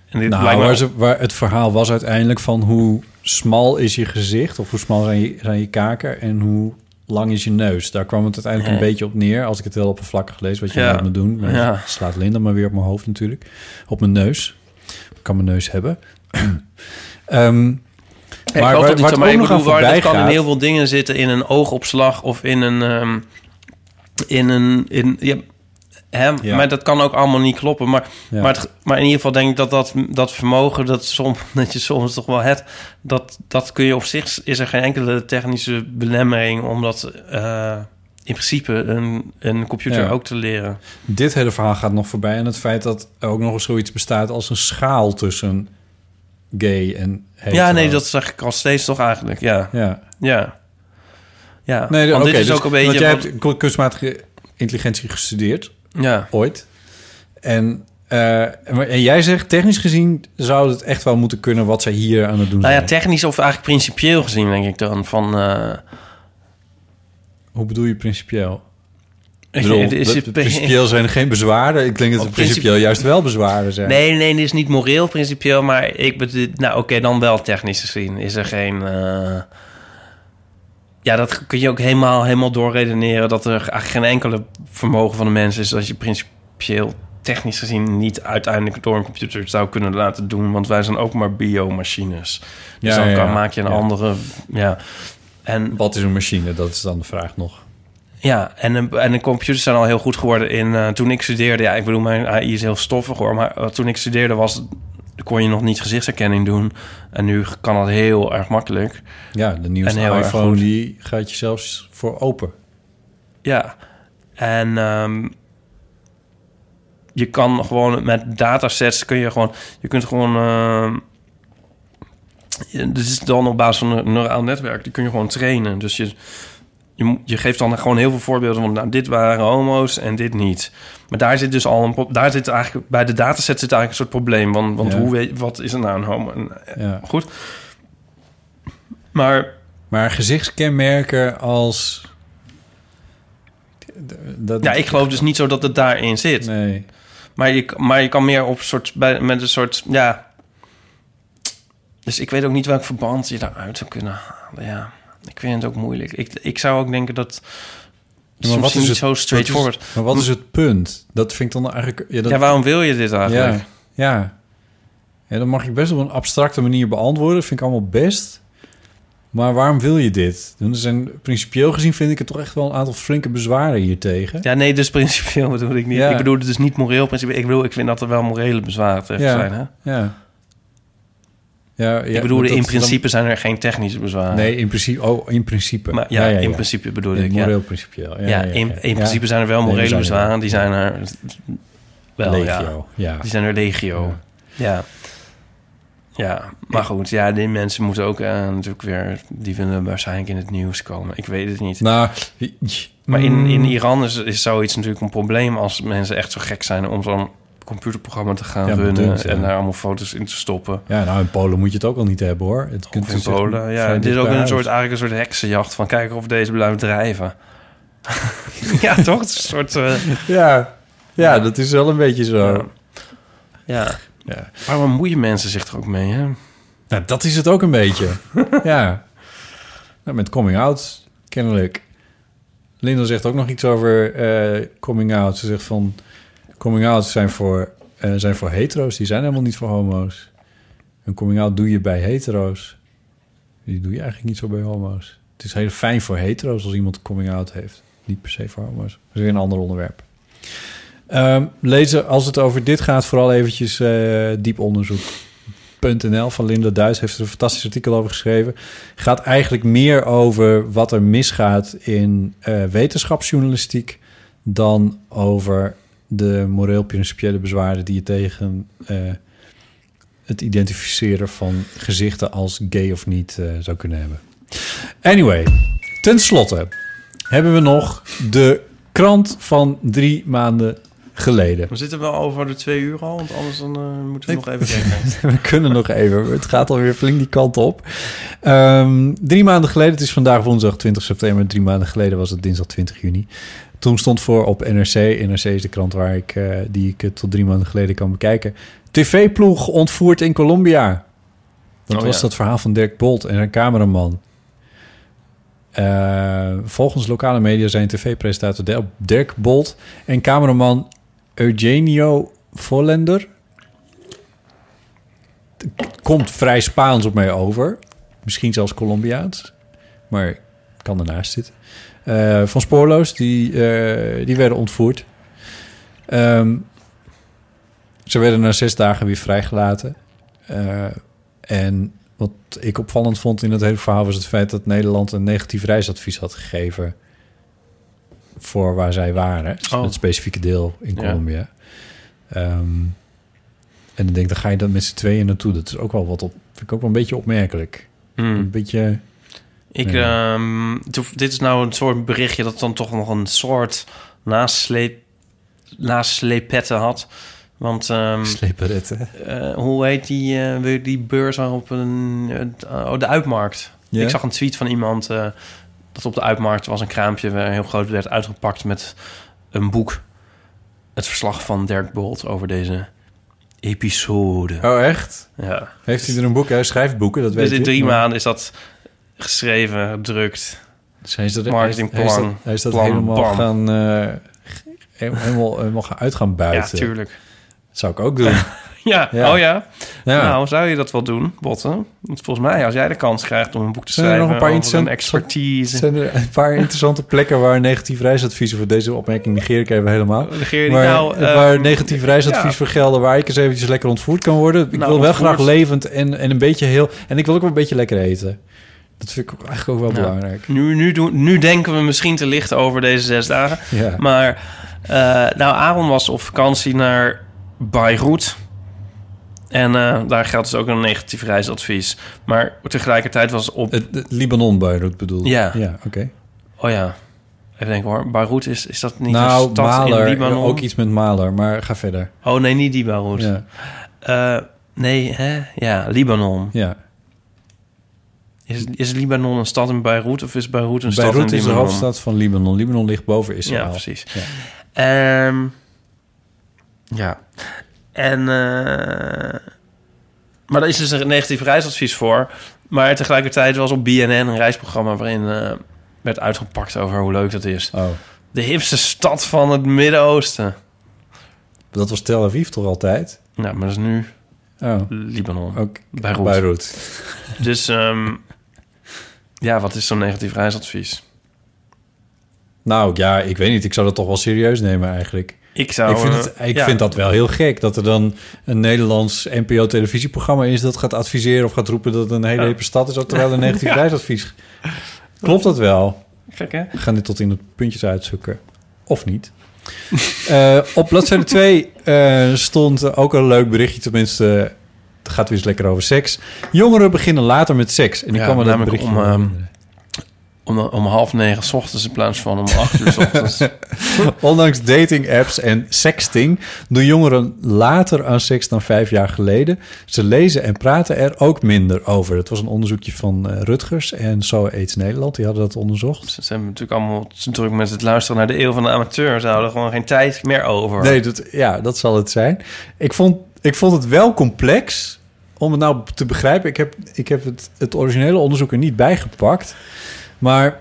Speaker 2: En dit
Speaker 1: Nou,
Speaker 2: lijkt me-
Speaker 1: waar, ze, waar het verhaal was uiteindelijk van hoe smal is je gezicht... of hoe smal zijn je, zijn je kaken en hoe lang is je neus. Daar kwam het uiteindelijk een
Speaker 2: Ja.
Speaker 1: beetje op neer... als ik het heel oppervlakkig lees, wat je
Speaker 2: Ja.
Speaker 1: moet me doen. Maar
Speaker 2: Ja.
Speaker 1: slaat Linda maar weer op mijn hoofd natuurlijk. Op mijn neus. Ik kan mijn neus hebben. Ehm
Speaker 2: Ik
Speaker 1: maar
Speaker 2: geloof
Speaker 1: waar,
Speaker 2: dat
Speaker 1: waar
Speaker 2: dit
Speaker 1: het
Speaker 2: zo- maar
Speaker 1: ook
Speaker 2: ik
Speaker 1: nog aan
Speaker 2: bedoel, waar-
Speaker 1: voorbij
Speaker 2: dat kan in
Speaker 1: gaat...
Speaker 2: heel veel dingen zitten. In een oogopslag of in een... ehm, in een in, ja, hè?
Speaker 1: Ja.
Speaker 2: Maar dat kan ook allemaal niet kloppen. Maar,
Speaker 1: Ja.
Speaker 2: maar, het- maar in ieder geval denk ik dat dat, dat vermogen... Dat, som, dat je soms toch wel hebt... Dat, dat kun je op zich... Is er geen enkele technische belemmering... om dat eh, in principe een, een computer
Speaker 1: Ja.
Speaker 2: ook te leren.
Speaker 1: Dit hele verhaal gaat nog voorbij aan het feit dat er ook nog eens zoiets bestaat... als een schaal tussen gay en hetero.
Speaker 2: ja, nee, dat zeg ik al steeds toch eigenlijk. Ja,
Speaker 1: Ja.
Speaker 2: ja. Ja,
Speaker 1: Nee,
Speaker 2: want
Speaker 1: oké,
Speaker 2: dit is
Speaker 1: dus-
Speaker 2: ook een beetje...
Speaker 1: Want jij
Speaker 2: van-
Speaker 1: hebt kun- kunstmatige intelligentie gestudeerd,
Speaker 2: ja.
Speaker 1: ooit. En, eh, maar- en jij zegt, technisch gezien zou het echt wel moeten kunnen... wat zij hier aan het doen
Speaker 2: Nou ja,
Speaker 1: zijn.
Speaker 2: technisch of eigenlijk principieel gezien, denk ik dan. Van, eh,
Speaker 1: Hoe bedoel je principieel? Ik bedoel,
Speaker 2: Het is-
Speaker 1: dat- principieel zijn er geen bezwaren. Ik denk dat er
Speaker 2: Op principe-
Speaker 1: principieel juist wel bezwaren zijn.
Speaker 2: Nee, nee, dit is niet moreel principieel, maar ik bedoel, nou oké, dan wel technisch gezien is er geen. eh, Ja, dat kun je ook helemaal, helemaal doorredeneren dat er eigenlijk geen enkele vermogen van de mens is als je principieel technisch gezien niet uiteindelijk door een computer zou kunnen laten doen, want wij zijn ook maar biomachines. Dus
Speaker 1: Ja,
Speaker 2: dan
Speaker 1: ja,
Speaker 2: kan,
Speaker 1: ja.
Speaker 2: maak je een
Speaker 1: Ja.
Speaker 2: andere. Ja. En
Speaker 1: Wat is een machine? Dat is dan de vraag nog.
Speaker 2: ja, en, de- en de computers zijn al heel goed geworden in... eh, toen ik studeerde, ja, ik bedoel, mijn AI is heel stoffig hoor... maar eh, toen ik studeerde was, kon je nog niet gezichtsherkenning doen. En nu kan dat heel erg makkelijk.
Speaker 1: Ja, de nieuwste
Speaker 2: En heel erg
Speaker 1: iPhone die gaat je zelfs voor open.
Speaker 2: Ja, en ehm, je kan gewoon met datasets kun je gewoon... Je kunt gewoon... ehm, je- dit is dan op basis van een neuraal netwerk. Die kun je gewoon trainen. Dus je, je, moet- je geeft dan gewoon heel veel voorbeelden van... nou, dit waren homo's en dit niet. Maar daar zit dus al een... pro- Daar zit eigenlijk, bij de dataset zit eigenlijk een soort probleem. Want, want
Speaker 1: Ja.
Speaker 2: hoe weet, wat is er nou een homo? En, eh,
Speaker 1: Ja.
Speaker 2: Goed. Maar
Speaker 1: Maar gezichtskenmerken als... Dat...
Speaker 2: ja, ik geloof dus niet zo dat het daarin zit.
Speaker 1: Nee.
Speaker 2: Maar je, maar je kan meer op soort, bij, met een soort, ja. Dus ik weet ook niet welk verband je daaruit zou kunnen halen. Ja, ik vind het ook moeilijk. Ik, ik zou ook denken dat.
Speaker 1: Ja,
Speaker 2: soms niet zo
Speaker 1: wat is-
Speaker 2: straightforward.
Speaker 1: maar wat is het punt? Dat vind ik dan eigenlijk... Ja, dat,
Speaker 2: ja, waarom wil je dit eigenlijk?
Speaker 1: ja, ja. Ja, dat mag ik best op een abstracte manier beantwoorden. Dat vind ik allemaal best. Maar waarom wil je dit? Dan zijn, principieel gezien vind ik er toch echt wel een aantal flinke bezwaren hiertegen.
Speaker 2: Ja, nee, dus principieel bedoel ik niet.
Speaker 1: Ja.
Speaker 2: Ik bedoel dus niet moreel principe. Ik bedoel, ik vind dat er wel morele bezwaren tegen
Speaker 1: Ja.
Speaker 2: zijn. Hè?
Speaker 1: Ja. Ja, ja,
Speaker 2: ik bedoel,
Speaker 1: maar
Speaker 2: in
Speaker 1: dat-
Speaker 2: principe zijn er geen technische bezwaren.
Speaker 1: dan- nee, in principe. Oh, in principe.
Speaker 2: maar ja, in principe bedoel ik. Ja,
Speaker 1: Moreel principieel. Ja,
Speaker 2: ja, in, in principe zijn er wel
Speaker 1: Nee, die
Speaker 2: morele
Speaker 1: zijn er wel.
Speaker 2: bezwaren. Die zijn er wel, ja. Dus-
Speaker 1: Legio, ja.
Speaker 2: Die zijn er legio. Ja. Ja, maar goed. Ja, die mensen moeten ook eh, natuurlijk weer... Die willen waarschijnlijk in het nieuws komen. Ik weet het niet.
Speaker 1: Nou,
Speaker 2: maar in,
Speaker 1: Mm.
Speaker 2: in Iran is, is zoiets natuurlijk een probleem... als mensen echt zo gek zijn om zo'n computerprogramma te gaan
Speaker 1: Ja,
Speaker 2: runnen...
Speaker 1: bedoeld, ja.
Speaker 2: en daar allemaal foto's in te stoppen.
Speaker 1: Ja, nou, in Polen moet je het ook al niet hebben, hoor. Het
Speaker 2: Of in
Speaker 1: dus echt
Speaker 2: Polen. Ja,
Speaker 1: vrij
Speaker 2: dit is ook
Speaker 1: dichtbij
Speaker 2: een
Speaker 1: huis.
Speaker 2: soort, eigenlijk een soort heksenjacht... van kijken of deze blijft drijven. ja, toch? Het is een soort... eh,
Speaker 1: Ja. ja, dat is wel een beetje zo.
Speaker 2: ja. ja.
Speaker 1: Ja.
Speaker 2: Maar waar bemoeien mensen zich er ook mee, hè?
Speaker 1: Nou, dat is het ook een beetje. ja. Nou, met coming out, kennelijk. Linda zegt ook nog iets over eh, coming out. Ze zegt van... Coming out zijn voor, eh, zijn voor hetero's. Die zijn helemaal niet voor homo's. Een coming out doe je bij hetero's. Die doe je eigenlijk niet zo bij homo's. Het is heel fijn voor hetero's als iemand een coming out heeft. Niet per se voor homo's. Dat is weer een ander onderwerp. Ehm, lezen, als het over dit gaat, vooral eventjes eh, diep onderzoek. NL van Linda Duits heeft er een fantastisch artikel over geschreven. Gaat eigenlijk meer over wat er misgaat in eh, wetenschapsjournalistiek dan over de moreel-principiële bezwaren die je tegen eh, het identificeren van gezichten als gay of niet eh, zou kunnen hebben. Anyway, ten slotte hebben we nog de krant van drie maanden geleden.
Speaker 2: We zitten wel over de twee uur al, want anders dan, eh, moeten we nog even kijken.
Speaker 1: We kunnen nog even. Het gaat alweer flink die kant op. Ehm, drie maanden geleden, het is vandaag woensdag 20 september. Drie maanden geleden was het dinsdag 20 juni. Toen stond voor op NRC. NRC is de krant waar ik, eh, die ik eh, tot drie maanden geleden kan bekijken. TV-ploeg ontvoerd in Colombia. Dat
Speaker 2: Oh,
Speaker 1: was
Speaker 2: ja.
Speaker 1: dat verhaal van Dirk Bolt en zijn cameraman. Eh, volgens lokale media zijn tv-presentator Del- Dirk Bolt en cameraman Eugenio Vollender. Het komt vrij Spaans op mij over. Misschien zelfs Colombiaans. Maar ik kan ernaast zitten. Eh, van spoorloos, die, eh, die werden ontvoerd. Ehm, ze werden na zes dagen weer vrijgelaten. Eh, en wat ik opvallend vond in het hele verhaal was het feit dat Nederland een negatief reisadvies had gegeven voor waar zij waren.
Speaker 2: Oh.
Speaker 1: Het specifieke deel in
Speaker 2: Ja.
Speaker 1: Colombia. Ehm, en dan denk ik, dan ga je dan met z'n tweeën naartoe. Dat is ook wel wat op. Vind ik ook wel een beetje opmerkelijk. Een beetje.
Speaker 2: Ik, ehm, toe- dit is nou een soort berichtje dat dan toch nog een soort nasleep, nasleepette had. Want
Speaker 1: Hm.
Speaker 2: ehm,
Speaker 1: Sleperetten.
Speaker 2: eh, hoe heet die, eh, weer die beurs waarop een... het- oh, de Uitmarkt.
Speaker 1: Ja.
Speaker 2: Ik zag een tweet van iemand eh, dat op de Uitmarkt was een kraampje... waar heel groot werd uitgepakt met een boek. Het verslag van Dirk Bolt over deze episode.
Speaker 1: Oh, echt?
Speaker 2: Ja.
Speaker 1: Heeft hij er een boek? Hij schrijft boeken, dat weet
Speaker 2: Dus
Speaker 1: je.
Speaker 2: in drie
Speaker 1: maar-
Speaker 2: maanden is dat geschreven, gedrukt.
Speaker 1: Dus hij is dat,
Speaker 2: Marketingplan.
Speaker 1: Hij is dat, hij is dat
Speaker 2: Plan,
Speaker 1: helemaal
Speaker 2: bam.
Speaker 1: gaan... eh, he- helemaal, helemaal gaan uit gaan
Speaker 2: Ja,
Speaker 1: buiten.
Speaker 2: tuurlijk.
Speaker 1: Dat zou ik ook doen.
Speaker 2: Ja,
Speaker 1: Ja.
Speaker 2: oh ja.
Speaker 1: Ja.
Speaker 2: Nou, zou je dat wel doen, Botten? Want volgens mij, als jij de kans krijgt om een boek te
Speaker 1: Zijn er
Speaker 2: schrijven...
Speaker 1: nog een paar
Speaker 2: over een
Speaker 1: interessante-
Speaker 2: expertise...
Speaker 1: zijn er een paar interessante plekken waar negatief reisadviezen... voor deze opmerking negeer ik even helemaal.
Speaker 2: Negeer die
Speaker 1: Maar,
Speaker 2: nou, eh,
Speaker 1: waar negatief reisadvies
Speaker 2: ja.
Speaker 1: voor gelden... waar ik eens eventjes lekker ontvoerd kan worden. Ik
Speaker 2: Nou,
Speaker 1: wil wel
Speaker 2: ontvoerd.
Speaker 1: graag levend en, en een beetje heel... En ik wil ook wel een beetje lekker eten. Dat vind ik ook eigenlijk ook wel
Speaker 2: Ja.
Speaker 1: belangrijk.
Speaker 2: Nu, nu, doen, nu denken we misschien te licht over deze zes dagen.
Speaker 1: Ja.
Speaker 2: Maar eh, nou, Aaron was op vakantie naar Beirut. En eh, daar geldt dus ook een negatief reisadvies. Maar tegelijkertijd was op...
Speaker 1: Het, het Libanon Beirut bedoel ik.
Speaker 2: Ja.
Speaker 1: ja oké.
Speaker 2: Oh ja, even denken hoor. Beirut is, is dat niet
Speaker 1: Nou,
Speaker 2: een stad
Speaker 1: Maler,
Speaker 2: in Libanon?
Speaker 1: ook iets met Maler, maar ga verder.
Speaker 2: Oh nee, niet die Beirut.
Speaker 1: Ja,
Speaker 2: Eh, nee, hè? Ja, Libanon.
Speaker 1: ja.
Speaker 2: Is, is Libanon een stad in Beirut of is Beirut een stad in
Speaker 1: Beirut
Speaker 2: Libanon?
Speaker 1: is de hoofdstad van Libanon. Libanon ligt boven Israël.
Speaker 2: Ja, precies.
Speaker 1: Ja.
Speaker 2: Ehm, ja. En, eh, maar daar is dus een negatief reisadvies voor. Maar tegelijkertijd was op BNN een reisprogramma waarin eh, werd uitgepakt over hoe leuk dat is.
Speaker 1: Oh,
Speaker 2: De hipste stad van het Midden-Oosten.
Speaker 1: dat was Tel Aviv toch altijd?
Speaker 2: Nou, maar dat is nu
Speaker 1: Oh,
Speaker 2: Libanon.
Speaker 1: ook
Speaker 2: Beirut.
Speaker 1: Beirut.
Speaker 2: Dus ehm, ja, wat is zo'n negatief reisadvies?
Speaker 1: Nou ja, ik weet niet. Ik zou dat toch wel serieus nemen eigenlijk.
Speaker 2: Ik zou.
Speaker 1: ik vind,
Speaker 2: eh,
Speaker 1: het, ik
Speaker 2: ja.
Speaker 1: vind dat wel heel gek dat er dan een Nederlands NPO-televisieprogramma is dat gaat adviseren of gaat roepen dat het een hele
Speaker 2: Ja.
Speaker 1: hippe stad is, ook terwijl er een negatief reisadvies. Klopt dat wel?
Speaker 2: Gek, hè?
Speaker 1: We gaan dit tot in de puntjes uitzoeken. Of niet. Eh, op bladzijde 2 eh, stond ook een leuk berichtje. Tenminste, eh, het gaat weer eens lekker over seks. Jongeren beginnen later met seks. En ik
Speaker 2: Ja,
Speaker 1: kwam me dat
Speaker 2: namelijk
Speaker 1: berichtje
Speaker 2: om,
Speaker 1: wel
Speaker 2: ehm,
Speaker 1: herinneren.
Speaker 2: Om, om half negen 's ochtends in plaats van om acht uur 's ochtends.
Speaker 1: Ondanks dating apps en sexting doen jongeren later aan seks dan vijf jaar geleden. Ze lezen en praten er ook minder over. Het was een onderzoekje van eh, Rutgers en Zo Aids Nederland. Die hadden dat onderzocht.
Speaker 2: Ze zijn natuurlijk allemaal te druk met het luisteren naar de eeuw van de amateur. Ze houden gewoon geen tijd meer over.
Speaker 1: Nee, dat, ja, dat zal het zijn. Ik vond, ik vond het wel complex om het nou te begrijpen. Ik heb, ik heb het, het originele onderzoek er niet bij gepakt. Maar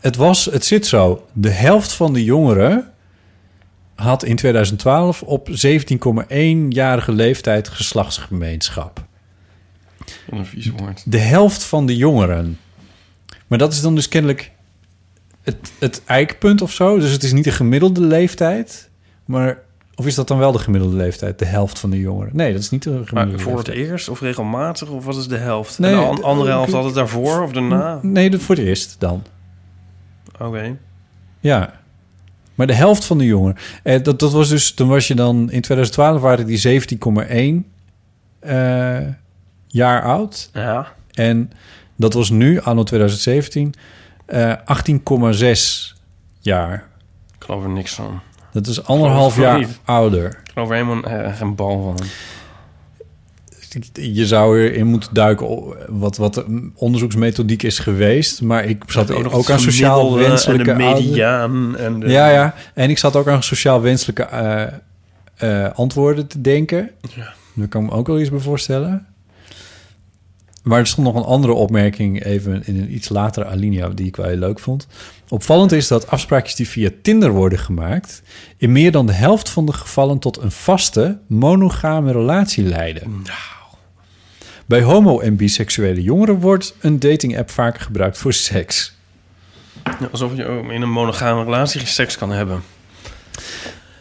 Speaker 1: het, was, het zit zo. De helft van de jongeren had in 2012 op 17,1-jarige leeftijd geslachtsgemeenschap.
Speaker 2: Wat een vies woord.
Speaker 1: De helft van de jongeren. Maar dat is dan dus kennelijk het, het eikpunt of zo. Dus het is niet de gemiddelde leeftijd. Maar, of is dat dan wel de gemiddelde leeftijd? De helft van de jongeren. Nee, dat is niet de
Speaker 2: Maar
Speaker 1: gemiddelde
Speaker 2: voor het
Speaker 1: leeftijd.
Speaker 2: eerst of regelmatig of wat is de helft?
Speaker 1: Nee,
Speaker 2: en de an-
Speaker 1: eh,
Speaker 2: andere helft
Speaker 1: ik-
Speaker 2: altijd daarvoor of daarna?
Speaker 1: Nee, dat voor het eerst dan.
Speaker 2: Oké.
Speaker 1: Ja. Maar de helft van de jongeren. Eh, dat, dat was dus, toen was je dan, in 2012 waren die 17,1 eh, jaar oud.
Speaker 2: Ja.
Speaker 1: En dat was nu, anno 2017, eh 18,6 jaar.
Speaker 2: Ik geloof er niks van.
Speaker 1: Dat is anderhalf
Speaker 2: Geloof
Speaker 1: jaar
Speaker 2: het niet.
Speaker 1: ouder.
Speaker 2: Ik geloof er helemaal eh, geen bal van.
Speaker 1: Je zou erin moeten duiken o- wat, wat de onderzoeksmethodiek is geweest. Maar ik zat ook,
Speaker 2: nog het
Speaker 1: aan sociaal
Speaker 2: gemiddelde
Speaker 1: wenselijke...
Speaker 2: En de
Speaker 1: ouder-
Speaker 2: mediaan. En de,
Speaker 1: Ja, ja. En ik zat ook aan sociaal wenselijke eh, eh, antwoorden te denken.
Speaker 2: Ja.
Speaker 1: Daar kan ik me ook wel iets bij voorstellen. Maar er stond nog een andere opmerking even in een iets latere alinea die ik wel heel leuk vond. Opvallend is dat afspraakjes die via Tinder worden gemaakt... in meer dan de helft van de gevallen tot een vaste, monogame relatie leiden.
Speaker 2: Nou.
Speaker 1: Bij homo- en biseksuele jongeren wordt een dating-app vaker gebruikt voor seks.
Speaker 2: Alsof je ook in een monogame relatie geen seks kan hebben.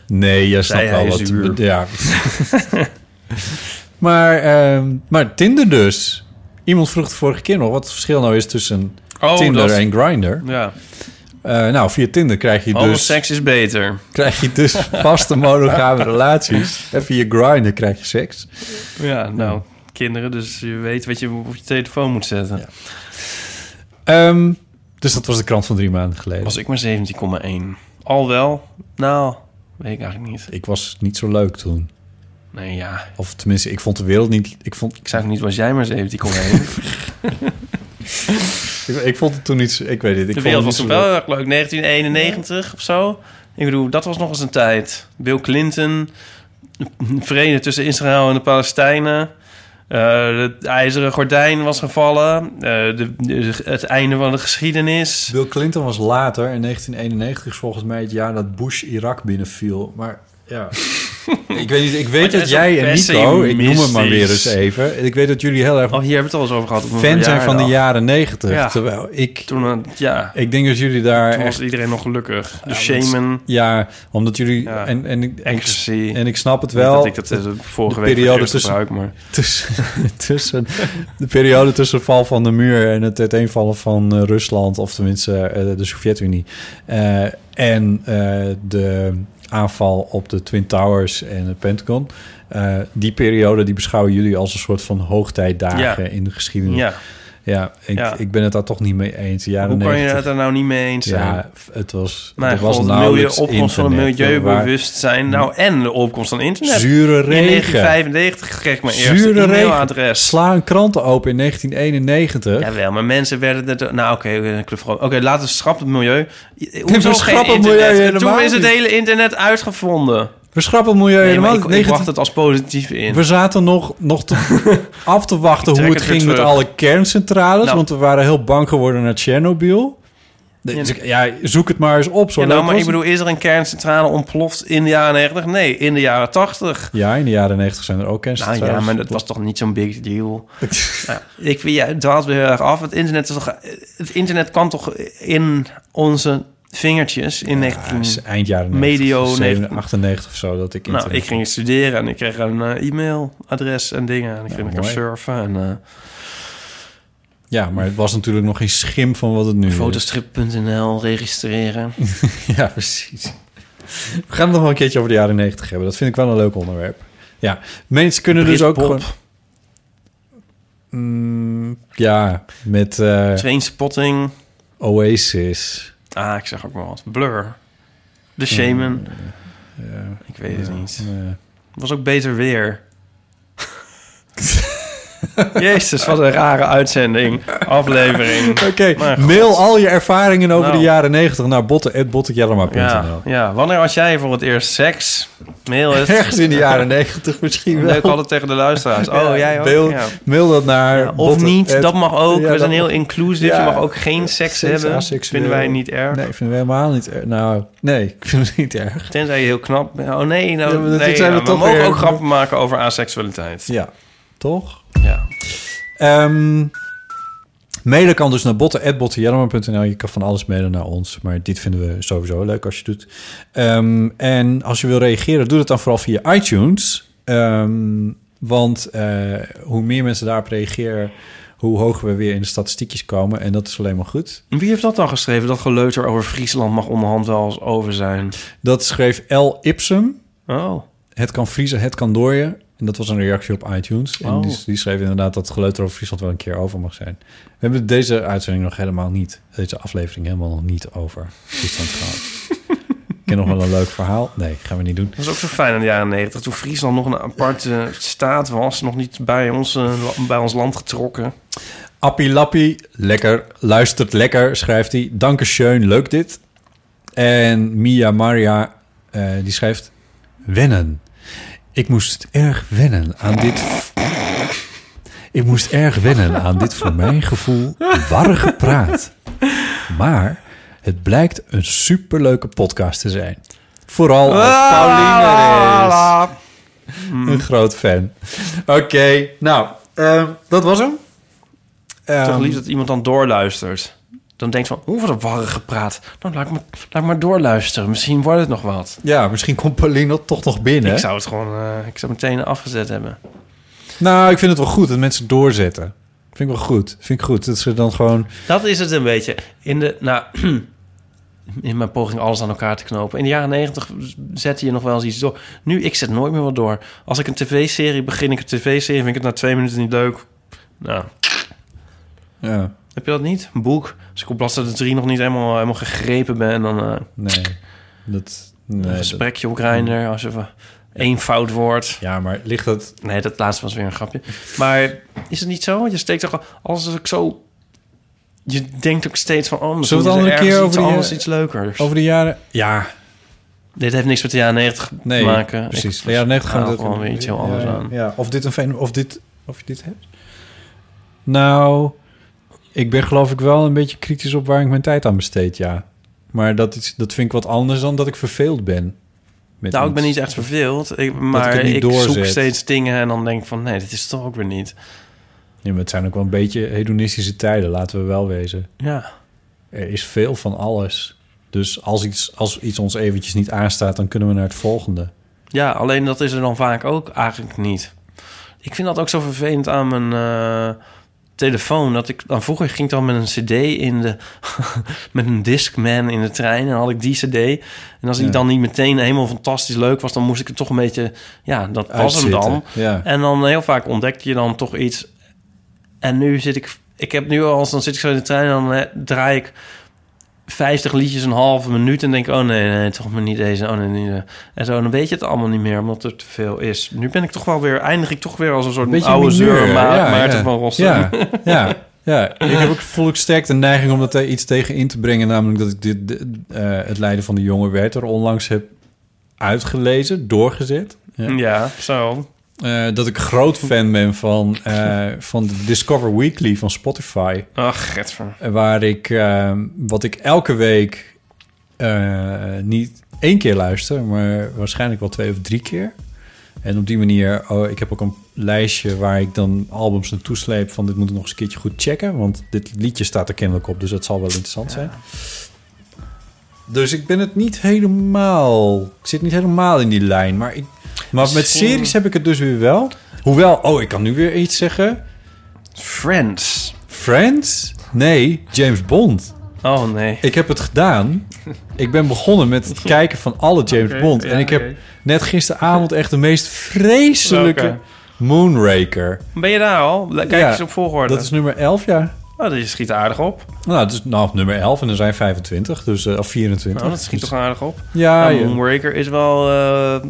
Speaker 1: Nee, jij
Speaker 2: Zij,
Speaker 1: snapt
Speaker 2: hij
Speaker 1: al
Speaker 2: is
Speaker 1: wat.
Speaker 2: zuur.
Speaker 1: Ja. maar, ehm, maar Tinder dus. Iemand vroeg de vorige keer nog wat het verschil nou is tussen
Speaker 2: Oh,
Speaker 1: Tinder
Speaker 2: dat...
Speaker 1: en Grindr.
Speaker 2: Ja.
Speaker 1: Eh, nou, via Tinder krijg je
Speaker 2: Alle
Speaker 1: dus,
Speaker 2: seks is beter.
Speaker 1: krijg je dus vaste monogame relaties. En via Grindr krijg je seks.
Speaker 2: Ja, nou... Kinderen, dus je weet wat je op je telefoon moet zetten.
Speaker 1: Ehm, dus dat was de krant van drie maanden geleden.
Speaker 2: Was ik maar 17,1. Al wel? Nou, weet ik eigenlijk niet.
Speaker 1: Ik was niet zo leuk toen.
Speaker 2: Nee, ja.
Speaker 1: Of tenminste, ik vond de wereld niet... Ik vond,
Speaker 2: Ik zei ook niet, was jij maar 17,1. De
Speaker 1: ik, ik vond het toen niet... zo- Ik weet het. Ik vond het niet
Speaker 2: wereld was
Speaker 1: zo
Speaker 2: toen
Speaker 1: leuk.
Speaker 2: wel heel erg leuk. 1991 of zo. Ik bedoel, dat was nog eens een tijd. Bill Clinton, vrede tussen Israël en de Palestijnen. eh het ijzeren gordijn was gevallen. eh, de, de- het einde van de geschiedenis.
Speaker 1: Bill Clinton was later, in 1991 is volgens mij het jaar dat Bush Irak binnenviel. Maar ja, ik weet, niet, ik weet
Speaker 2: Wat
Speaker 1: dat
Speaker 2: is
Speaker 1: jij en Nico, ik noem hem maar weer eens
Speaker 2: pessimistisch.
Speaker 1: even. Ik weet dat jullie heel erg
Speaker 2: Oh, hier hebben we het al eens over gehad. op mijn
Speaker 1: fan zijn van de
Speaker 2: verjaardag.
Speaker 1: jaren 90.
Speaker 2: Ja.
Speaker 1: Terwijl ik,
Speaker 2: Toen, eh, ja,
Speaker 1: ik denk dat jullie daar
Speaker 2: toen was
Speaker 1: echt...
Speaker 2: iedereen nog gelukkig. De
Speaker 1: Ja,
Speaker 2: shaman,
Speaker 1: Ja, omdat jullie...
Speaker 2: Ja.
Speaker 1: En, en, ik- ik,
Speaker 2: ecstasy.
Speaker 1: en ik snap het
Speaker 2: Niet
Speaker 1: wel.
Speaker 2: dat ik dat eh, de vorige
Speaker 1: de
Speaker 2: week
Speaker 1: periode
Speaker 2: periode tussen...
Speaker 1: tussen-
Speaker 2: gebruik, maar...
Speaker 1: tussen, tussen de periode tussen de val van de muur en het uiteenvallen van eh, Rusland, of tenminste eh, de Sovjet-Unie, eh, en eh, de aanval op de Twin Towers en het Pentagon. eh, die periode die beschouwen jullie als een soort van hoogtijdagen
Speaker 2: Ja.
Speaker 1: in de geschiedenis. Ja,
Speaker 2: Ja,
Speaker 1: ik,
Speaker 2: Ja.
Speaker 1: ik ben het daar toch niet mee eens. De jaren
Speaker 2: hoe kan je
Speaker 1: 90,
Speaker 2: het er nou niet mee eens zijn?
Speaker 1: Ja, f- het was,
Speaker 2: Mijn
Speaker 1: er was
Speaker 2: god, wil
Speaker 1: nauwelijks
Speaker 2: je opkomst van het
Speaker 1: internet. Er waren
Speaker 2: milieubewustzijn? Nou, en de opkomst van internet.
Speaker 1: Zure
Speaker 2: In
Speaker 1: regen.
Speaker 2: 1995 kreeg ik mijn eerste
Speaker 1: Zure regen.
Speaker 2: e-mailadres.
Speaker 1: Sla een kranten open in 1991.
Speaker 2: Jawel, maar mensen werden er... Nou, oké, eh, ik wil vooral- oké, laten we schrappen het milieu.
Speaker 1: we
Speaker 2: Hoezo geen
Speaker 1: schrappen
Speaker 2: internet?
Speaker 1: het milieu helemaal
Speaker 2: Toen is het
Speaker 1: niet.
Speaker 2: hele internet uitgevonden.
Speaker 1: We schrappen het milieu
Speaker 2: Nee, maar
Speaker 1: helemaal.
Speaker 2: ik, ik
Speaker 1: 19
Speaker 2: wacht het als positief in.
Speaker 1: We zaten nog, nog te- af te wachten
Speaker 2: Ik
Speaker 1: hoe het
Speaker 2: trek het weer
Speaker 1: ging met
Speaker 2: terug.
Speaker 1: alle kerncentrales.
Speaker 2: Nou.
Speaker 1: Want we waren heel bang geworden naar Tsjernobyl. De-
Speaker 2: Ja.
Speaker 1: dus ik- Ja, zoek het maar eens op. Zo
Speaker 2: Ja, nou,
Speaker 1: leuk
Speaker 2: maar
Speaker 1: was
Speaker 2: ik bedoel, is er een kerncentrale ontploft in de jaren 90? Nee, in de jaren 80.
Speaker 1: het. Ja, in de jaren 90 zijn er ook
Speaker 2: Nou
Speaker 1: kerncentrales.
Speaker 2: ja, maar dat was toch niet zo'n big deal. Nou, ik vind, ja, het dwaalt weer heel erg af. Het internet, is toch, het internet kwam toch in onze vingertjes in
Speaker 1: Ja, het
Speaker 2: 19...
Speaker 1: is eind jaren 90.
Speaker 2: Mm. Medio
Speaker 1: 97, 98 of zo dat ik
Speaker 2: Nou,
Speaker 1: internet-
Speaker 2: ik ging studeren en ik kreeg een eh, e-mailadres en dingen. En ik ging lekker
Speaker 1: mooi.
Speaker 2: surfen en eh,
Speaker 1: Ja, maar het was natuurlijk nog geen schim van wat het nu
Speaker 2: fotostrip.nl registreren.
Speaker 1: is. Ja, precies. We gaan het nog wel een keertje over de jaren 90 hebben. Dat vind ik wel een leuk onderwerp. Ja, mensen kunnen dus ook
Speaker 2: Britpop.
Speaker 1: gewoon... Mm, ja, met... eh,
Speaker 2: Trainspotting.
Speaker 1: Oasis.
Speaker 2: Ah, ik zeg ook maar wat. Blur. The Shaman.
Speaker 1: Mm, Ja,
Speaker 2: Ik weet het
Speaker 1: ja,
Speaker 2: niet.
Speaker 1: ja.
Speaker 2: Het was ook beter weer. Jezus, wat een rare uitzending. Aflevering.
Speaker 1: Oké,
Speaker 2: Maar goed.
Speaker 1: mail al je ervaringen over
Speaker 2: Nou.
Speaker 1: de jaren 90 naar botten.bottenjellema.nl.
Speaker 2: Ja, ja, wanneer had jij voor het eerst seks? Mail het.
Speaker 1: Ergens in de jaren 90 misschien wel.
Speaker 2: Leuk altijd tegen de luisteraars. Oh,
Speaker 1: Ja,
Speaker 2: jij ook?
Speaker 1: Mail,
Speaker 2: Ja.
Speaker 1: mail dat naar
Speaker 2: Ja, of
Speaker 1: botten
Speaker 2: niet,
Speaker 1: at-
Speaker 2: dat mag ook.
Speaker 1: Ja,
Speaker 2: We
Speaker 1: dat
Speaker 2: zijn heel
Speaker 1: mag-
Speaker 2: inclusief.
Speaker 1: Ja.
Speaker 2: Je mag ook geen seks
Speaker 1: Seks,
Speaker 2: hebben.
Speaker 1: aseksueel.
Speaker 2: Vinden wij niet erg.
Speaker 1: Nee, ik vind het helemaal niet erg. Nou, nee, ik vind het niet erg.
Speaker 2: Tenzij je heel knap bent. Oh nee, nou,
Speaker 1: Ja, maar dat
Speaker 2: nee,
Speaker 1: zijn we
Speaker 2: ja, we
Speaker 1: toch
Speaker 2: mogen
Speaker 1: weer-
Speaker 2: ook grappen maken over aseksualiteit.
Speaker 1: Ja, toch?
Speaker 2: Ja.
Speaker 1: Ehm, mailen kan dus naar botten.bottenjellema.nl. Je kan van alles mailen naar ons. Maar dit vinden we sowieso leuk als je het doet. Ehm, en als je wil reageren, doe dat dan vooral via iTunes. Ehm, want eh, hoe meer mensen daarop reageren... hoe hoger we weer in de statistiekjes komen. En dat is alleen maar goed.
Speaker 2: Wie heeft dat dan geschreven? Dat geleuter over Friesland mag onderhand wel eens over zijn.
Speaker 1: Dat schreef L. Ipsum.
Speaker 2: Oh.
Speaker 1: Het kan vriezen, het kan dooien. En dat was een reactie op iTunes. En
Speaker 2: Oh.
Speaker 1: die, die schreef inderdaad dat geleuter over Friesland wel een keer over mag zijn. We hebben deze uitzending nog helemaal niet... deze aflevering helemaal nog niet over Friesland gehad. Ik ken nog wel een leuk verhaal. Nee, gaan we niet doen.
Speaker 2: Dat is ook zo fijn in de jaren negentig. Toen Friesland nog een aparte staat was. Nog niet bij ons, eh, la- bij ons land getrokken.
Speaker 1: Appie Lappie, lekker, luistert lekker, schrijft hij. Dankeschön, leuk dit. En Mia Maria, eh, die schrijft... Wennen. Ik moest erg wennen aan dit... Ik moest erg wennen aan dit voor mijn gevoel warrige praat. Maar het blijkt een superleuke podcast te zijn. Vooral als Pauline
Speaker 2: Ah,
Speaker 1: er is. Een groot fan. Oké, nou, ehm, dat was hem.
Speaker 2: Toch
Speaker 1: Ehm,
Speaker 2: lief dat iemand dan doorluistert. Dan denkt van, oh, wat een warrig gepraat. Nou, laat ik maar, laat ik maar doorluisteren. Misschien wordt het nog wat.
Speaker 1: Ja, misschien komt Pauline toch nog binnen.
Speaker 2: Ik zou het gewoon eh, ik zou meteen afgezet hebben.
Speaker 1: Nou, ik vind het wel goed dat mensen doorzetten. Vind ik wel goed. Vind ik goed. Dat ze dan gewoon...
Speaker 2: Dat is het een beetje. In, de, nou, in mijn poging alles aan elkaar te knopen. In de jaren negentig zette je nog wel eens iets door. Nu, ik zet nooit meer wat door. Als ik een tv-serie begin, ik een tv-serie... vind ik het na twee minuten niet leuk. Nou,
Speaker 1: Ja,
Speaker 2: heb je dat niet? Een boek. Als ik op bladzijde 3 nog niet helemaal, helemaal gegrepen ben... dan eh,
Speaker 1: nee. Dat...
Speaker 2: een
Speaker 1: Nee, dat-
Speaker 2: gesprekje op Grindr. Als er één fout wordt...
Speaker 1: ja, maar ligt dat...
Speaker 2: Nee, dat laatste was weer een grapje. Maar is het niet zo? Je steekt toch al- als ik zo. Je denkt ook steeds van oh, misschien
Speaker 1: Zullen we het
Speaker 2: is er
Speaker 1: andere keer
Speaker 2: ergens
Speaker 1: over
Speaker 2: iets
Speaker 1: die,
Speaker 2: anders,
Speaker 1: eh,
Speaker 2: iets leukers.
Speaker 1: Over de jaren... Ja.
Speaker 2: Dit heeft niks met de jaren 90
Speaker 1: Nee,
Speaker 2: te maken.
Speaker 1: precies.
Speaker 2: Ik- Nou,
Speaker 1: Ja, nee, gewoon
Speaker 2: haal
Speaker 1: dat-
Speaker 2: gewoon weer iets heel anders
Speaker 1: ja,
Speaker 2: aan.
Speaker 1: Ja, of dit een fen- of dit, of je dit hebt. Nou, ik ben geloof ik wel een beetje kritisch op waar ik mijn tijd aan besteed, ja. Maar dat, is, dat vind ik wat anders dan dat ik verveeld ben. Met
Speaker 2: Nou, ik
Speaker 1: iets.
Speaker 2: ben niet echt verveeld, ik, maar
Speaker 1: ik het niet
Speaker 2: ik, zoek
Speaker 1: doorzet.
Speaker 2: steeds dingen en dan denk ik van... nee, dit is het toch ook weer niet.
Speaker 1: Ja, maar het zijn ook wel een beetje hedonistische tijden, laten we wel wezen.
Speaker 2: Ja,
Speaker 1: Er is veel van alles. Dus als iets, als iets ons eventjes niet aanstaat, dan kunnen we naar het volgende.
Speaker 2: ja alleen dat is er dan vaak ook eigenlijk niet. Ik vind dat ook zo vervelend aan mijn eh, telefoon. Dat ik, dan vroeger ging ik dan met een cd in de... met een Discman in de trein en dan had ik die cd. En als
Speaker 1: Ja.
Speaker 2: die dan niet meteen helemaal fantastisch leuk was... dan moest ik het toch een beetje... ja, dat was hem
Speaker 1: Uitzitten,
Speaker 2: dan.
Speaker 1: Ja.
Speaker 2: En dan eh, heel vaak ontdek je dan toch iets. En nu zit ik... Ik heb nu al, als dan zit ik zo in de trein en dan eh, draai ik 50 liedjes een halve minuut en denk ik, oh nee, nee, toch maar niet deze, oh nee, niet deze. En zo, dan weet je het allemaal niet meer, omdat er te veel is. Nu ben ik toch wel weer, eindig ik toch weer als een soort oude
Speaker 1: mineur,
Speaker 2: zeur, maar
Speaker 1: ja,
Speaker 2: Maarten
Speaker 1: ja.
Speaker 2: van Rossum.
Speaker 1: Ja, ja, ja. Ik heb ook, voel ik sterk de neiging om dat daar iets tegen in te brengen. Namelijk dat ik dit, dit, eh, het lijden van de jonge Werther onlangs heb uitgelezen, doorgezet. Ja.
Speaker 2: Ja, zo.
Speaker 1: Eh, dat ik groot fan ben van, eh, van de Discover Weekly van Spotify.
Speaker 2: Ach, getver.
Speaker 1: Waar ik, eh, wat ik elke week eh, niet één keer luister, maar waarschijnlijk wel twee of drie keer. En op die manier, oh, ik heb ook een lijstje waar ik dan albums naartoe sleep van dit moet ik nog eens een keertje goed checken, want dit liedje staat er kennelijk op, dus dat zal wel interessant zijn. Dus ik ben het niet helemaal, ik zit niet helemaal in die lijn, maar, ik, maar met
Speaker 2: Misschien-
Speaker 1: series heb ik het dus weer wel. Hoewel, oh, ik kan nu weer iets zeggen.
Speaker 2: Friends.
Speaker 1: Friends? Nee, James Bond.
Speaker 2: Oh nee.
Speaker 1: Ik heb het gedaan. Ik ben begonnen met het kijken van alle James
Speaker 2: Oké,
Speaker 1: Bond.
Speaker 2: ja,
Speaker 1: en ik heb
Speaker 2: oké.
Speaker 1: net gisteravond echt de meest vreselijke
Speaker 2: Welke?
Speaker 1: Moonraker.
Speaker 2: Ben je daar al? Kijk
Speaker 1: Ja,
Speaker 2: eens op volgorde.
Speaker 1: Dat is nummer 11, ja.
Speaker 2: Oh, die schiet aardig op.
Speaker 1: Nou, het is nou, nummer 11 en er zijn 25, dus, eh, of 24.
Speaker 2: Nou, dat schiet
Speaker 1: Dus-
Speaker 2: toch aardig op.
Speaker 1: Ja,
Speaker 2: Nou,
Speaker 1: ja.
Speaker 2: Moonraker is wel... eh,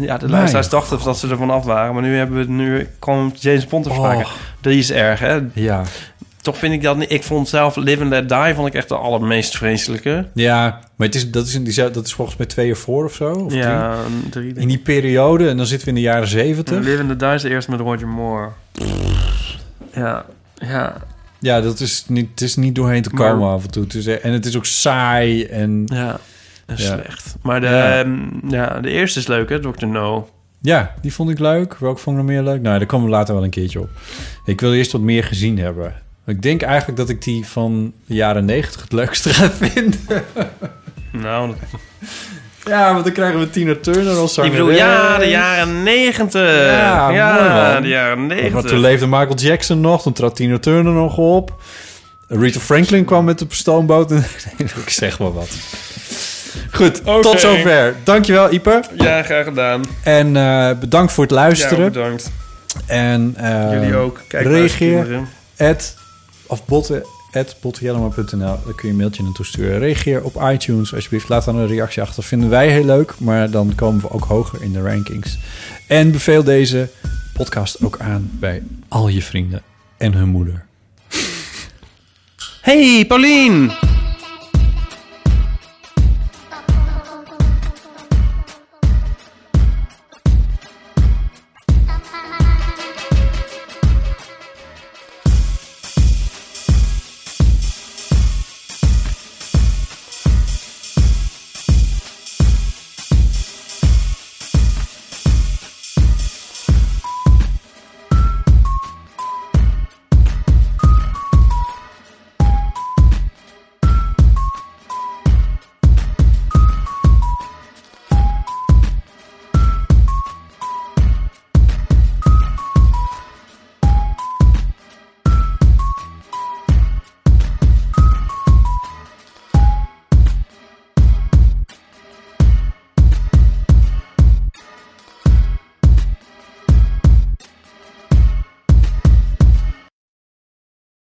Speaker 2: ja, de luisteraars dachten dat ze ervan af waren. Maar nu, hebben we, nu kwam James Bond te sprake.
Speaker 1: Oh.
Speaker 2: Die is erg, hè?
Speaker 1: Ja.
Speaker 2: Toch vind ik dat niet... Ik vond zelf Live and Let Die vond ik echt de allermeest vreselijke.
Speaker 1: ja, maar het is, dat, is in die, dat is volgens mij twee jaar voor of zo. Of drie.
Speaker 2: ja, een drie.
Speaker 1: In die periode, en dan zitten we in de jaren 70.
Speaker 2: Live and Let Die is de eerste met Roger Moore. Ja, ja.
Speaker 1: Ja, dat is niet, het is niet doorheen te
Speaker 2: Maar-
Speaker 1: komen af en toe. Het is, eh, en het is ook saai en...
Speaker 2: Ja, dat is
Speaker 1: Ja.
Speaker 2: slecht. Maar de,
Speaker 1: Ja.
Speaker 2: ehm, ja, de eerste is leuk, hè? Dr. No.
Speaker 1: Ja, die vond ik leuk. Welke vond ik nog meer leuk? Nou, daar komen we later wel een keertje op. Ik wil eerst wat meer gezien hebben. Ik denk eigenlijk dat ik die van de jaren 90 het leukste ga vinden.
Speaker 2: Nou, dat-
Speaker 1: Ja, want dan krijgen we Tina Turner als
Speaker 2: ik
Speaker 1: zangeres.
Speaker 2: bedoel, ja, de jaren negentig.
Speaker 1: Ja,
Speaker 2: Ja,
Speaker 1: mooi, man.
Speaker 2: de jaren
Speaker 1: Maar
Speaker 2: negentig.
Speaker 1: toen leefde Michael Jackson nog. Toen trad Tina Turner nog op. Rita Franklin kwam met de stoomboot. en- Nee, ik zeg maar wat. Goed,
Speaker 2: Oké.
Speaker 1: tot zover. Dankjewel, Ieper.
Speaker 2: Ja, graag gedaan.
Speaker 1: En eh, bedankt voor het luisteren.
Speaker 2: Ja, bedankt.
Speaker 1: en, eh,
Speaker 2: Jullie ook. Kijk,
Speaker 1: reageer.
Speaker 2: luisterkinderen.
Speaker 1: at, of botten, at botjellema.nl. Daar kun je een mailtje naartoe sturen. Reageer op iTunes alsjeblieft. Laat dan een reactie achter. Vinden wij heel leuk, maar dan komen we ook hoger in de rankings. En beveel deze podcast ook aan bij al je vrienden en hun moeder.
Speaker 2: Hey, Paulien!